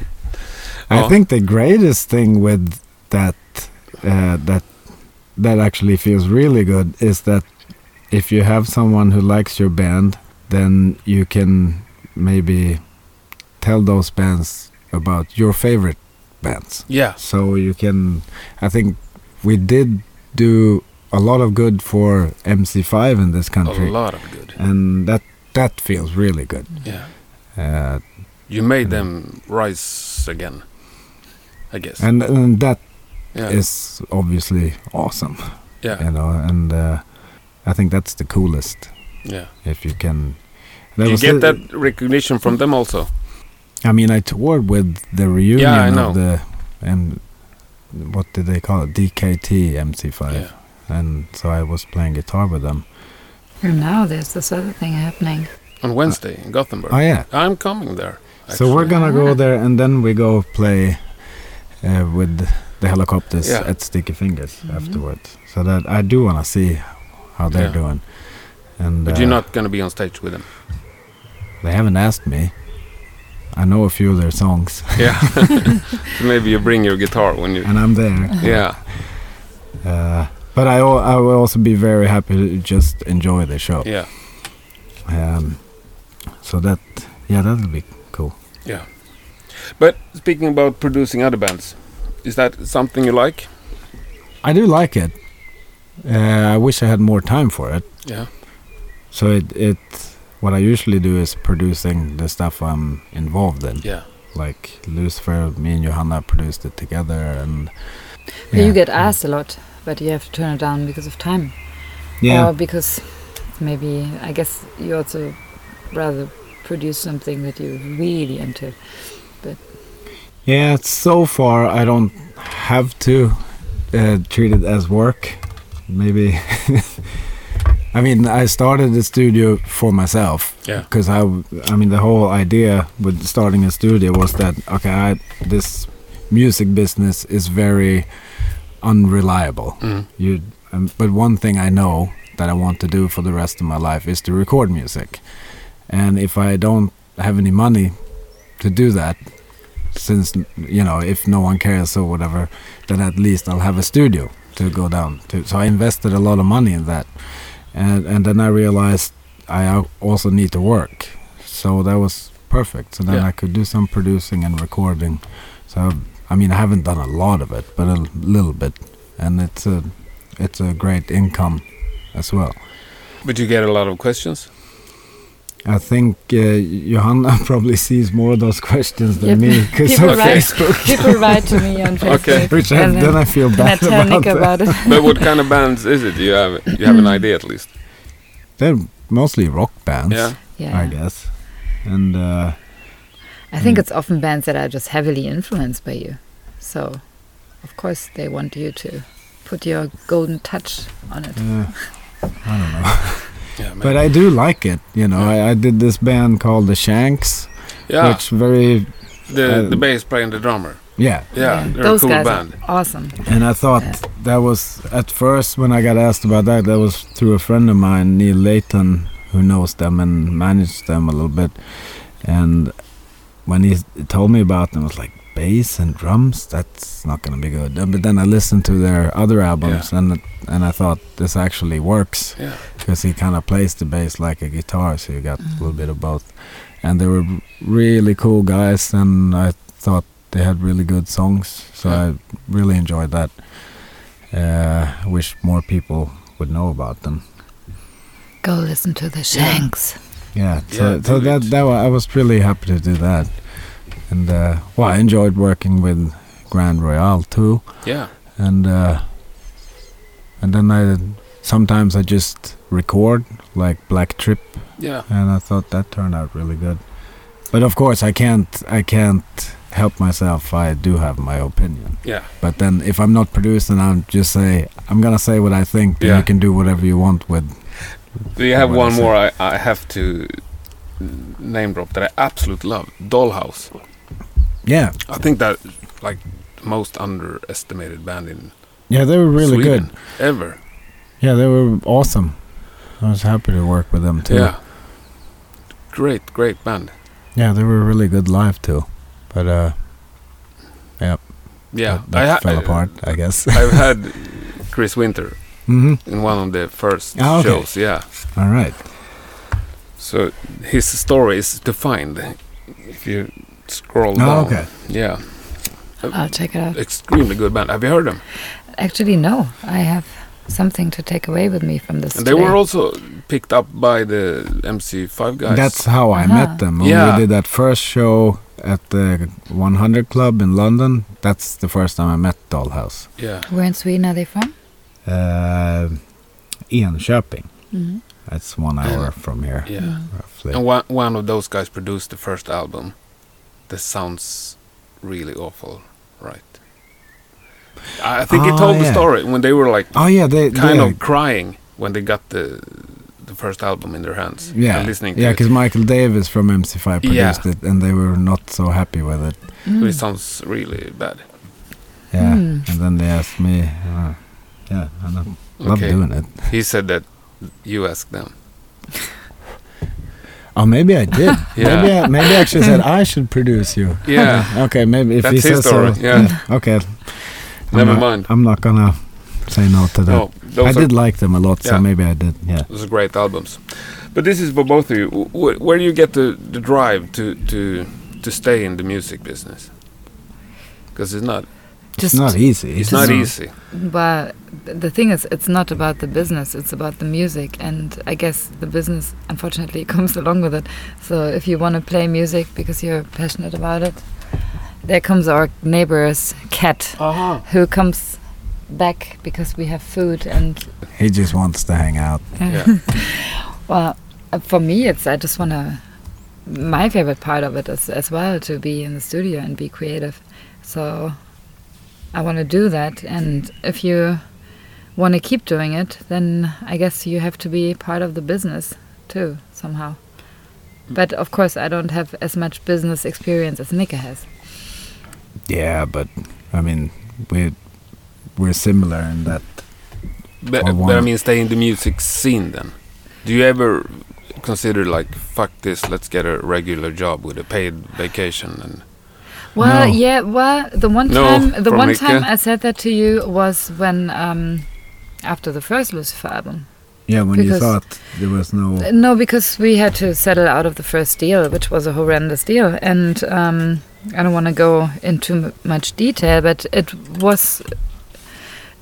[SPEAKER 3] Ja.
[SPEAKER 1] think the greatest thing with that uh, that that actually feels really good is that if you have someone who likes your band, then you can maybe tell those bands about your favorite bands.
[SPEAKER 3] Yeah.
[SPEAKER 1] So you can, I think we did do a lot of good for MC5 in this
[SPEAKER 3] A
[SPEAKER 1] country,
[SPEAKER 3] lot of good.
[SPEAKER 1] and that that feels really good.
[SPEAKER 3] Yeah.
[SPEAKER 1] Uh,
[SPEAKER 3] You made them rise again. I guess.
[SPEAKER 1] and and that
[SPEAKER 3] yeah.
[SPEAKER 1] is obviously awesome,
[SPEAKER 3] yeah.
[SPEAKER 1] you know. And uh, I think that's the coolest
[SPEAKER 3] Yeah.
[SPEAKER 1] if you can. That
[SPEAKER 3] You
[SPEAKER 1] was
[SPEAKER 3] get
[SPEAKER 1] the-
[SPEAKER 3] that recognition from them also.
[SPEAKER 1] I mean, I toured with the reunion
[SPEAKER 3] Yeah, I know.
[SPEAKER 1] of the and what did they call it? DKT MC5,
[SPEAKER 3] Yeah.
[SPEAKER 1] and so I was playing guitar with them.
[SPEAKER 2] And now there's this other thing happening.
[SPEAKER 3] On Wednesday in Gothenburg.
[SPEAKER 1] Oh yeah.
[SPEAKER 3] I'm coming there.
[SPEAKER 1] So we're
[SPEAKER 3] actually.
[SPEAKER 1] gonna go
[SPEAKER 2] Ah.
[SPEAKER 1] there, and then we go play uh, with the helicopters
[SPEAKER 3] Yeah.
[SPEAKER 1] at Sticky Fingers
[SPEAKER 2] Mhm.
[SPEAKER 1] afterwards. So that I do wanna see how they're
[SPEAKER 3] Yeah.
[SPEAKER 1] doing. And
[SPEAKER 3] But
[SPEAKER 1] uh,
[SPEAKER 3] you're not gonna be on stage with them.
[SPEAKER 1] they haven't asked me. I know a few of their songs,
[SPEAKER 3] Yeah. Maybe you bring your guitar when you.
[SPEAKER 1] and I'm there.
[SPEAKER 3] Yeah.
[SPEAKER 1] Uh, but I, al- I will also be very happy to just enjoy the show.
[SPEAKER 3] Yeah.
[SPEAKER 1] Um, so that, yeah, that'll be cool.
[SPEAKER 3] But speaking about producing other bands, is that something you like?
[SPEAKER 1] I do like it. Uh, I wish I had more time for it.
[SPEAKER 3] Yeah.
[SPEAKER 1] So it, it, what I usually do is producing the stuff I'm involved in.
[SPEAKER 3] Yeah.
[SPEAKER 1] Like Lucifer, me and Johanna produced it together, and
[SPEAKER 2] But You get asked a lot, but you have to turn it down because of time.
[SPEAKER 1] yeah,
[SPEAKER 2] Or because maybe, I guess you also rather produce something that you really into.
[SPEAKER 1] yeah. So far, I don't have to uh, treat it as work. Maybe. I mean, I started the studio for myself.
[SPEAKER 3] Yeah.
[SPEAKER 1] because I, w- I mean, the whole idea with starting a studio was that okay, I, this music business is very unreliable.
[SPEAKER 3] Mm.
[SPEAKER 1] You, um, but one thing I know that I want to do for the rest of my life is to record music, and if I don't have any money to do that, since you know, if no one cares or whatever, then at least I'll have a studio to go down to. So I invested a lot of money in that, and and then I realized I al- also need to work. So that was perfect. So then
[SPEAKER 3] Yeah.
[SPEAKER 1] I could do some producing and recording. So I mean, I haven't done a lot of it, but a l- little bit, and it's a it's a great income as well.
[SPEAKER 3] But you get a lot of questions.
[SPEAKER 1] I think uh, Johanna probably sees more of those questions than
[SPEAKER 2] Yep.
[SPEAKER 1] me because
[SPEAKER 2] People
[SPEAKER 1] of
[SPEAKER 2] write-
[SPEAKER 1] Facebook,
[SPEAKER 2] People write to me on Facebook.
[SPEAKER 3] Okay.
[SPEAKER 1] which I,
[SPEAKER 2] and
[SPEAKER 1] then
[SPEAKER 2] then,
[SPEAKER 1] I feel
[SPEAKER 2] then I
[SPEAKER 1] bad
[SPEAKER 2] tell
[SPEAKER 1] about.
[SPEAKER 2] Nick about it.
[SPEAKER 3] but what kind of bands is it? You have you have an
[SPEAKER 1] Mm.
[SPEAKER 3] idea at least.
[SPEAKER 1] They're mostly rock bands,
[SPEAKER 3] Yeah.
[SPEAKER 2] Yeah.
[SPEAKER 1] I guess, and uh,
[SPEAKER 2] I think
[SPEAKER 1] Mm.
[SPEAKER 2] it's often bands that are just heavily influenced by you. So, of course, they want you to put your golden touch on it.
[SPEAKER 1] uh, I don't know.
[SPEAKER 3] Yeah.
[SPEAKER 1] But
[SPEAKER 3] maybe.
[SPEAKER 1] I do like it, you know. I, I did this band called The Shanks,
[SPEAKER 3] yeah.
[SPEAKER 1] which very
[SPEAKER 3] The
[SPEAKER 1] uh,
[SPEAKER 3] the bass player and the drummer.
[SPEAKER 1] yeah.
[SPEAKER 3] Yeah. They're
[SPEAKER 2] Those
[SPEAKER 3] a cool
[SPEAKER 2] guys
[SPEAKER 3] band.
[SPEAKER 2] are awesome.
[SPEAKER 1] And I thought that was at first when I got asked about that, that was through a friend of mine, Neil Layton, who knows them and managed them a little bit. And when he s- told me about them, I was like, bass and drums, that's not gonna be good. Uh, But then I listened to their other albums, and and I thought this actually works.
[SPEAKER 3] Yeah.
[SPEAKER 1] because he kind of plays the bass like a guitar, so you got a
[SPEAKER 2] Mm.
[SPEAKER 1] little bit of both. And they were really cool guys, and I thought they had really good songs, so
[SPEAKER 3] Yeah.
[SPEAKER 1] I really enjoyed that. Uh, I wish more people would know about them.
[SPEAKER 2] Go listen to the Shanks.
[SPEAKER 1] Yeah, so,
[SPEAKER 3] Yeah,
[SPEAKER 1] so
[SPEAKER 3] do
[SPEAKER 1] that
[SPEAKER 3] it.
[SPEAKER 1] that wa- I was really happy to do that, and uh, well, I enjoyed working with Grand Royale too.
[SPEAKER 3] Yeah.
[SPEAKER 1] and uh, and then I sometimes I just record like Black Trip,
[SPEAKER 3] Yeah.
[SPEAKER 1] and I thought that turned out really good. But of course, I can't I can't help myself. I do have my opinion.
[SPEAKER 3] Yeah.
[SPEAKER 1] But then if I'm not producing, I'm just say I'm gonna say what I think. Then
[SPEAKER 3] Yeah.
[SPEAKER 1] you can do whatever you want with.
[SPEAKER 3] Do you have
[SPEAKER 1] What
[SPEAKER 3] one
[SPEAKER 1] is
[SPEAKER 3] more I, I have to mm, name drop that I absolutely love? Dollhouse.
[SPEAKER 1] Yeah,
[SPEAKER 3] I think that like the most underestimated band in
[SPEAKER 1] yeah, they were really
[SPEAKER 3] Sweden
[SPEAKER 1] good.
[SPEAKER 3] ever.
[SPEAKER 1] Yeah, they were awesome. I was happy to work with them too.
[SPEAKER 3] Yeah. Great, great band.
[SPEAKER 1] yeah, they were really good live too. But uh,
[SPEAKER 3] Yeah.
[SPEAKER 1] that, that
[SPEAKER 3] ha-
[SPEAKER 1] fell apart, I guess.
[SPEAKER 3] I've had Chris Winter
[SPEAKER 1] Mhm.
[SPEAKER 3] in one of the first
[SPEAKER 1] Ah, okay.
[SPEAKER 3] shows. Yeah.
[SPEAKER 1] All right.
[SPEAKER 3] So his story is to find if you scroll
[SPEAKER 1] Ah,
[SPEAKER 3] down.
[SPEAKER 1] okay.
[SPEAKER 3] Yeah.
[SPEAKER 2] I'll check it out.
[SPEAKER 3] Extremely good band. Have you heard them?
[SPEAKER 2] Actually, no. I have something to take away with me from this.
[SPEAKER 3] And they
[SPEAKER 2] today.
[SPEAKER 3] were also picked up by the MC5 guys.
[SPEAKER 1] That's how I
[SPEAKER 2] Aha.
[SPEAKER 1] met them. When
[SPEAKER 3] Yeah.
[SPEAKER 1] we did that first show at the 100 Club in London, that's the first time I met Dollhouse.
[SPEAKER 3] yeah.
[SPEAKER 2] Where in Sweden are they from?
[SPEAKER 1] Uh, Enköping.
[SPEAKER 2] Mhm.
[SPEAKER 1] That's one hour from here,
[SPEAKER 3] Yeah.
[SPEAKER 1] roughly.
[SPEAKER 3] And one, one of those guys produced the first album. That sounds really awful, right? I I think he
[SPEAKER 1] Ah,
[SPEAKER 3] told the
[SPEAKER 1] yeah.
[SPEAKER 3] story when they were like
[SPEAKER 1] Oh yeah, they they,
[SPEAKER 3] kind of crying when they got the the first album in their hands.
[SPEAKER 1] yeah,
[SPEAKER 3] and listening to
[SPEAKER 1] yeah,
[SPEAKER 3] it.
[SPEAKER 1] because Michael Davis from MC5
[SPEAKER 3] Yeah.
[SPEAKER 1] produced it, and they were not so happy with it.
[SPEAKER 3] So It sounds really bad.
[SPEAKER 1] Yeah,
[SPEAKER 2] Hmm.
[SPEAKER 1] and then they asked me. Uh, yeah, I know. love
[SPEAKER 3] Okay.
[SPEAKER 1] doing it.
[SPEAKER 3] He said that you asked them.
[SPEAKER 1] Oh, maybe I did.
[SPEAKER 3] Yeah.
[SPEAKER 1] Maybe I, maybe I actually said I should produce you.
[SPEAKER 3] Yeah.
[SPEAKER 1] Okay, maybe if he
[SPEAKER 3] That's his
[SPEAKER 1] says
[SPEAKER 3] story,
[SPEAKER 1] so.
[SPEAKER 3] yeah.
[SPEAKER 1] Okay.
[SPEAKER 3] Never
[SPEAKER 1] I'm not,
[SPEAKER 3] mind.
[SPEAKER 1] I'm not gonna say no to that.
[SPEAKER 3] No, those
[SPEAKER 1] I
[SPEAKER 3] are
[SPEAKER 1] did like them a lot, so
[SPEAKER 3] Yeah.
[SPEAKER 1] maybe I did. Yeah.
[SPEAKER 3] those are great albums. But this is for both of you. Wh- Where do you get the, the drive to, to to stay in the music business? Because it's not
[SPEAKER 1] It's
[SPEAKER 2] Just
[SPEAKER 1] not easy.
[SPEAKER 3] it's not
[SPEAKER 2] not-
[SPEAKER 3] easy.
[SPEAKER 2] Well, th- the thing is, it's not about the business, it's about the music. And I guess the business, unfortunately, comes along with it. So if you want to play music because you're passionate about it, there comes our neighbor's cat
[SPEAKER 3] Uh-huh.
[SPEAKER 2] who comes back because we have food. And
[SPEAKER 1] He just wants to hang out.
[SPEAKER 3] Yeah.
[SPEAKER 2] well, uh, for me, it's I just want to. My favorite part of it is as well to be in the studio and be creative. So I want to do that. And if you want to keep doing it, then I guess you have to be part of the business too, somehow.
[SPEAKER 3] Mm.
[SPEAKER 2] But of course, I don't have as much business experience as Nika has.
[SPEAKER 1] Yeah, but I mean, we we're similar in that. Or
[SPEAKER 3] But, but I
[SPEAKER 1] one.
[SPEAKER 3] mean, stay in the music scene then. Do you ever consider like, fuck this, let's get a regular job with a paid vacation and
[SPEAKER 2] Well,
[SPEAKER 1] No.
[SPEAKER 2] yeah. Well, the one
[SPEAKER 3] No,
[SPEAKER 2] time, the
[SPEAKER 3] from
[SPEAKER 2] one
[SPEAKER 3] Nika.
[SPEAKER 2] time I said that to you was when um, after the first Lucifer album.
[SPEAKER 1] Yeah, when you
[SPEAKER 2] Because-
[SPEAKER 1] thought there was no.
[SPEAKER 2] No, because we had to settle out of the first deal, which was a horrendous deal. And um, I don't want to go into m- much detail, but it was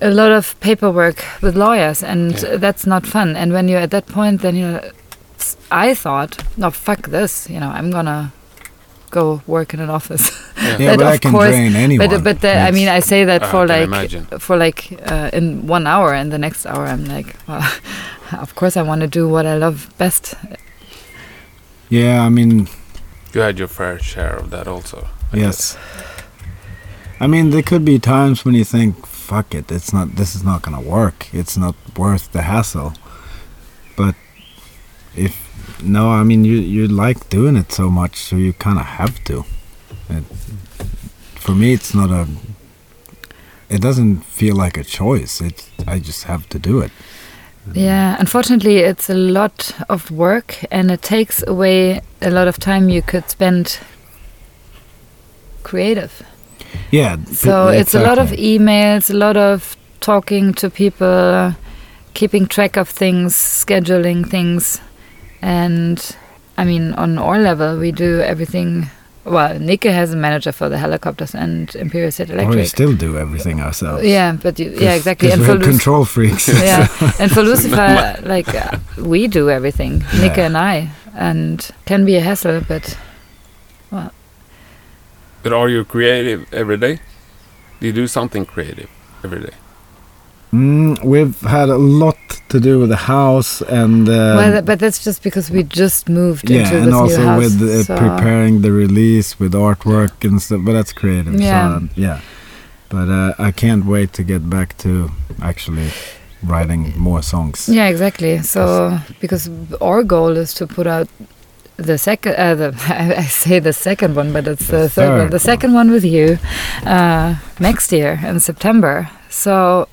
[SPEAKER 2] a lot of paperwork with lawyers, and
[SPEAKER 3] Yeah.
[SPEAKER 2] that's not fun. And when you're at that point, then you know, s- I thought, no, fuck this, you know, I'm gonna go work in an office.
[SPEAKER 1] Yeah,
[SPEAKER 2] But
[SPEAKER 1] but I
[SPEAKER 2] of
[SPEAKER 1] can
[SPEAKER 2] course-
[SPEAKER 1] drain anyone.
[SPEAKER 2] But but the, I mean I say that
[SPEAKER 3] I
[SPEAKER 2] for
[SPEAKER 3] can
[SPEAKER 2] like
[SPEAKER 3] imagine.
[SPEAKER 2] for like uh, in one hour and the next hour I'm like well, of course I want to do what I love best.
[SPEAKER 1] yeah, I mean,
[SPEAKER 3] you had your fair share of that also? I
[SPEAKER 1] yes. I mean, there could be times when you think, "Fuck it, it's not. This is not gonna work. It's not worth the hassle." But if no, I mean, you you like doing it so much, so you kind of have to. It, for me, it's not a. It doesn't feel like a choice. It I just have to do it.
[SPEAKER 2] Yeah, unfortunately it's a lot of work and it takes away a lot of time you could spend creative.
[SPEAKER 1] Yeah.
[SPEAKER 2] So
[SPEAKER 1] p-
[SPEAKER 2] it's a lot of
[SPEAKER 1] exactly.
[SPEAKER 2] emails, a lot of talking to people, keeping track of things, scheduling things. And I mean, on our level, we do everything. Well, Nike has a manager for the helicopters and Imperial State
[SPEAKER 1] Or we
[SPEAKER 2] Electric.
[SPEAKER 1] still do everything ourselves.
[SPEAKER 2] yeah, but you, yeah,
[SPEAKER 1] 'Cause-
[SPEAKER 2] exactly.
[SPEAKER 1] 'cause
[SPEAKER 2] And
[SPEAKER 1] we're
[SPEAKER 2] for, Luc-
[SPEAKER 1] control freaks.
[SPEAKER 2] yeah. and for Lucifer, like, uh, we do everything, Nike and I. And can be a hassle, but
[SPEAKER 3] But are you creative every day? Do you do something creative every day?
[SPEAKER 1] Mm, we've had a lot to do with the house and uh,
[SPEAKER 2] well, tha- but that's just because we just moved
[SPEAKER 1] yeah,
[SPEAKER 2] into this
[SPEAKER 1] and
[SPEAKER 2] new
[SPEAKER 1] also
[SPEAKER 2] house.
[SPEAKER 1] with uh,
[SPEAKER 2] so-
[SPEAKER 1] preparing the release with artwork and stuff. But that's creative.
[SPEAKER 2] Yeah.
[SPEAKER 1] So, yeah. But uh, I can't wait to get back to actually writing more songs.
[SPEAKER 2] Yeah, exactly. So because our goal is to put out the second, uh, the I I say the second one, but it's the,
[SPEAKER 1] The
[SPEAKER 2] third, one.
[SPEAKER 1] third
[SPEAKER 2] The second one with you uh, next year in September. So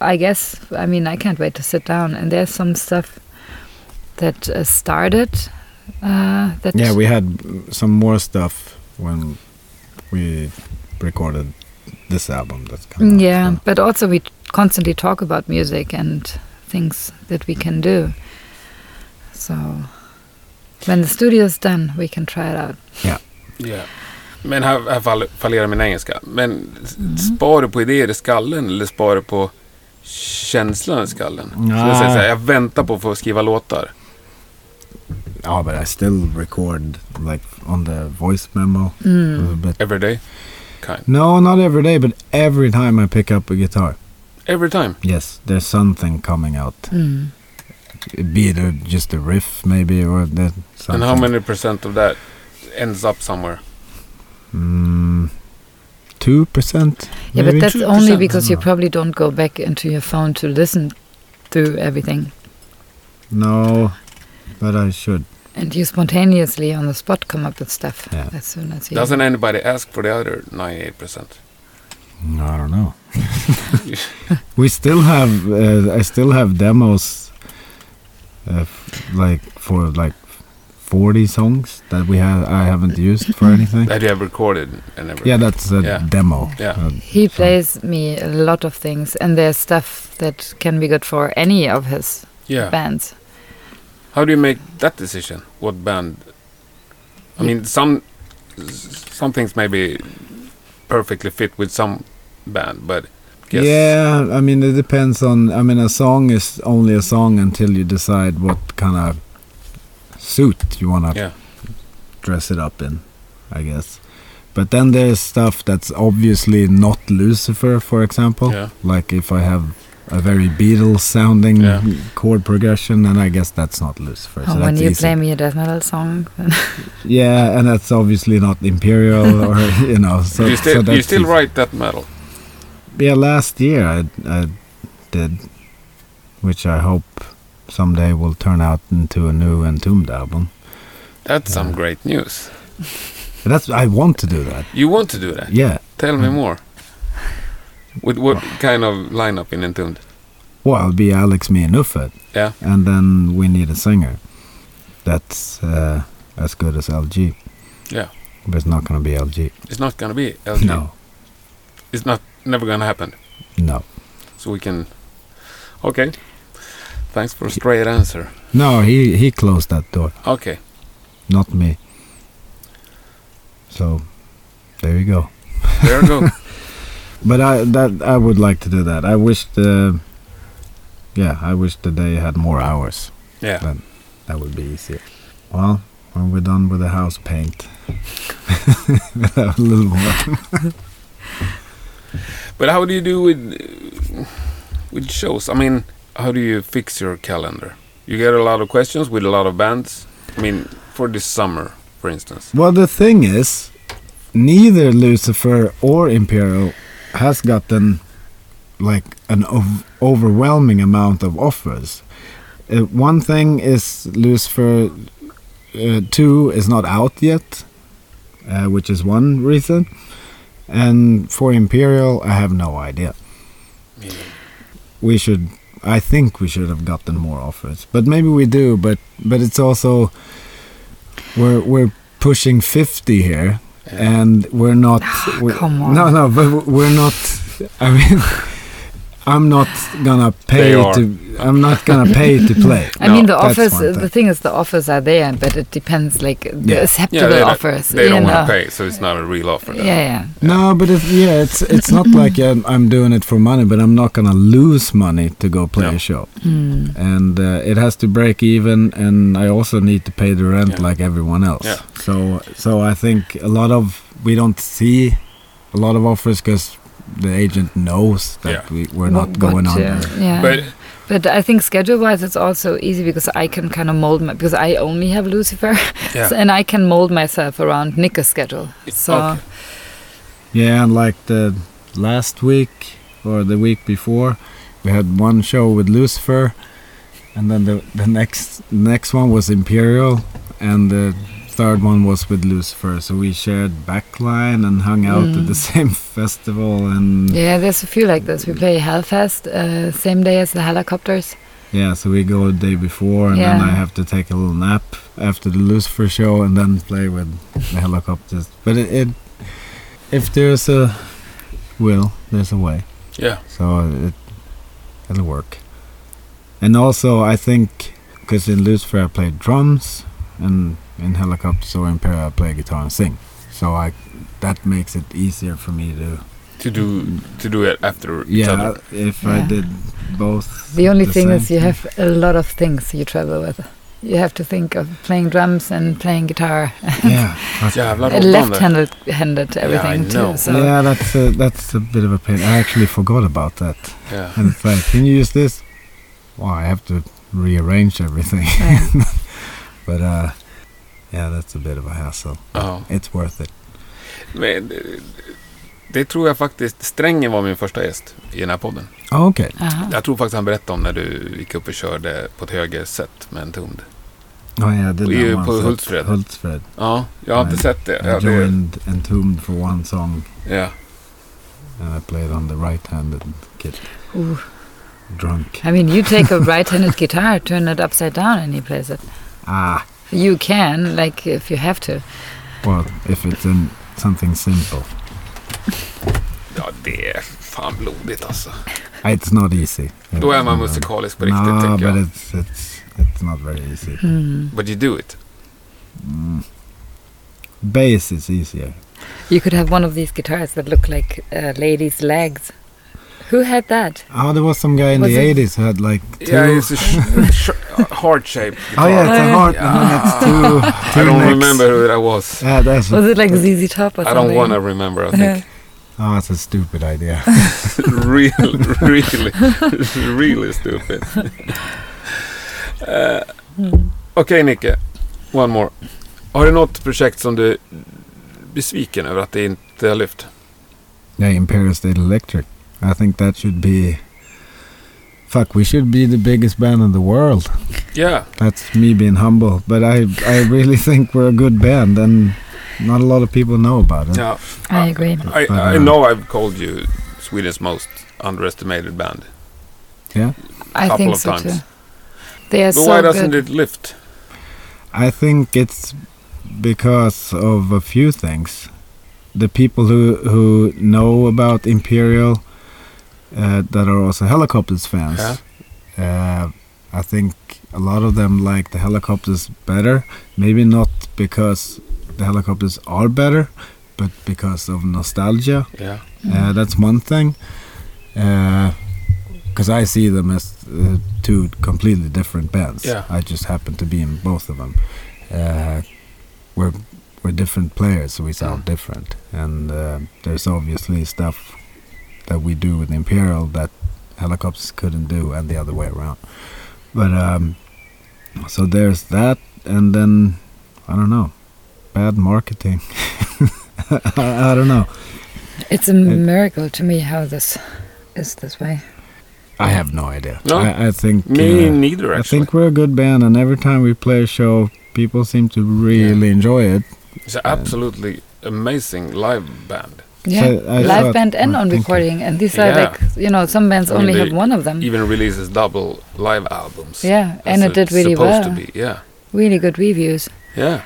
[SPEAKER 2] I guess I mean I can't wait to sit down. And there's some stuff that uh, started. Uh, that
[SPEAKER 1] Yeah, we had mm, some more stuff when we recorded this album. That's coming out,
[SPEAKER 2] Yeah,
[SPEAKER 1] so.
[SPEAKER 2] but also we constantly talk about music and things that we can do. So when the studio is done, we can try it out.
[SPEAKER 3] Yeah. Men här, här fall- fallerar min engelska. Men s-
[SPEAKER 1] Mm-hmm.
[SPEAKER 3] spar du på idéer i skallen eller spar du på känslan i skallen? Så jag, säger
[SPEAKER 1] Ah.
[SPEAKER 3] så här, jag väntar på att få skriva låtar.
[SPEAKER 1] Ja, Ah, but I still record like on the voice memo.
[SPEAKER 2] Mm,
[SPEAKER 1] But
[SPEAKER 3] Every day. Kind.
[SPEAKER 1] no, not every day, but every time I pick up a guitar,
[SPEAKER 3] Every time.
[SPEAKER 1] yes, there's something coming out.
[SPEAKER 2] Mm.
[SPEAKER 1] Be it a, just a riff, maybe, or the, something.
[SPEAKER 3] And how many percent of that ends up somewhere?
[SPEAKER 1] Mm, two percent.
[SPEAKER 2] Yeah, but that's
[SPEAKER 3] 2%,
[SPEAKER 2] only because you
[SPEAKER 1] no.
[SPEAKER 2] probably don't go back into your phone to listen to everything.
[SPEAKER 1] no, but I should.
[SPEAKER 2] And you spontaneously on the spot come up with stuff
[SPEAKER 1] Yeah.
[SPEAKER 2] as soon as you.
[SPEAKER 3] Doesn't anybody ask for the other 98%?
[SPEAKER 1] No, I don't know. we still have. Uh, I still have demos, uh, f- like for like forty songs that we have. I haven't used for anything.
[SPEAKER 3] That you have recorded and everything?
[SPEAKER 1] yeah, that's a
[SPEAKER 3] Yeah.
[SPEAKER 1] demo.
[SPEAKER 3] Yeah.
[SPEAKER 1] Uh,
[SPEAKER 2] He plays me a lot of things, and there's stuff that can be good for any of his
[SPEAKER 3] Yeah.
[SPEAKER 2] bands.
[SPEAKER 3] How do you make that decision? What band? I mean, some s- some things maybe perfectly fit with some band, but guess
[SPEAKER 1] Yeah, I mean it depends on. I mean a song is only a song until you decide what kind of suit you wanna
[SPEAKER 3] Yeah.
[SPEAKER 1] dress it up in, I guess. But then there's stuff that's obviously not Lucifer, for example.
[SPEAKER 3] Yeah.
[SPEAKER 1] Like if I have a very Beatles sounding
[SPEAKER 3] Yeah.
[SPEAKER 1] chord progression, then I guess that's not Lucifer.
[SPEAKER 2] Oh,
[SPEAKER 1] so
[SPEAKER 2] when
[SPEAKER 1] that's
[SPEAKER 2] you
[SPEAKER 1] easy.
[SPEAKER 2] play me a death metal song,
[SPEAKER 1] yeah, and that's obviously not Imperial or you know. So
[SPEAKER 3] you
[SPEAKER 1] so
[SPEAKER 3] still you
[SPEAKER 1] that's
[SPEAKER 3] still
[SPEAKER 1] easy.
[SPEAKER 3] write that metal.
[SPEAKER 1] Yeah, last year I, I did, which I hope someday will turn out into a new Entombed album.
[SPEAKER 3] That's some great news.
[SPEAKER 1] But that's I want to do that.
[SPEAKER 3] You want to do that?
[SPEAKER 1] Yeah. Mm.
[SPEAKER 3] Tell me more. With what kind of lineup in Entombed?
[SPEAKER 1] Well, it'll be Alex, me, and Uffet,
[SPEAKER 3] Yeah.
[SPEAKER 1] and then we need a singer. That's uh, as good as LG.
[SPEAKER 3] Yeah.
[SPEAKER 1] But it's not gonna be LG.
[SPEAKER 3] It's not gonna be LG.
[SPEAKER 1] No.
[SPEAKER 3] It's not never gonna happen.
[SPEAKER 1] No.
[SPEAKER 3] So we can. Okay. Thanks for a straight answer.
[SPEAKER 1] No. He he closed that door,
[SPEAKER 3] Okay.
[SPEAKER 1] not me. So, there you go.
[SPEAKER 3] There you go.
[SPEAKER 1] But I that I would like to do that. I wish the yeah, I wish the day had more hours.
[SPEAKER 3] Yeah.
[SPEAKER 1] Then that would be easier. Well, when we're done with the house paint, we'll have a little more.
[SPEAKER 3] But how do you do with uh, with shows? I mean, how do you fix your calendar? You get a lot of questions with a lot of bands. I mean, for this summer, for instance.
[SPEAKER 1] Well, the thing is, neither Lucifer or Imperial has gotten like an ov- overwhelming amount of offers. Uh, one thing is Lucifer uh, 2 is not out yet, uh, which is one reason. And for Imperial, I have no idea. We should, I think we should have gotten more offers, but maybe we do. But but it's also we're we're pushing 50 here, and we're not. we're-
[SPEAKER 2] Ah, come on.
[SPEAKER 1] No, no, but we're not. I mean. I'm not gonna pay
[SPEAKER 3] They are.
[SPEAKER 1] to. I'm not gonna pay to play.
[SPEAKER 2] I mean, the
[SPEAKER 1] that's
[SPEAKER 2] offers.
[SPEAKER 1] one
[SPEAKER 2] The thing is, the offers are there, but it depends, like the
[SPEAKER 1] Yeah.
[SPEAKER 2] acceptable
[SPEAKER 3] they,
[SPEAKER 2] offers.
[SPEAKER 3] they don't
[SPEAKER 2] you
[SPEAKER 3] want to
[SPEAKER 2] know.
[SPEAKER 3] pay, so it's not a real offer.
[SPEAKER 2] Yeah,
[SPEAKER 3] then.
[SPEAKER 2] yeah.
[SPEAKER 1] No, but if, yeah, it's it's not like I'm, I'm doing it for money, but I'm not gonna lose money to go play
[SPEAKER 3] No.
[SPEAKER 1] a show,
[SPEAKER 2] Hmm.
[SPEAKER 1] and uh, it has to break even, and I also need to pay the rent
[SPEAKER 3] Yeah.
[SPEAKER 1] like everyone else.
[SPEAKER 3] Yeah.
[SPEAKER 1] So so I think a lot of we don't see a lot of offers because the agent knows that
[SPEAKER 3] Yeah.
[SPEAKER 1] we, we're not
[SPEAKER 2] What-
[SPEAKER 1] going
[SPEAKER 2] what,
[SPEAKER 1] on.
[SPEAKER 2] uh, Yeah.
[SPEAKER 3] But
[SPEAKER 2] But I think schedule-wise, it's also easy because I can kind of mold my because I only have Lucifer,
[SPEAKER 3] Yeah.
[SPEAKER 2] so, and I can mold myself around Nick's schedule. So
[SPEAKER 3] okay.
[SPEAKER 1] Yeah, and like the last week or the week before, we had one show with Lucifer, and then the the next next one was Imperial, and the third one was with Lucifer. So we shared backline and hung out at the same festival, and yeah.
[SPEAKER 2] yeah, there's a few like this. We play Hellfest uh, same day as the helicopters.
[SPEAKER 1] so we go the day before, and then
[SPEAKER 2] Yeah.
[SPEAKER 1] I have to take a little nap after the Lucifer show, and then play with the helicopters. But it, it if there's a will, there's a way.
[SPEAKER 3] yeah.
[SPEAKER 1] So it, it'll work. And also, I think because in Lucifer I played drums, and in Helicopter or Imperial I play guitar and sing. So I that makes it easier for me to
[SPEAKER 3] to do to do it after each
[SPEAKER 1] yeah.
[SPEAKER 3] other.
[SPEAKER 1] If I
[SPEAKER 2] Yeah.
[SPEAKER 1] did both,
[SPEAKER 2] The only thing
[SPEAKER 1] same
[SPEAKER 2] is you have a lot of things you travel with. You have to think of playing drums and playing guitar,
[SPEAKER 1] yeah, that's-
[SPEAKER 3] Jävlar
[SPEAKER 2] and
[SPEAKER 3] råttan där.
[SPEAKER 2] left-handed handed everything
[SPEAKER 3] know.
[SPEAKER 2] too. So
[SPEAKER 1] Yeah, that's a, that's a bit of a pain. I actually forgot about that.
[SPEAKER 3] Yeah.
[SPEAKER 1] And it's like, can you use this? Well, I have to rearrange everything.
[SPEAKER 2] yeah.
[SPEAKER 1] But uh, yeah, that's a bit of a hassle.
[SPEAKER 3] Ja.
[SPEAKER 1] It's worth it.
[SPEAKER 3] Men, eh, det tror jag faktiskt. Strängen var min första gäst i den här podden.
[SPEAKER 1] Oh, okay.
[SPEAKER 2] Aha.
[SPEAKER 3] Jag tror faktiskt han berättade om när du gick upp och körde på ett höger sätt med en tund.
[SPEAKER 1] Oh yeah, I did
[SPEAKER 3] Och
[SPEAKER 1] that
[SPEAKER 3] you
[SPEAKER 1] once
[SPEAKER 3] put
[SPEAKER 1] at
[SPEAKER 3] Hultsfred.
[SPEAKER 1] Hultsfred.
[SPEAKER 3] Ja, jag har inte
[SPEAKER 1] Nej.
[SPEAKER 3] sett det.
[SPEAKER 1] I
[SPEAKER 3] Ja, det
[SPEAKER 1] joined Entombed for one song,
[SPEAKER 3] ja.
[SPEAKER 1] and I played on the right-handed kit.
[SPEAKER 2] Ooh.
[SPEAKER 1] Drunk.
[SPEAKER 2] I mean, you take a right-handed guitar, turn it upside down, and he plays it.
[SPEAKER 1] Ah,
[SPEAKER 2] You can, like, if you have to.
[SPEAKER 1] well, if it's in something simple,
[SPEAKER 3] ja, det är fan blodigt alltså.
[SPEAKER 1] it's not easy.
[SPEAKER 3] Då är
[SPEAKER 1] It's
[SPEAKER 3] man
[SPEAKER 1] not-
[SPEAKER 3] musikalisk på riktigt
[SPEAKER 1] No,
[SPEAKER 3] tycker
[SPEAKER 1] but
[SPEAKER 3] jag.
[SPEAKER 1] it's it's it's not very easy.
[SPEAKER 2] Hmm.
[SPEAKER 3] But you do it.
[SPEAKER 1] Bass is easier.
[SPEAKER 2] You could have one of these guitars that look like uh, ladies' legs. Who had that?
[SPEAKER 1] Oh, there was some guy in
[SPEAKER 2] Was
[SPEAKER 1] the
[SPEAKER 2] it-
[SPEAKER 1] 80s who had like two.
[SPEAKER 3] Yeah, it's a sh- sh- heart shape.
[SPEAKER 1] oh yeah, it's a
[SPEAKER 2] Yeah.
[SPEAKER 1] heart. And then it's two.
[SPEAKER 3] I
[SPEAKER 1] two
[SPEAKER 3] don't
[SPEAKER 1] necks.
[SPEAKER 3] remember who that was.
[SPEAKER 1] Yeah, that's
[SPEAKER 2] Was
[SPEAKER 1] a,
[SPEAKER 2] it like ZZ Top or
[SPEAKER 3] I
[SPEAKER 2] something?
[SPEAKER 3] don't want to remember. I think
[SPEAKER 1] oh, that's a stupid idea.
[SPEAKER 3] real, really, really stupid. Eh, Okej Nicke, one more. Har du något projekt som du är besviken över att det inte har lyft?
[SPEAKER 1] yeah, Imperial State Electric. I think that should be. Fuck, we should be the biggest band in the world.
[SPEAKER 3] Yeah,
[SPEAKER 1] That's me being humble, but I I really think we're a good band, and not a lot of people know about it.
[SPEAKER 3] yeah.
[SPEAKER 2] I agree.
[SPEAKER 3] I, I know I've called you Sweden's most underestimated band.
[SPEAKER 2] I
[SPEAKER 3] couple
[SPEAKER 2] think
[SPEAKER 3] of
[SPEAKER 2] so
[SPEAKER 3] times.
[SPEAKER 2] too. They are
[SPEAKER 3] But
[SPEAKER 2] so
[SPEAKER 3] why doesn't
[SPEAKER 2] good.
[SPEAKER 3] it lift?
[SPEAKER 1] I think it's because of a few things. The people who who know about Imperial uh, that are also helicopters fans.
[SPEAKER 3] Yeah.
[SPEAKER 1] Uh, I think a lot of them like the helicopters better. Maybe not because the helicopters are better, but because of nostalgia.
[SPEAKER 3] Yeah.
[SPEAKER 1] Uh, that's one thing. Because I see them as uh, two completely different bands.
[SPEAKER 3] Yeah.
[SPEAKER 1] I just happen to be in both of them. Uh, we're we're different players, so we sound different. And uh, there's obviously stuff that we do with Imperial that helicopters couldn't do, and the other way around. But um, so there's that, and then I don't know, bad marketing. I, I don't know.
[SPEAKER 2] It's a miracle to me how this is this way.
[SPEAKER 1] I have no idea.
[SPEAKER 3] No?
[SPEAKER 1] I, I think
[SPEAKER 3] Me
[SPEAKER 1] uh,
[SPEAKER 3] neither
[SPEAKER 1] I
[SPEAKER 3] actually.
[SPEAKER 1] think we're a good band, and every time we play a show, people seem to really enjoy it.
[SPEAKER 3] It's an absolutely amazing live band.
[SPEAKER 2] Yeah,
[SPEAKER 1] I
[SPEAKER 2] live
[SPEAKER 1] thought-
[SPEAKER 2] band and
[SPEAKER 1] I
[SPEAKER 2] on
[SPEAKER 1] think-
[SPEAKER 2] recording, and these are
[SPEAKER 3] Yeah.
[SPEAKER 2] like you know some bands
[SPEAKER 3] I mean,
[SPEAKER 2] only
[SPEAKER 3] they
[SPEAKER 2] have one of them.
[SPEAKER 3] Even releases double live albums.
[SPEAKER 2] Mm. Yeah,
[SPEAKER 3] as
[SPEAKER 2] and it did
[SPEAKER 3] it's
[SPEAKER 2] really
[SPEAKER 3] supposed
[SPEAKER 2] well.
[SPEAKER 3] to be. Yeah,
[SPEAKER 2] Really good reviews.
[SPEAKER 3] yeah.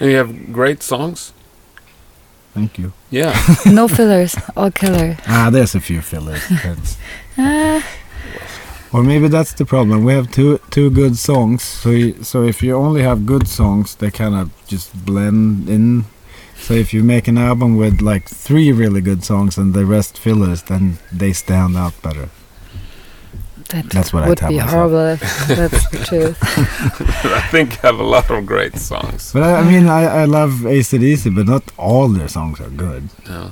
[SPEAKER 3] And you have great songs.
[SPEAKER 1] Thank you.
[SPEAKER 3] Yeah.
[SPEAKER 2] no fillers, all killer.
[SPEAKER 1] Ah, there's a few fillers, That's-
[SPEAKER 2] Ah,
[SPEAKER 1] or maybe that's the problem. We have two two good songs, so you, so if you only have good songs, they kind of just blend in. So if you make an album with like three really good songs and the rest fillers, then they stand out better.
[SPEAKER 2] that
[SPEAKER 1] That's what I
[SPEAKER 2] would
[SPEAKER 1] tell
[SPEAKER 2] be
[SPEAKER 1] myself.
[SPEAKER 2] horrible. That's the truth.
[SPEAKER 3] I think I have a lot of great songs.
[SPEAKER 1] But I, I mean, I, I love ACDC, but not all their songs are good.
[SPEAKER 3] Yeah.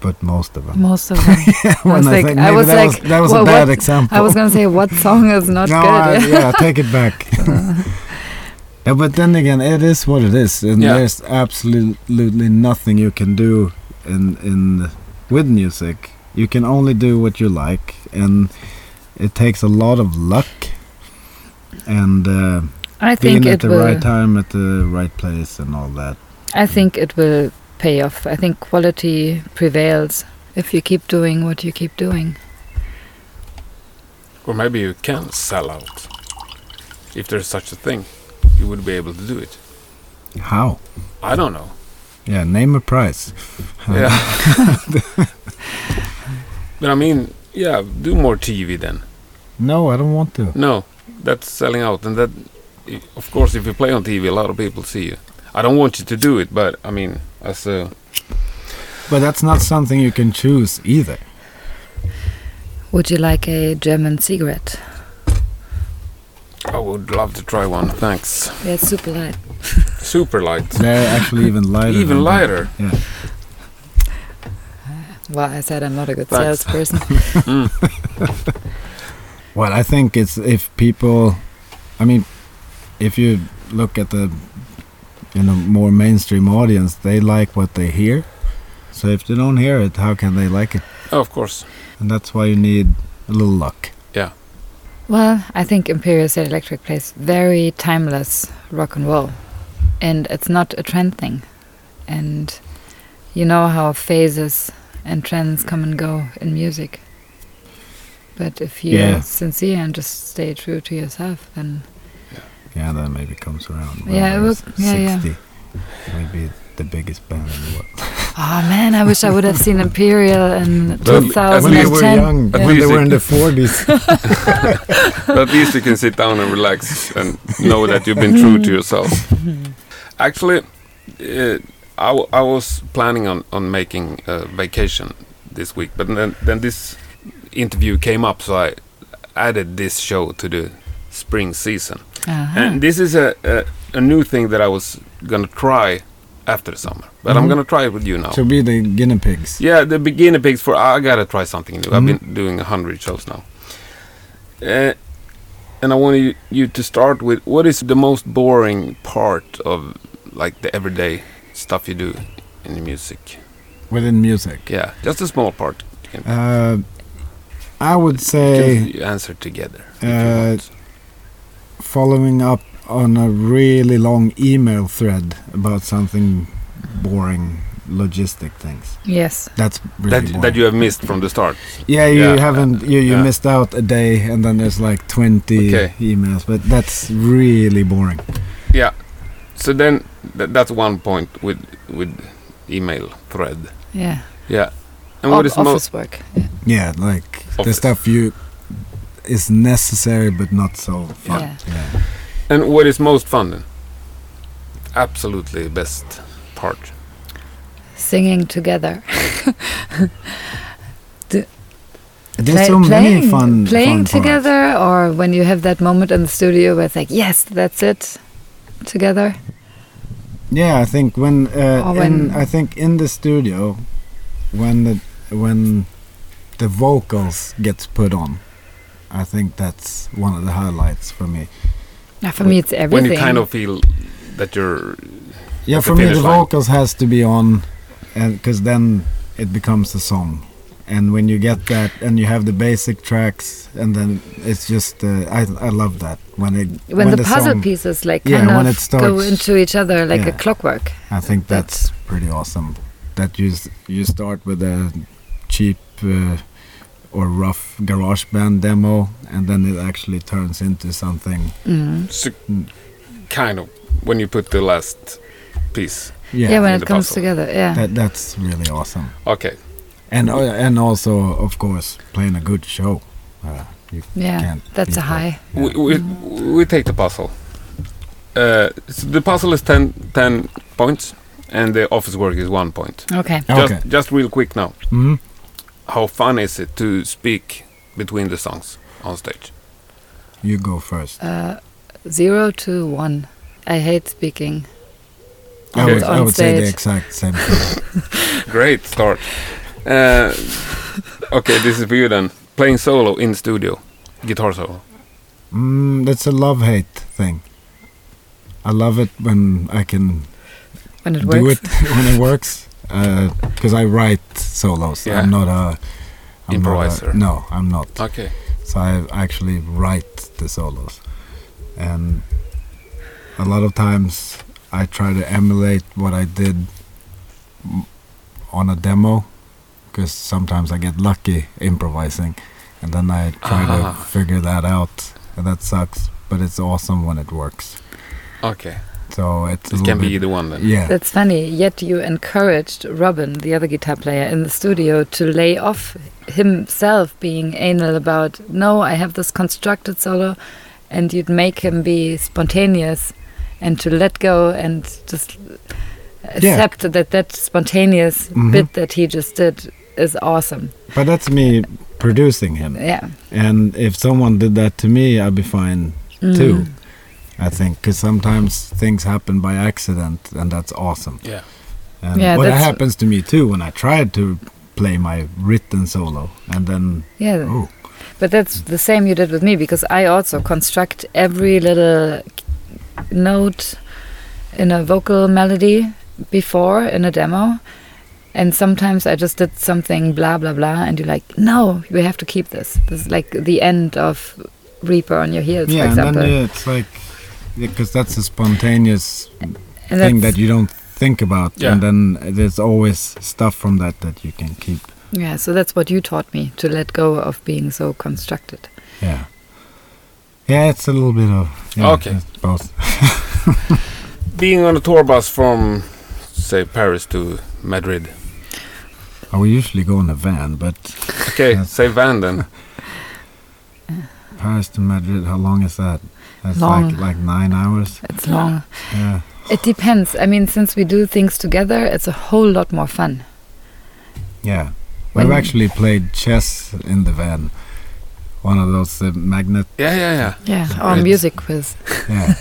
[SPEAKER 1] But most of them.
[SPEAKER 2] Most of them. I
[SPEAKER 1] When
[SPEAKER 2] was like,
[SPEAKER 1] think-
[SPEAKER 2] I
[SPEAKER 1] maybe
[SPEAKER 2] was
[SPEAKER 1] that
[SPEAKER 2] like,
[SPEAKER 1] was, that was
[SPEAKER 2] well,
[SPEAKER 1] a bad
[SPEAKER 2] what-
[SPEAKER 1] example.
[SPEAKER 2] I was gonna say what song is not
[SPEAKER 1] no,
[SPEAKER 2] good.
[SPEAKER 1] I, yeah, take it back. yeah, but then again, it is what it is, and
[SPEAKER 3] Yeah.
[SPEAKER 1] there's absolutely nothing you can do in in with music. You can only do what you like, and it takes a lot of luck and uh,
[SPEAKER 2] I think
[SPEAKER 1] being at
[SPEAKER 2] it
[SPEAKER 1] the
[SPEAKER 2] will.
[SPEAKER 1] right time at the right place and all that.
[SPEAKER 2] I think it will pay off. I think quality prevails if you keep doing what you keep doing.
[SPEAKER 3] Or maybe you can sell out. If there's such a thing, you would be able to do it.
[SPEAKER 1] How?
[SPEAKER 3] I don't know.
[SPEAKER 1] Yeah, name a price.
[SPEAKER 3] Yeah. but I mean, yeah, do more TV then.
[SPEAKER 1] No, I don't want to.
[SPEAKER 3] No, that's selling out, and that, of course, if you play on TV, a lot of people see you. I don't want you to do it, but I mean, as a
[SPEAKER 1] But that's not something you can choose either.
[SPEAKER 2] Would you like a German cigarette?
[SPEAKER 3] I would love to try one. Thanks.
[SPEAKER 2] Yeah, it's super light.
[SPEAKER 3] Super light.
[SPEAKER 1] They're actually even lighter.
[SPEAKER 3] Even
[SPEAKER 1] than that.
[SPEAKER 3] lighter.
[SPEAKER 1] Yeah.
[SPEAKER 2] Well, I said I'm not a good
[SPEAKER 3] Thanks.
[SPEAKER 2] salesperson.
[SPEAKER 1] Well, I think it's if people, I mean, if you look at the, you know, more mainstream audience, they like what they hear. So if they don't hear it, how can they like it?
[SPEAKER 3] Oh, Of course.
[SPEAKER 1] And that's why you need a little luck.
[SPEAKER 2] Well, I think Imperial State Electric plays very timeless rock and roll. And it's not a trend thing. And you know how phases and trends come and go in music. But if you're
[SPEAKER 1] Yeah.
[SPEAKER 2] sincere and just stay true to yourself, then
[SPEAKER 1] Yeah, that maybe comes around. when
[SPEAKER 2] Yeah, it
[SPEAKER 1] there's
[SPEAKER 2] will- yeah, yeah.
[SPEAKER 1] Maybe the biggest band in the world.
[SPEAKER 2] oh man, I wish I would have seen Imperial in
[SPEAKER 3] Well, as
[SPEAKER 1] When they were
[SPEAKER 2] 2010.
[SPEAKER 1] young,
[SPEAKER 3] Yeah.
[SPEAKER 1] when they were in the 40s.
[SPEAKER 3] But at least you can sit down and relax and know that you've been true to yourself. Actually, uh, I, w- I was planning on, on making a vacation this week, but then, then this interview came up, so I added this show to the spring season.
[SPEAKER 2] Uh-huh.
[SPEAKER 3] And this is a, a, a new thing that I was gonna try after the summer, but I'm
[SPEAKER 1] Mhm.
[SPEAKER 3] gonna try it with you now.
[SPEAKER 1] to be the guinea pigs.
[SPEAKER 3] Yeah, the beginner pigs for I gotta try something new. I've
[SPEAKER 1] Mm.
[SPEAKER 3] been doing a hundred shows now, uh, and I want you, you to start with what is the most boring part of like the everyday stuff you do in the music?
[SPEAKER 1] Within music.
[SPEAKER 3] Yeah, just a small part.
[SPEAKER 1] Uh, I would say.
[SPEAKER 3] Can you answer together. if you
[SPEAKER 1] Uh,
[SPEAKER 3] want.
[SPEAKER 1] following up on a really long email thread about something boring logistic things.
[SPEAKER 2] Yes.
[SPEAKER 1] That's really
[SPEAKER 3] that
[SPEAKER 1] boring.
[SPEAKER 3] that you have missed from the start.
[SPEAKER 1] yeah, you
[SPEAKER 3] yeah,
[SPEAKER 1] haven't you, you
[SPEAKER 3] yeah.
[SPEAKER 1] missed out a day and then there's like 20
[SPEAKER 3] Okay.
[SPEAKER 1] emails, but that's really boring.
[SPEAKER 3] So then th- that's one point with with email thread.
[SPEAKER 2] Yeah.
[SPEAKER 3] Yeah, and
[SPEAKER 2] Of
[SPEAKER 3] what is most
[SPEAKER 2] office work.
[SPEAKER 1] Yeah, like the
[SPEAKER 3] Office.
[SPEAKER 1] stuff you is necessary but not so fun.
[SPEAKER 2] Yeah.
[SPEAKER 1] Yeah.
[SPEAKER 3] and what is most fun then? Absolutely best part.
[SPEAKER 2] Singing together.
[SPEAKER 1] There's
[SPEAKER 2] Play-
[SPEAKER 1] so many
[SPEAKER 2] playing,
[SPEAKER 1] fun
[SPEAKER 2] playing
[SPEAKER 1] fun parts.
[SPEAKER 2] together, or when you have that moment in the studio where it's like, yes, that's it, together.
[SPEAKER 1] Yeah, I think when, uh,
[SPEAKER 2] Or when-
[SPEAKER 1] in, I think in the studio, when the when the vocals gets put on, I think that's one of the highlights for me.
[SPEAKER 2] Now, for me, it's everything.
[SPEAKER 3] When you kind of feel that you're
[SPEAKER 1] Yeah,
[SPEAKER 3] At the
[SPEAKER 1] for me the
[SPEAKER 3] finish line.
[SPEAKER 1] vocals has to be on, and because then it becomes a song. And when you get that, and you have the basic tracks, and then it's just uh, I I love that when it
[SPEAKER 2] when, the, puzzle
[SPEAKER 1] song,
[SPEAKER 2] pieces like
[SPEAKER 1] Yeah,
[SPEAKER 2] kind
[SPEAKER 1] when
[SPEAKER 2] of
[SPEAKER 1] it
[SPEAKER 2] go
[SPEAKER 1] starts-
[SPEAKER 2] into each other like a
[SPEAKER 1] Yeah.
[SPEAKER 2] clockwork.
[SPEAKER 1] I think that's pretty awesome. That you s- you start with a cheap uh, or rough garage band demo, and then it actually turns into something.
[SPEAKER 2] Mm.
[SPEAKER 3] s- kind of when you put the last piece.
[SPEAKER 2] Yeah, when
[SPEAKER 3] in
[SPEAKER 2] it
[SPEAKER 3] the
[SPEAKER 2] comes
[SPEAKER 3] puzzle.
[SPEAKER 2] together. Yeah,
[SPEAKER 1] that, that's really awesome.
[SPEAKER 3] Okay,
[SPEAKER 1] And uh, and also, of course, playing a good show. Uh, you
[SPEAKER 2] yeah,
[SPEAKER 1] can't
[SPEAKER 2] that's
[SPEAKER 1] beat
[SPEAKER 2] a
[SPEAKER 1] that.
[SPEAKER 2] high.
[SPEAKER 3] we, we, we take the puzzle. Uh, so the puzzle is 10, 10 points, and the office work is one point.
[SPEAKER 2] Okay.
[SPEAKER 1] Okay.
[SPEAKER 3] Just, just real quick now.
[SPEAKER 1] Mhm.
[SPEAKER 3] How fun is it to speak between the songs on stage?
[SPEAKER 1] You go first.
[SPEAKER 2] Uh, zero to one. I hate speaking.
[SPEAKER 1] I would,
[SPEAKER 2] on- on
[SPEAKER 1] I would say the
[SPEAKER 2] stage.
[SPEAKER 1] exact same thing.
[SPEAKER 3] Great start. Uh, okay, this is for you then. Playing solo in studio, guitar solo.
[SPEAKER 1] mm, that's a love hate thing. I love it when I can
[SPEAKER 2] When it
[SPEAKER 1] do
[SPEAKER 2] works.
[SPEAKER 1] it when it works because I write solos.
[SPEAKER 3] Yeah.
[SPEAKER 1] I'm not a I'm
[SPEAKER 3] Improviser.
[SPEAKER 1] Not a, no, I'm not.
[SPEAKER 3] Okay.
[SPEAKER 1] So I actually write the solos, and a lot of times I try to emulate what I did m- on a demo because sometimes I get lucky improvising, and then I try
[SPEAKER 3] Ah.
[SPEAKER 1] to figure that out, and that sucks. But it's awesome when it works.
[SPEAKER 3] Okay.
[SPEAKER 1] So it's a
[SPEAKER 3] This
[SPEAKER 1] little
[SPEAKER 3] can be
[SPEAKER 1] bit-
[SPEAKER 3] the one then.
[SPEAKER 1] yeah,
[SPEAKER 2] That's funny. Yet you encouraged Robin, the other guitar player in the studio, to lay off himself being anal about, no, I have this constructed solo, and you'd make him be spontaneous and to let go and just accept that that spontaneous
[SPEAKER 1] Mhm.
[SPEAKER 2] bit that he just did is awesome.
[SPEAKER 1] but that's me producing him.
[SPEAKER 2] Yeah.
[SPEAKER 1] And if someone did that to me, I'd be fine
[SPEAKER 2] Mm. Mm-hmm.
[SPEAKER 1] too. I think because sometimes things happen by accident, and that's awesome.
[SPEAKER 3] Yeah.
[SPEAKER 1] And,
[SPEAKER 2] Yeah,
[SPEAKER 1] but that
[SPEAKER 2] that's-
[SPEAKER 1] happens to me too when I tried to play my written solo, and then
[SPEAKER 2] Yeah.
[SPEAKER 1] oh
[SPEAKER 2] But that's the same you did with me because I also construct every little note in a vocal melody before in a demo. And sometimes I just did something blah blah blah, and you're like, no, we have to keep this. This is like the end of Reaper on your heels,
[SPEAKER 1] yeah,
[SPEAKER 2] for
[SPEAKER 1] and then
[SPEAKER 2] example.
[SPEAKER 1] uh, it's like because that's a spontaneous
[SPEAKER 2] and
[SPEAKER 1] thing
[SPEAKER 2] that's-
[SPEAKER 1] that you don't think about,
[SPEAKER 3] Yeah.
[SPEAKER 1] and then there's always stuff from that that you can keep.
[SPEAKER 2] yeah, so that's what you taught me to let go of being so constructed.
[SPEAKER 1] Yeah. Yeah, it's a little bit of yeah,
[SPEAKER 3] Okay.
[SPEAKER 1] it's both.
[SPEAKER 3] Being on a tour bus from, say, Paris to Madrid.
[SPEAKER 1] I would Oh, usually go in a van, but
[SPEAKER 3] Okay,
[SPEAKER 1] Yes.
[SPEAKER 3] say van then.
[SPEAKER 1] Paris to Madrid, how long is that? That's
[SPEAKER 2] Long.
[SPEAKER 1] like like nine hours.
[SPEAKER 2] It's long.
[SPEAKER 1] Yeah.
[SPEAKER 2] It depends. I mean, since we do things together, it's a whole lot more fun.
[SPEAKER 1] Yeah.
[SPEAKER 2] When-
[SPEAKER 1] We've actually played chess in the van. One of those uh, magnet.
[SPEAKER 3] Yeah, yeah, yeah.
[SPEAKER 2] Yeah, or
[SPEAKER 1] Right.
[SPEAKER 2] music quiz.
[SPEAKER 1] Yeah.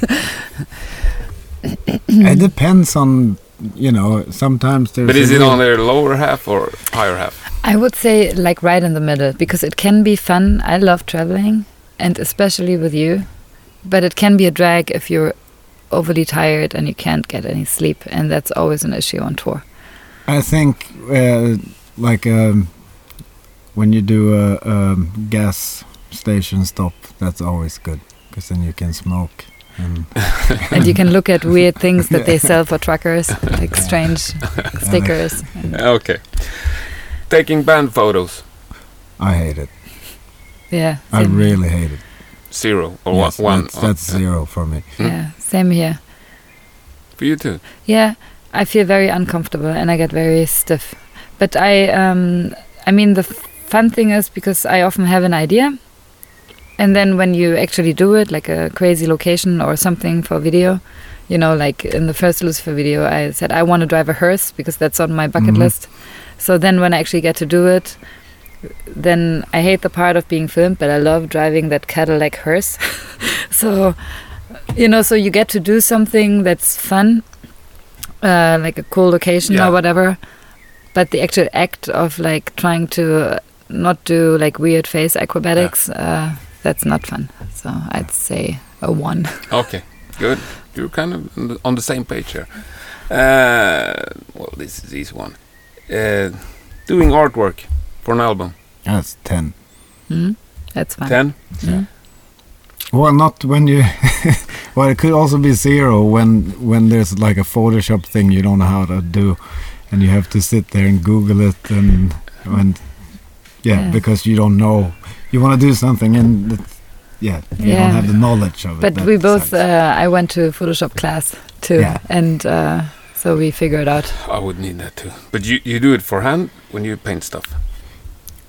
[SPEAKER 1] it depends on, you know, sometimes there's.
[SPEAKER 3] But
[SPEAKER 1] a
[SPEAKER 3] is it
[SPEAKER 1] real-
[SPEAKER 3] on the lower half or higher half?
[SPEAKER 2] I would say like right in the middle because it can be fun. I love traveling and especially with you, but it can be a drag if you're overly tired and you can't get any sleep, and that's always an issue on tour.
[SPEAKER 1] I think uh, like um, when you do a, a gas station stop, that's always good because then you can smoke. And
[SPEAKER 2] and you can look at weird things that they sell for truckers, like strange stickers. And
[SPEAKER 3] Okay. Taking band photos.
[SPEAKER 1] I hate it.
[SPEAKER 2] yeah,
[SPEAKER 1] I
[SPEAKER 2] same-
[SPEAKER 1] really hate it.
[SPEAKER 3] Zero or
[SPEAKER 1] Yes,
[SPEAKER 3] one.
[SPEAKER 1] that's, that's zero for me.
[SPEAKER 2] yeah, same here.
[SPEAKER 3] For you too.
[SPEAKER 2] Yeah, I feel very uncomfortable and I get very stiff. But I, um, I mean, the f- fun thing is because I often have an idea, and then when you actually do it, like a crazy location or something for video, you know, like in the first Lucifer video, I said I want to drive a hearse because that's on my bucket
[SPEAKER 1] Mhm.
[SPEAKER 2] list. So then when I actually get to do it. Then I hate the part of being filmed, but I love driving that Cadillac hearse. so, you know, so you get to do something that's fun, uh, like a cool location
[SPEAKER 3] Yeah.
[SPEAKER 2] or whatever. But the actual act of like trying to uh, not do like weird face acrobatics, uh, that's not fun. So I'd say a one.
[SPEAKER 3] Okay, good. You're kind of on the- on the same page here. Uh, well, this is easy one. Uh, doing artwork for an album.
[SPEAKER 1] That's ten.
[SPEAKER 2] Mm? That's
[SPEAKER 1] Ah.
[SPEAKER 2] fun. Hmm?
[SPEAKER 3] Ten.
[SPEAKER 2] Mm-hmm.
[SPEAKER 1] Well, not when you. well, it could also be zero when when there's like a Photoshop thing you don't know how to do, and you have to sit there and Google it and and yeah,
[SPEAKER 2] Yeah.
[SPEAKER 1] because you don't know. You want to do something and it's, yeah, you
[SPEAKER 2] Yeah.
[SPEAKER 1] don't have the knowledge of it.
[SPEAKER 2] But
[SPEAKER 1] That
[SPEAKER 2] we both,
[SPEAKER 1] sucks.
[SPEAKER 2] uh, I went to Photoshop class too,
[SPEAKER 1] Yeah.
[SPEAKER 2] and uh, so we figured out
[SPEAKER 3] I would need that too. But you, you do it for hand when you paint stuff.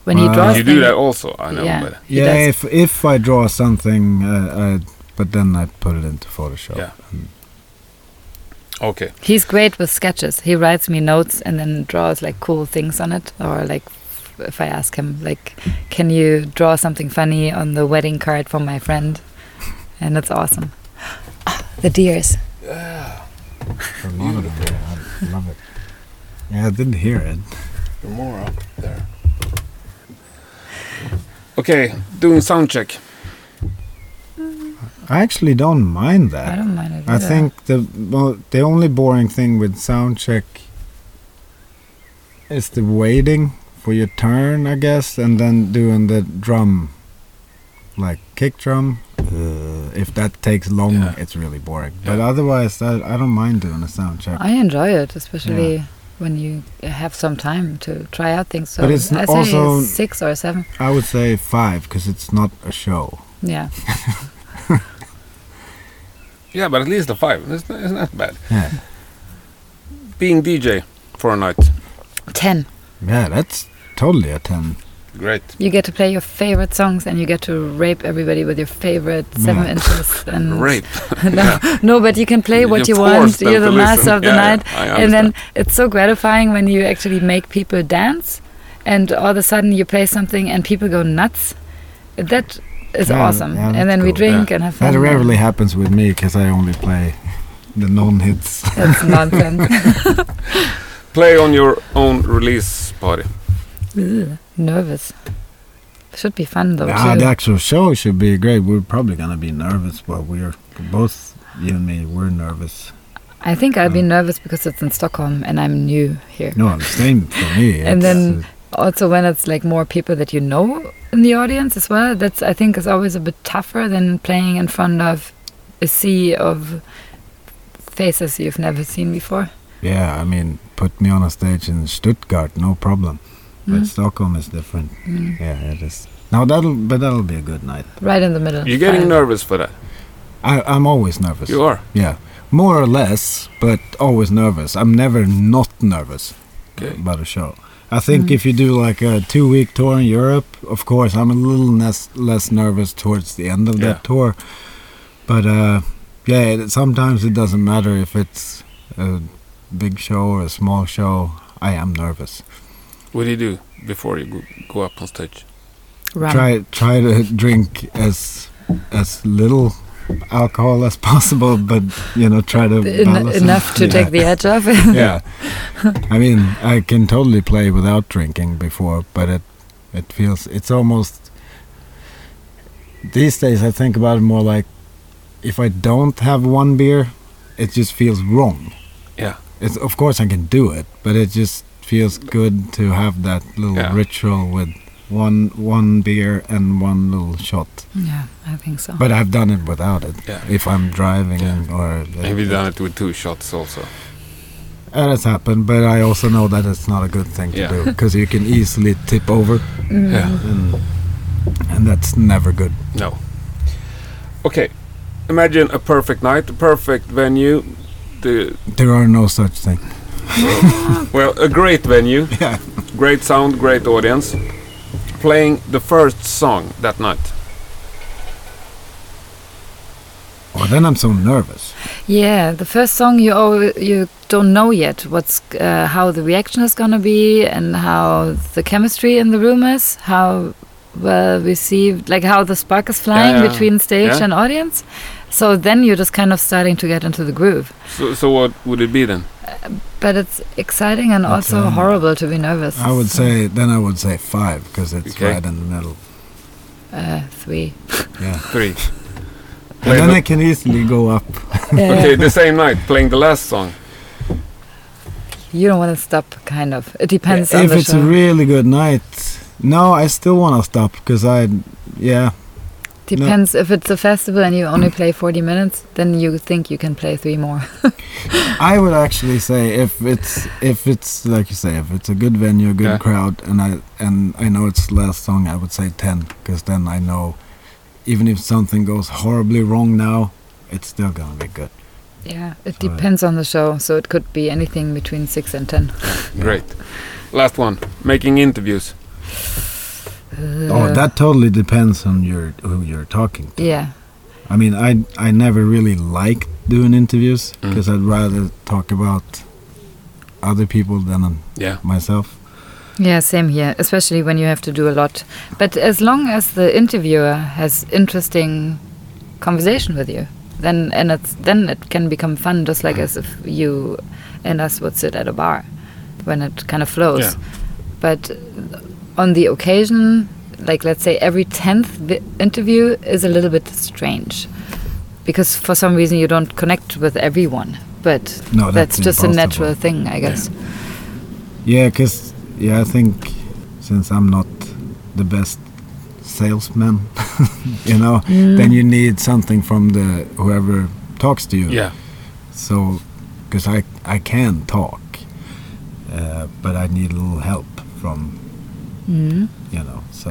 [SPEAKER 2] when he
[SPEAKER 1] Well,
[SPEAKER 2] draws.
[SPEAKER 3] You do
[SPEAKER 2] things-
[SPEAKER 3] that also. I know.
[SPEAKER 2] Yeah.
[SPEAKER 3] But
[SPEAKER 2] he
[SPEAKER 1] yeah,
[SPEAKER 2] does.
[SPEAKER 1] if if I draw something, uh, I, but then I put it into Photoshop.
[SPEAKER 3] Yeah. okay.
[SPEAKER 2] He's great with sketches. He writes me notes and then draws like cool things on it. Or like if I ask him, like, can you draw something funny on the wedding card for my friend? And it's awesome. Ah, the deers.
[SPEAKER 1] I love it. I love it. Yeah, I didn't hear it.
[SPEAKER 3] You're more up there. Okay, doing sound check.
[SPEAKER 1] I actually don't mind that.
[SPEAKER 2] I don't mind it.
[SPEAKER 1] I
[SPEAKER 2] either.
[SPEAKER 1] think the well, the only boring thing with sound check is the waiting for your turn, I guess, and then doing the drum, like kick drum. Uh, if that takes long,
[SPEAKER 3] Yeah.
[SPEAKER 1] it's really boring. But otherwise, I, I don't mind doing a sound check.
[SPEAKER 2] I enjoy it, especially when you have some time to try out things. So
[SPEAKER 1] But it's
[SPEAKER 2] I say
[SPEAKER 1] also-
[SPEAKER 2] six or seven.
[SPEAKER 1] I would say five because it's not a show.
[SPEAKER 2] Yeah.
[SPEAKER 3] Yeah, but at least a five. It's not, it's not bad.
[SPEAKER 1] Yeah.
[SPEAKER 3] Being DJ for a night.
[SPEAKER 2] 10.
[SPEAKER 1] Yeah, that's totally a 10.
[SPEAKER 3] Great.
[SPEAKER 2] You get to play your favorite songs and you get to rape everybody with your favorite seven
[SPEAKER 1] Yeah.
[SPEAKER 2] inches. And
[SPEAKER 3] Rape.
[SPEAKER 2] no, no, but you can play
[SPEAKER 3] You-
[SPEAKER 2] what
[SPEAKER 3] you
[SPEAKER 2] you
[SPEAKER 3] force
[SPEAKER 2] want.
[SPEAKER 3] them
[SPEAKER 2] You're the
[SPEAKER 3] to listen.
[SPEAKER 2] master of the
[SPEAKER 3] Yeah, yeah,
[SPEAKER 2] night.
[SPEAKER 3] I
[SPEAKER 2] and
[SPEAKER 3] understand.
[SPEAKER 2] then it's so gratifying when you actually make people dance and all of a sudden you play something and people go nuts. That is
[SPEAKER 1] Yeah,
[SPEAKER 2] awesome.
[SPEAKER 1] yeah,
[SPEAKER 2] and then we
[SPEAKER 1] that's cool.
[SPEAKER 2] drink and have fun.
[SPEAKER 1] That rarely happens with me because I only play the non-hits.
[SPEAKER 2] That's nonsense.
[SPEAKER 3] Play on your own release party.
[SPEAKER 2] Ugh, Nervous. Should be fun though.
[SPEAKER 1] Ah,
[SPEAKER 2] too.
[SPEAKER 1] the actual show should be great. We're probably gonna be nervous, but we're both you and me. We're nervous.
[SPEAKER 2] I think I'll be
[SPEAKER 1] Mm.
[SPEAKER 2] nervous because it's in Stockholm and I'm new here.
[SPEAKER 1] No, same for me. It's,
[SPEAKER 2] And then-
[SPEAKER 1] uh,
[SPEAKER 2] also when it's like more people that you know in the audience as well that's i think is always a bit tougher than playing in front of a sea of faces you've never seen before
[SPEAKER 1] yeah, I mean, put me on a stage in Stuttgart, no problem.
[SPEAKER 2] Hmm.
[SPEAKER 1] But Stockholm is different.
[SPEAKER 2] Mm.
[SPEAKER 1] Yeah, it is. Now that'll, but that'll be a good night.
[SPEAKER 2] right in the middle
[SPEAKER 3] You're getting
[SPEAKER 2] Fine.
[SPEAKER 3] nervous for that.
[SPEAKER 1] I, I'm always nervous.
[SPEAKER 3] You are.
[SPEAKER 1] Yeah, more or less, but always nervous. I'm never not nervous
[SPEAKER 3] Okay.
[SPEAKER 1] about a show. I think if you do like a two week tour in Europe, of course, I'm a little less, less nervous towards the end of
[SPEAKER 3] Yeah.
[SPEAKER 1] that tour. But uh, yeah, it, sometimes it doesn't matter if it's a big show or a small show. I am nervous.
[SPEAKER 3] What do you do before you go, go up on stage?
[SPEAKER 2] Rum.
[SPEAKER 1] Try try to drink as as little alcohol as possible, but you know, try to
[SPEAKER 2] En-
[SPEAKER 1] balance it.
[SPEAKER 2] enough to
[SPEAKER 1] Yeah.
[SPEAKER 2] take the edge off
[SPEAKER 1] yeah. I mean, I can totally play without drinking before, but it it feels it's almost these days I think about it more like if I don't have one beer, it just feels wrong.
[SPEAKER 3] Yeah.
[SPEAKER 1] It's of course I can do it, but it just feels good to have that little
[SPEAKER 3] Yeah.
[SPEAKER 1] ritual with one one beer and one little shot.
[SPEAKER 2] yeah i think so
[SPEAKER 1] But I've done it without it.
[SPEAKER 3] Uh-huh. Yeah.
[SPEAKER 1] If I'm driving
[SPEAKER 3] Yeah.
[SPEAKER 1] or
[SPEAKER 3] Have you done it with two shots also?
[SPEAKER 1] It has happened, but I also know that it's not a good thing to
[SPEAKER 3] Yeah.
[SPEAKER 1] do because you can easily tip over,
[SPEAKER 3] Yeah.
[SPEAKER 1] and, and that's never good.
[SPEAKER 3] No. Okay. Imagine a perfect night, a perfect venue. The,
[SPEAKER 1] There are no such thing.
[SPEAKER 3] well, a great venue,
[SPEAKER 1] Yeah.
[SPEAKER 3] great sound, great audience. Playing the first song that night.
[SPEAKER 1] Well, then I'm so nervous.
[SPEAKER 2] yeah the first song you al- you don't know yet what's uh, how the reaction is going to be and how the chemistry in the room is how well received like how the spark is flying
[SPEAKER 3] yeah.
[SPEAKER 2] between stage
[SPEAKER 3] Yeah.
[SPEAKER 2] and audience so then you're just kind of starting to get into the groove
[SPEAKER 3] So, so what would it be then?
[SPEAKER 2] but it's exciting and also
[SPEAKER 1] um,
[SPEAKER 2] horrible to be nervous
[SPEAKER 1] I would say then I would say five because it's
[SPEAKER 3] Okay.
[SPEAKER 1] right in the middle.
[SPEAKER 2] uh, three
[SPEAKER 1] Yeah,
[SPEAKER 3] Three.
[SPEAKER 1] and
[SPEAKER 3] Play
[SPEAKER 1] then
[SPEAKER 3] the-
[SPEAKER 1] I can easily go up.
[SPEAKER 2] Uh,
[SPEAKER 3] Okay, the same night, playing the last song.
[SPEAKER 2] you don't want to stop kind of it depends on
[SPEAKER 1] if
[SPEAKER 2] the
[SPEAKER 1] it's
[SPEAKER 2] show
[SPEAKER 1] a really good night, no, I still want to stop because I, yeah,
[SPEAKER 2] depends if it's a festival and you only play 40 minutes then you think you can play three more
[SPEAKER 1] I would actually say if it's if it's like you say if it's a good venue, a good
[SPEAKER 3] Yeah.
[SPEAKER 1] crowd, and I and I know it's the last song, I would say ten because then I know even if something goes horribly wrong now, it's still gonna be good.
[SPEAKER 2] yeah it
[SPEAKER 1] So, uh,
[SPEAKER 2] depends on the show so it could be anything between six and ten
[SPEAKER 3] Great. Last one, making interviews.
[SPEAKER 1] oh, that totally depends on your who you're talking to.
[SPEAKER 2] yeah
[SPEAKER 1] I mean, I I never really liked doing interviews because I'd rather talk about other people than
[SPEAKER 3] Yeah.
[SPEAKER 1] myself.
[SPEAKER 2] Yeah, same here, especially when you have to do a lot. But as long as the interviewer has interesting conversation with you, then and it's then it can become fun, just like as if you and us would sit at a bar when it kind of flows.
[SPEAKER 3] Yeah.
[SPEAKER 2] But on the occasion, like let's say every tenth vi- interview is a little bit strange because for some reason you don't connect with everyone. But
[SPEAKER 1] No, that's
[SPEAKER 2] just a
[SPEAKER 1] impossible.
[SPEAKER 2] natural thing, I guess.
[SPEAKER 1] Yeah, because yeah, I think since I'm not the best salesman, you know, then you need something from the whoever talks to you.
[SPEAKER 3] Yeah.
[SPEAKER 1] So, because I I can talk, uh, but I need a little help from
[SPEAKER 2] Mm-hmm.
[SPEAKER 1] you know. So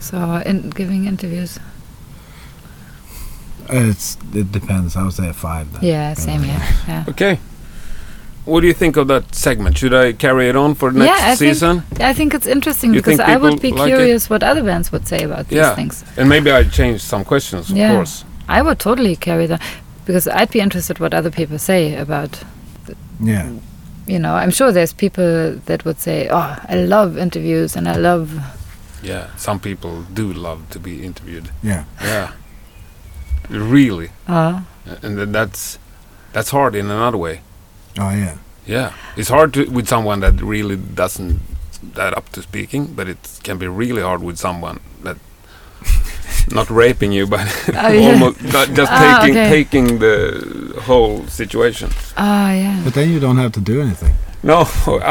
[SPEAKER 2] So in giving interviews.
[SPEAKER 1] It's, it depends. I'll say five then.
[SPEAKER 2] Yeah, same here. Yeah,
[SPEAKER 3] Okay. What do you think of that segment? Should I carry it on for next
[SPEAKER 2] Yeah, I think-
[SPEAKER 3] season?
[SPEAKER 2] I think it's interesting
[SPEAKER 3] You
[SPEAKER 2] because
[SPEAKER 3] think
[SPEAKER 2] I would be
[SPEAKER 3] people like it?
[SPEAKER 2] curious what other bands would say about these
[SPEAKER 3] Yeah.
[SPEAKER 2] things.
[SPEAKER 3] And maybe I change some questions, of
[SPEAKER 2] Yeah.
[SPEAKER 3] course.
[SPEAKER 2] I would totally carry them because I'd be interested what other people say about.
[SPEAKER 1] Yeah.
[SPEAKER 2] You know, I'm sure there's people that would say, "Oh, I love interviews and I love."
[SPEAKER 3] Yeah. Some people do love to be interviewed.
[SPEAKER 1] Yeah.
[SPEAKER 3] Yeah. really.
[SPEAKER 2] Uh,
[SPEAKER 1] Ah.
[SPEAKER 3] And then that's that's hard in another way.
[SPEAKER 1] Oh, yeah.
[SPEAKER 3] Yeah, it's hard to, with someone that really doesn't that up to speaking, but it can be really hard with someone that not raping you, but
[SPEAKER 2] Oh, yeah.
[SPEAKER 3] almost not just
[SPEAKER 2] Ah,
[SPEAKER 3] taking
[SPEAKER 2] okay.
[SPEAKER 3] taking the whole situation.
[SPEAKER 2] oh yeah.
[SPEAKER 1] But then you don't have to do anything.
[SPEAKER 3] No,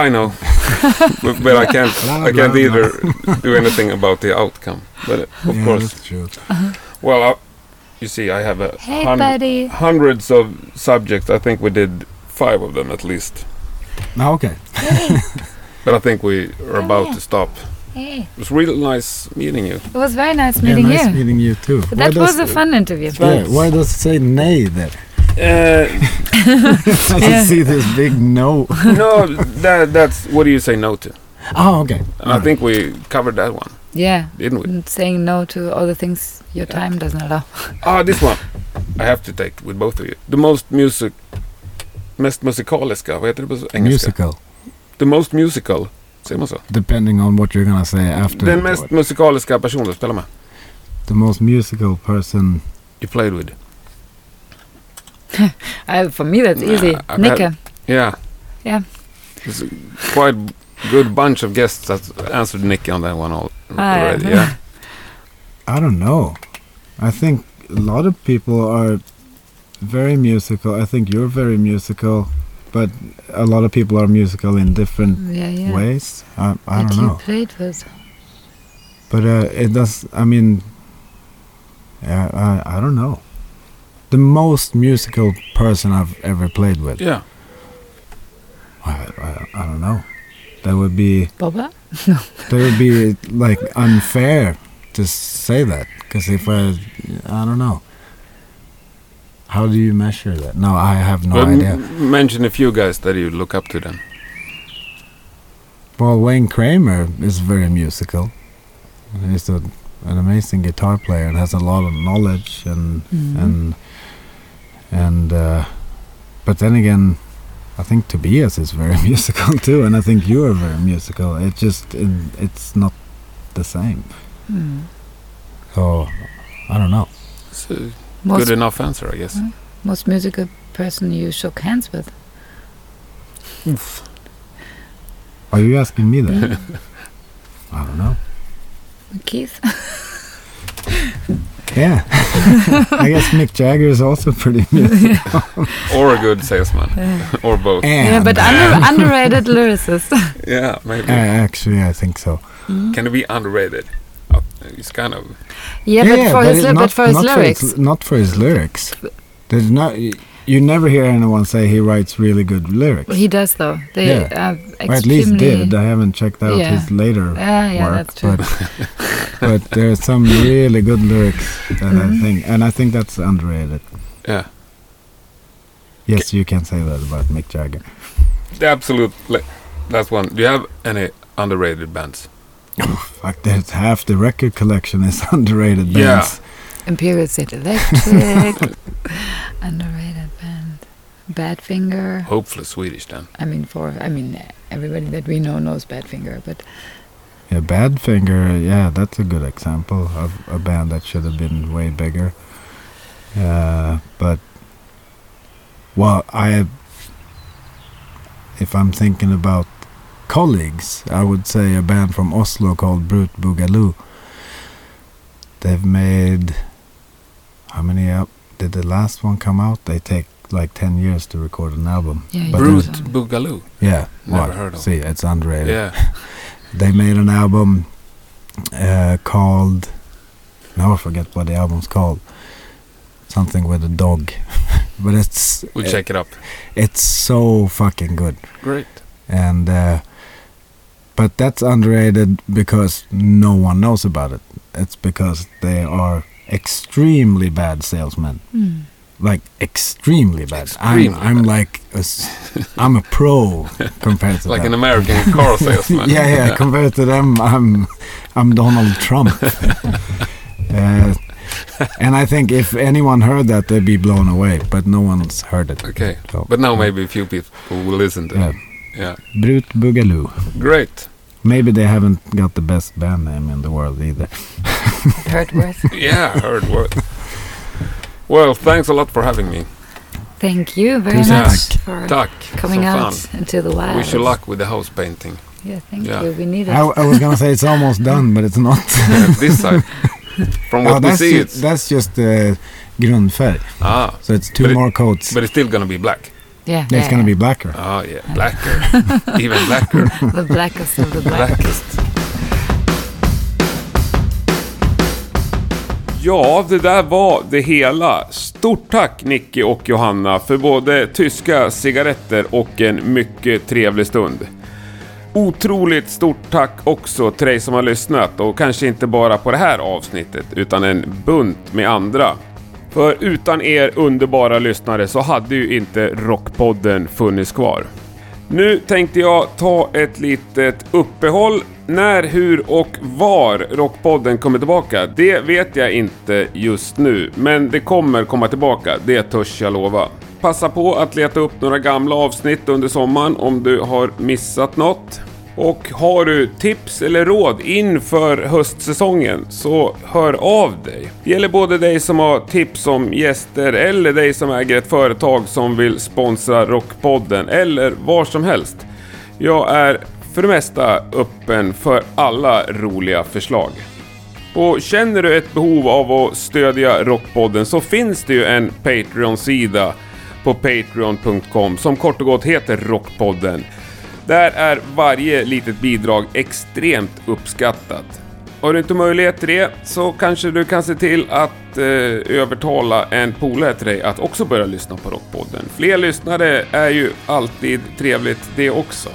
[SPEAKER 3] I know, but, but I can't
[SPEAKER 1] Blah,
[SPEAKER 3] I can't
[SPEAKER 1] blah,
[SPEAKER 3] either do anything about the outcome. But uh, of
[SPEAKER 1] yeah,
[SPEAKER 3] course,
[SPEAKER 1] That's true.
[SPEAKER 3] well, I, you see, I have a
[SPEAKER 2] Hey,
[SPEAKER 3] hun-
[SPEAKER 2] buddy.
[SPEAKER 3] hundreds of subjects. I think we did five of them at least,
[SPEAKER 1] No, okay.
[SPEAKER 3] but I think we are about
[SPEAKER 2] yeah.
[SPEAKER 3] to stop.
[SPEAKER 2] Hey,
[SPEAKER 3] It was really nice meeting you.
[SPEAKER 2] it was very nice
[SPEAKER 1] Yeah,
[SPEAKER 2] meeting
[SPEAKER 1] nice
[SPEAKER 2] you.
[SPEAKER 1] meeting you too. Why
[SPEAKER 2] That was
[SPEAKER 1] does,
[SPEAKER 2] a fun interview.
[SPEAKER 1] yeah, Why does it say nay there?
[SPEAKER 3] Uh,
[SPEAKER 1] I
[SPEAKER 2] Yeah.
[SPEAKER 1] can see this big no.
[SPEAKER 3] no, that, that's what do you say no to?
[SPEAKER 1] Oh, okay.
[SPEAKER 3] And I think we covered that one,
[SPEAKER 2] Yeah,
[SPEAKER 3] didn't we?
[SPEAKER 2] and saying no to all the things your time doesn't allow.
[SPEAKER 3] Ah, this one. I have to take with both of you. The most music, mest musikaliska. Vad heter det på s- engelska?
[SPEAKER 1] Musical.
[SPEAKER 3] The most musical. Säger man så?
[SPEAKER 1] Depending on what you're gonna say after.
[SPEAKER 3] Den mest musikaliska personen du spelar med.
[SPEAKER 1] The most musical person.
[SPEAKER 3] You played with.
[SPEAKER 2] Uh, for me, that's
[SPEAKER 3] Nah,
[SPEAKER 2] easy.
[SPEAKER 3] I bet-
[SPEAKER 2] Nika.
[SPEAKER 3] Yeah.
[SPEAKER 2] Yeah.
[SPEAKER 3] There's a quite good bunch of guests that answered Nicky on that one al-
[SPEAKER 2] Ah, yeah.
[SPEAKER 3] already. Yeah.
[SPEAKER 1] I don't know. I think a lot of people are very musical. I think you're very musical, but a lot of people are musical in different
[SPEAKER 2] Yeah, yeah.
[SPEAKER 1] ways. I, I
[SPEAKER 2] That
[SPEAKER 1] don't
[SPEAKER 2] you
[SPEAKER 1] know.
[SPEAKER 2] played with.
[SPEAKER 1] But uh, it does. I mean, yeah, I, I don't know. The most musical person I've ever played with.
[SPEAKER 3] Yeah.
[SPEAKER 1] I, I, I don't know. That would be
[SPEAKER 2] Boba?
[SPEAKER 1] that would be like unfair to say that because if I I don't know. How do you measure that? No, I have no
[SPEAKER 3] Well, m-
[SPEAKER 1] idea.
[SPEAKER 3] mention a few guys that you look up to then.
[SPEAKER 1] Well, Wayne Kramer is very musical. He's a, an amazing guitar player and has a lot of knowledge and and Mm-hmm. and uh, but then again i think tobias is very musical too and i think you are very musical it just it, it's not the same
[SPEAKER 2] Mm.
[SPEAKER 1] so i don't know
[SPEAKER 3] It's a good
[SPEAKER 2] Most,
[SPEAKER 3] enough answer, I guess.
[SPEAKER 2] most musical person you shook hands with.
[SPEAKER 1] are you asking me that i don't know
[SPEAKER 2] Keith?
[SPEAKER 1] yeah i guess mick jagger is also pretty musical
[SPEAKER 3] Or a good salesman. or both.
[SPEAKER 2] yeah, but under, underrated lyricist.
[SPEAKER 3] Yeah, maybe.
[SPEAKER 1] uh, actually i think so
[SPEAKER 3] Can it be underrated? Uh, It's kind of.
[SPEAKER 2] yeah, but for his,
[SPEAKER 1] it-
[SPEAKER 2] ly- but for his lyrics.
[SPEAKER 1] For his, not for his lyrics. There's not. You never hear anyone say he writes really good lyrics.
[SPEAKER 2] he does, though. They
[SPEAKER 1] Yeah.
[SPEAKER 2] are extremely.
[SPEAKER 1] or at least did. I haven't checked out
[SPEAKER 2] Yeah.
[SPEAKER 1] his later
[SPEAKER 2] Ah, yeah,
[SPEAKER 1] work,
[SPEAKER 2] that's true.
[SPEAKER 1] but but there are some really good lyrics that I
[SPEAKER 2] Mm-hmm.
[SPEAKER 1] think, and I think that's underrated.
[SPEAKER 3] Yeah.
[SPEAKER 1] Yes, you can say that about Mick Jagger.
[SPEAKER 3] The absolute. le- That's one. Do you have any underrated bands?
[SPEAKER 1] Fuck, there's half the record collection is underrated.
[SPEAKER 3] Yeah.
[SPEAKER 1] Bands.
[SPEAKER 2] Imperial State Electric. underrated band. Badfinger.
[SPEAKER 3] Hopefully Swedish then.
[SPEAKER 2] I mean, for I mean, everybody that we know knows Badfinger, but
[SPEAKER 1] Yeah, Badfinger, yeah, that's a good example of a band that should have been way bigger. Uh, but well, I if I'm thinking about colleagues, I would say a band from Oslo called Brute Boogaloo. They've made how many up did the last one come out? They take like 10 years to record an album.
[SPEAKER 2] yeah, um,
[SPEAKER 1] But
[SPEAKER 3] Brute
[SPEAKER 1] there's-
[SPEAKER 3] Boogaloo.
[SPEAKER 1] Yeah,
[SPEAKER 3] Never
[SPEAKER 1] well,
[SPEAKER 3] heard of.
[SPEAKER 1] See, it's underrated
[SPEAKER 3] Yeah.
[SPEAKER 1] they made an album uh, called now I forget what the album's called. Something with a dog, but it's
[SPEAKER 3] We'll
[SPEAKER 1] it-
[SPEAKER 3] check it up.
[SPEAKER 1] it's so fucking good
[SPEAKER 3] Great.
[SPEAKER 1] and uh, but that's underrated because no one knows about it. It's because they are extremely bad salesman.
[SPEAKER 2] Mm.
[SPEAKER 1] Like extremely bad.
[SPEAKER 5] Extremely
[SPEAKER 1] I'm, I'm
[SPEAKER 5] bad.
[SPEAKER 1] like a, s- I'm a pro compared to
[SPEAKER 5] Like an
[SPEAKER 1] them.
[SPEAKER 5] American car salesman.
[SPEAKER 1] yeah, yeah. Compared to them, I'm I'm Donald Trump. uh, and I think if anyone heard that, they'd be blown away. But no one's heard it.
[SPEAKER 5] Okay.
[SPEAKER 1] So,
[SPEAKER 5] But now maybe a few people will listen to
[SPEAKER 1] yeah.
[SPEAKER 5] it. Yeah.
[SPEAKER 1] Brut Boogaloo.
[SPEAKER 5] Great.
[SPEAKER 1] Maybe they haven't got the best band name in the world either.
[SPEAKER 2] Heard worth.
[SPEAKER 5] Yeah, I heard word. Well, thanks a lot for having me.
[SPEAKER 2] Thank you very
[SPEAKER 1] Tusen
[SPEAKER 2] much
[SPEAKER 1] tack.
[SPEAKER 2] for
[SPEAKER 5] Tack.
[SPEAKER 2] coming
[SPEAKER 5] so
[SPEAKER 2] out
[SPEAKER 5] Fun.
[SPEAKER 2] into the wild.
[SPEAKER 5] Wish you luck with the house painting.
[SPEAKER 2] Yeah, thank
[SPEAKER 5] Yeah.
[SPEAKER 2] you. We need it.
[SPEAKER 1] I, I was gonna say it's almost done, but it's not.
[SPEAKER 5] Yeah, this side. From
[SPEAKER 1] Oh,
[SPEAKER 5] what we
[SPEAKER 1] that's,
[SPEAKER 5] see,
[SPEAKER 1] ju-
[SPEAKER 5] it's
[SPEAKER 1] that's just the grundfärg.
[SPEAKER 5] ah,
[SPEAKER 1] So it's two
[SPEAKER 5] But it-
[SPEAKER 1] more coats.
[SPEAKER 5] but it's still gonna be black.
[SPEAKER 2] yeah,
[SPEAKER 1] it's gonna be blacker.
[SPEAKER 5] Ah, yeah, blacker, even blacker,
[SPEAKER 2] the blackest of the black.
[SPEAKER 5] blackest.
[SPEAKER 3] Ja, det där var det hela. Stort tack Nicky och Johanna för både tyska cigaretter och en mycket trevlig stund. Otroligt stort tack också till dig som har lyssnat och kanske inte bara på det här avsnittet utan en bunt med andra. För utan er underbara lyssnare så hade ju inte Rockpodden funnits kvar. Nu tänkte jag ta ett litet uppehåll. När, hur och var Rockpodden kommer tillbaka, det vet jag inte just nu. Men det kommer komma tillbaka, det törs jag lova. Passa på att leta upp några gamla avsnitt under sommaren om du har missat något. Och har du tips eller råd inför höstsäsongen så hör av dig. Det gäller både dig som har tips om gäster eller dig som äger ett företag som vill sponsra Rockpodden eller var som helst. Jag är för det mesta öppen för alla roliga förslag. Och känner du ett behov av att stödja Rockpodden så finns det ju en Patreon-sida på Patreon.com som kort och gott heter Rockpodden. Där är varje litet bidrag extremt uppskattat. Har du inte möjlighet till det så kanske du kan se till att eh, övertala en polare till dig att också börja lyssna på Rockpodden. Fler lyssnare är ju alltid trevligt det också.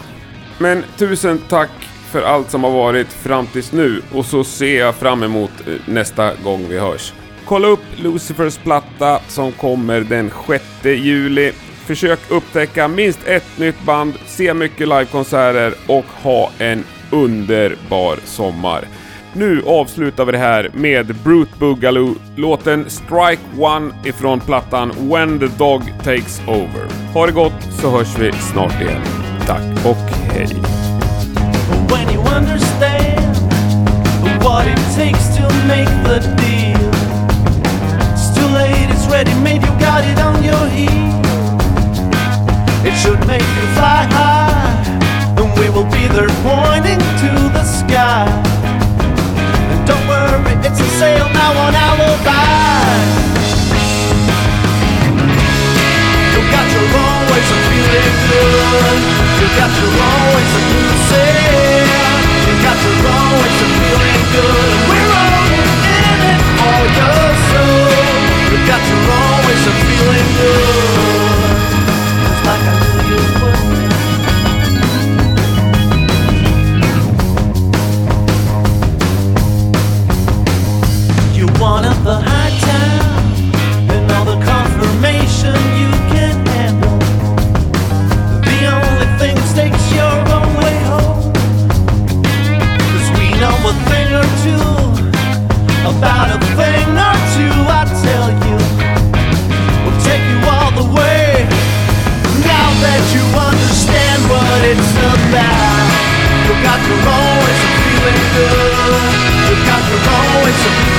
[SPEAKER 3] Men tusen tack för allt som har varit fram tills nu och så ser jag fram emot eh, nästa gång vi hörs. Kolla upp Lucifers platta som kommer den 6 juli. Försök upptäcka minst ett nytt band, se mycket livekonserter och ha en underbar sommar. Nu avslutar vi det här med Brute Boogaloo, låten Strike One ifrån plattan When the Dog Takes Over. Ha det gott så hörs vi snart igen. Tack och hej!
[SPEAKER 6] when you understand what it takes to make the deal. It's too late, it's ready made, you got it on your heel. It should make you fly high, and we will be there pointing to the sky. And don't worry, it's a sale now on alibi. You got your own ways of feeling good. You got your own ways of losing. You got your own ways of feeling good. We're all in it for your soul. You got your own ways of feeling good. It's like I knew you would. You want up the high town and all the confirmation you can handle. The only thing that takes your own way home. 'Cause we know a thing or two about a thing or two, I tell you. We'll take you all the way. Now that you understand what it's about, you got your own ways of feeling good. You got your own ways of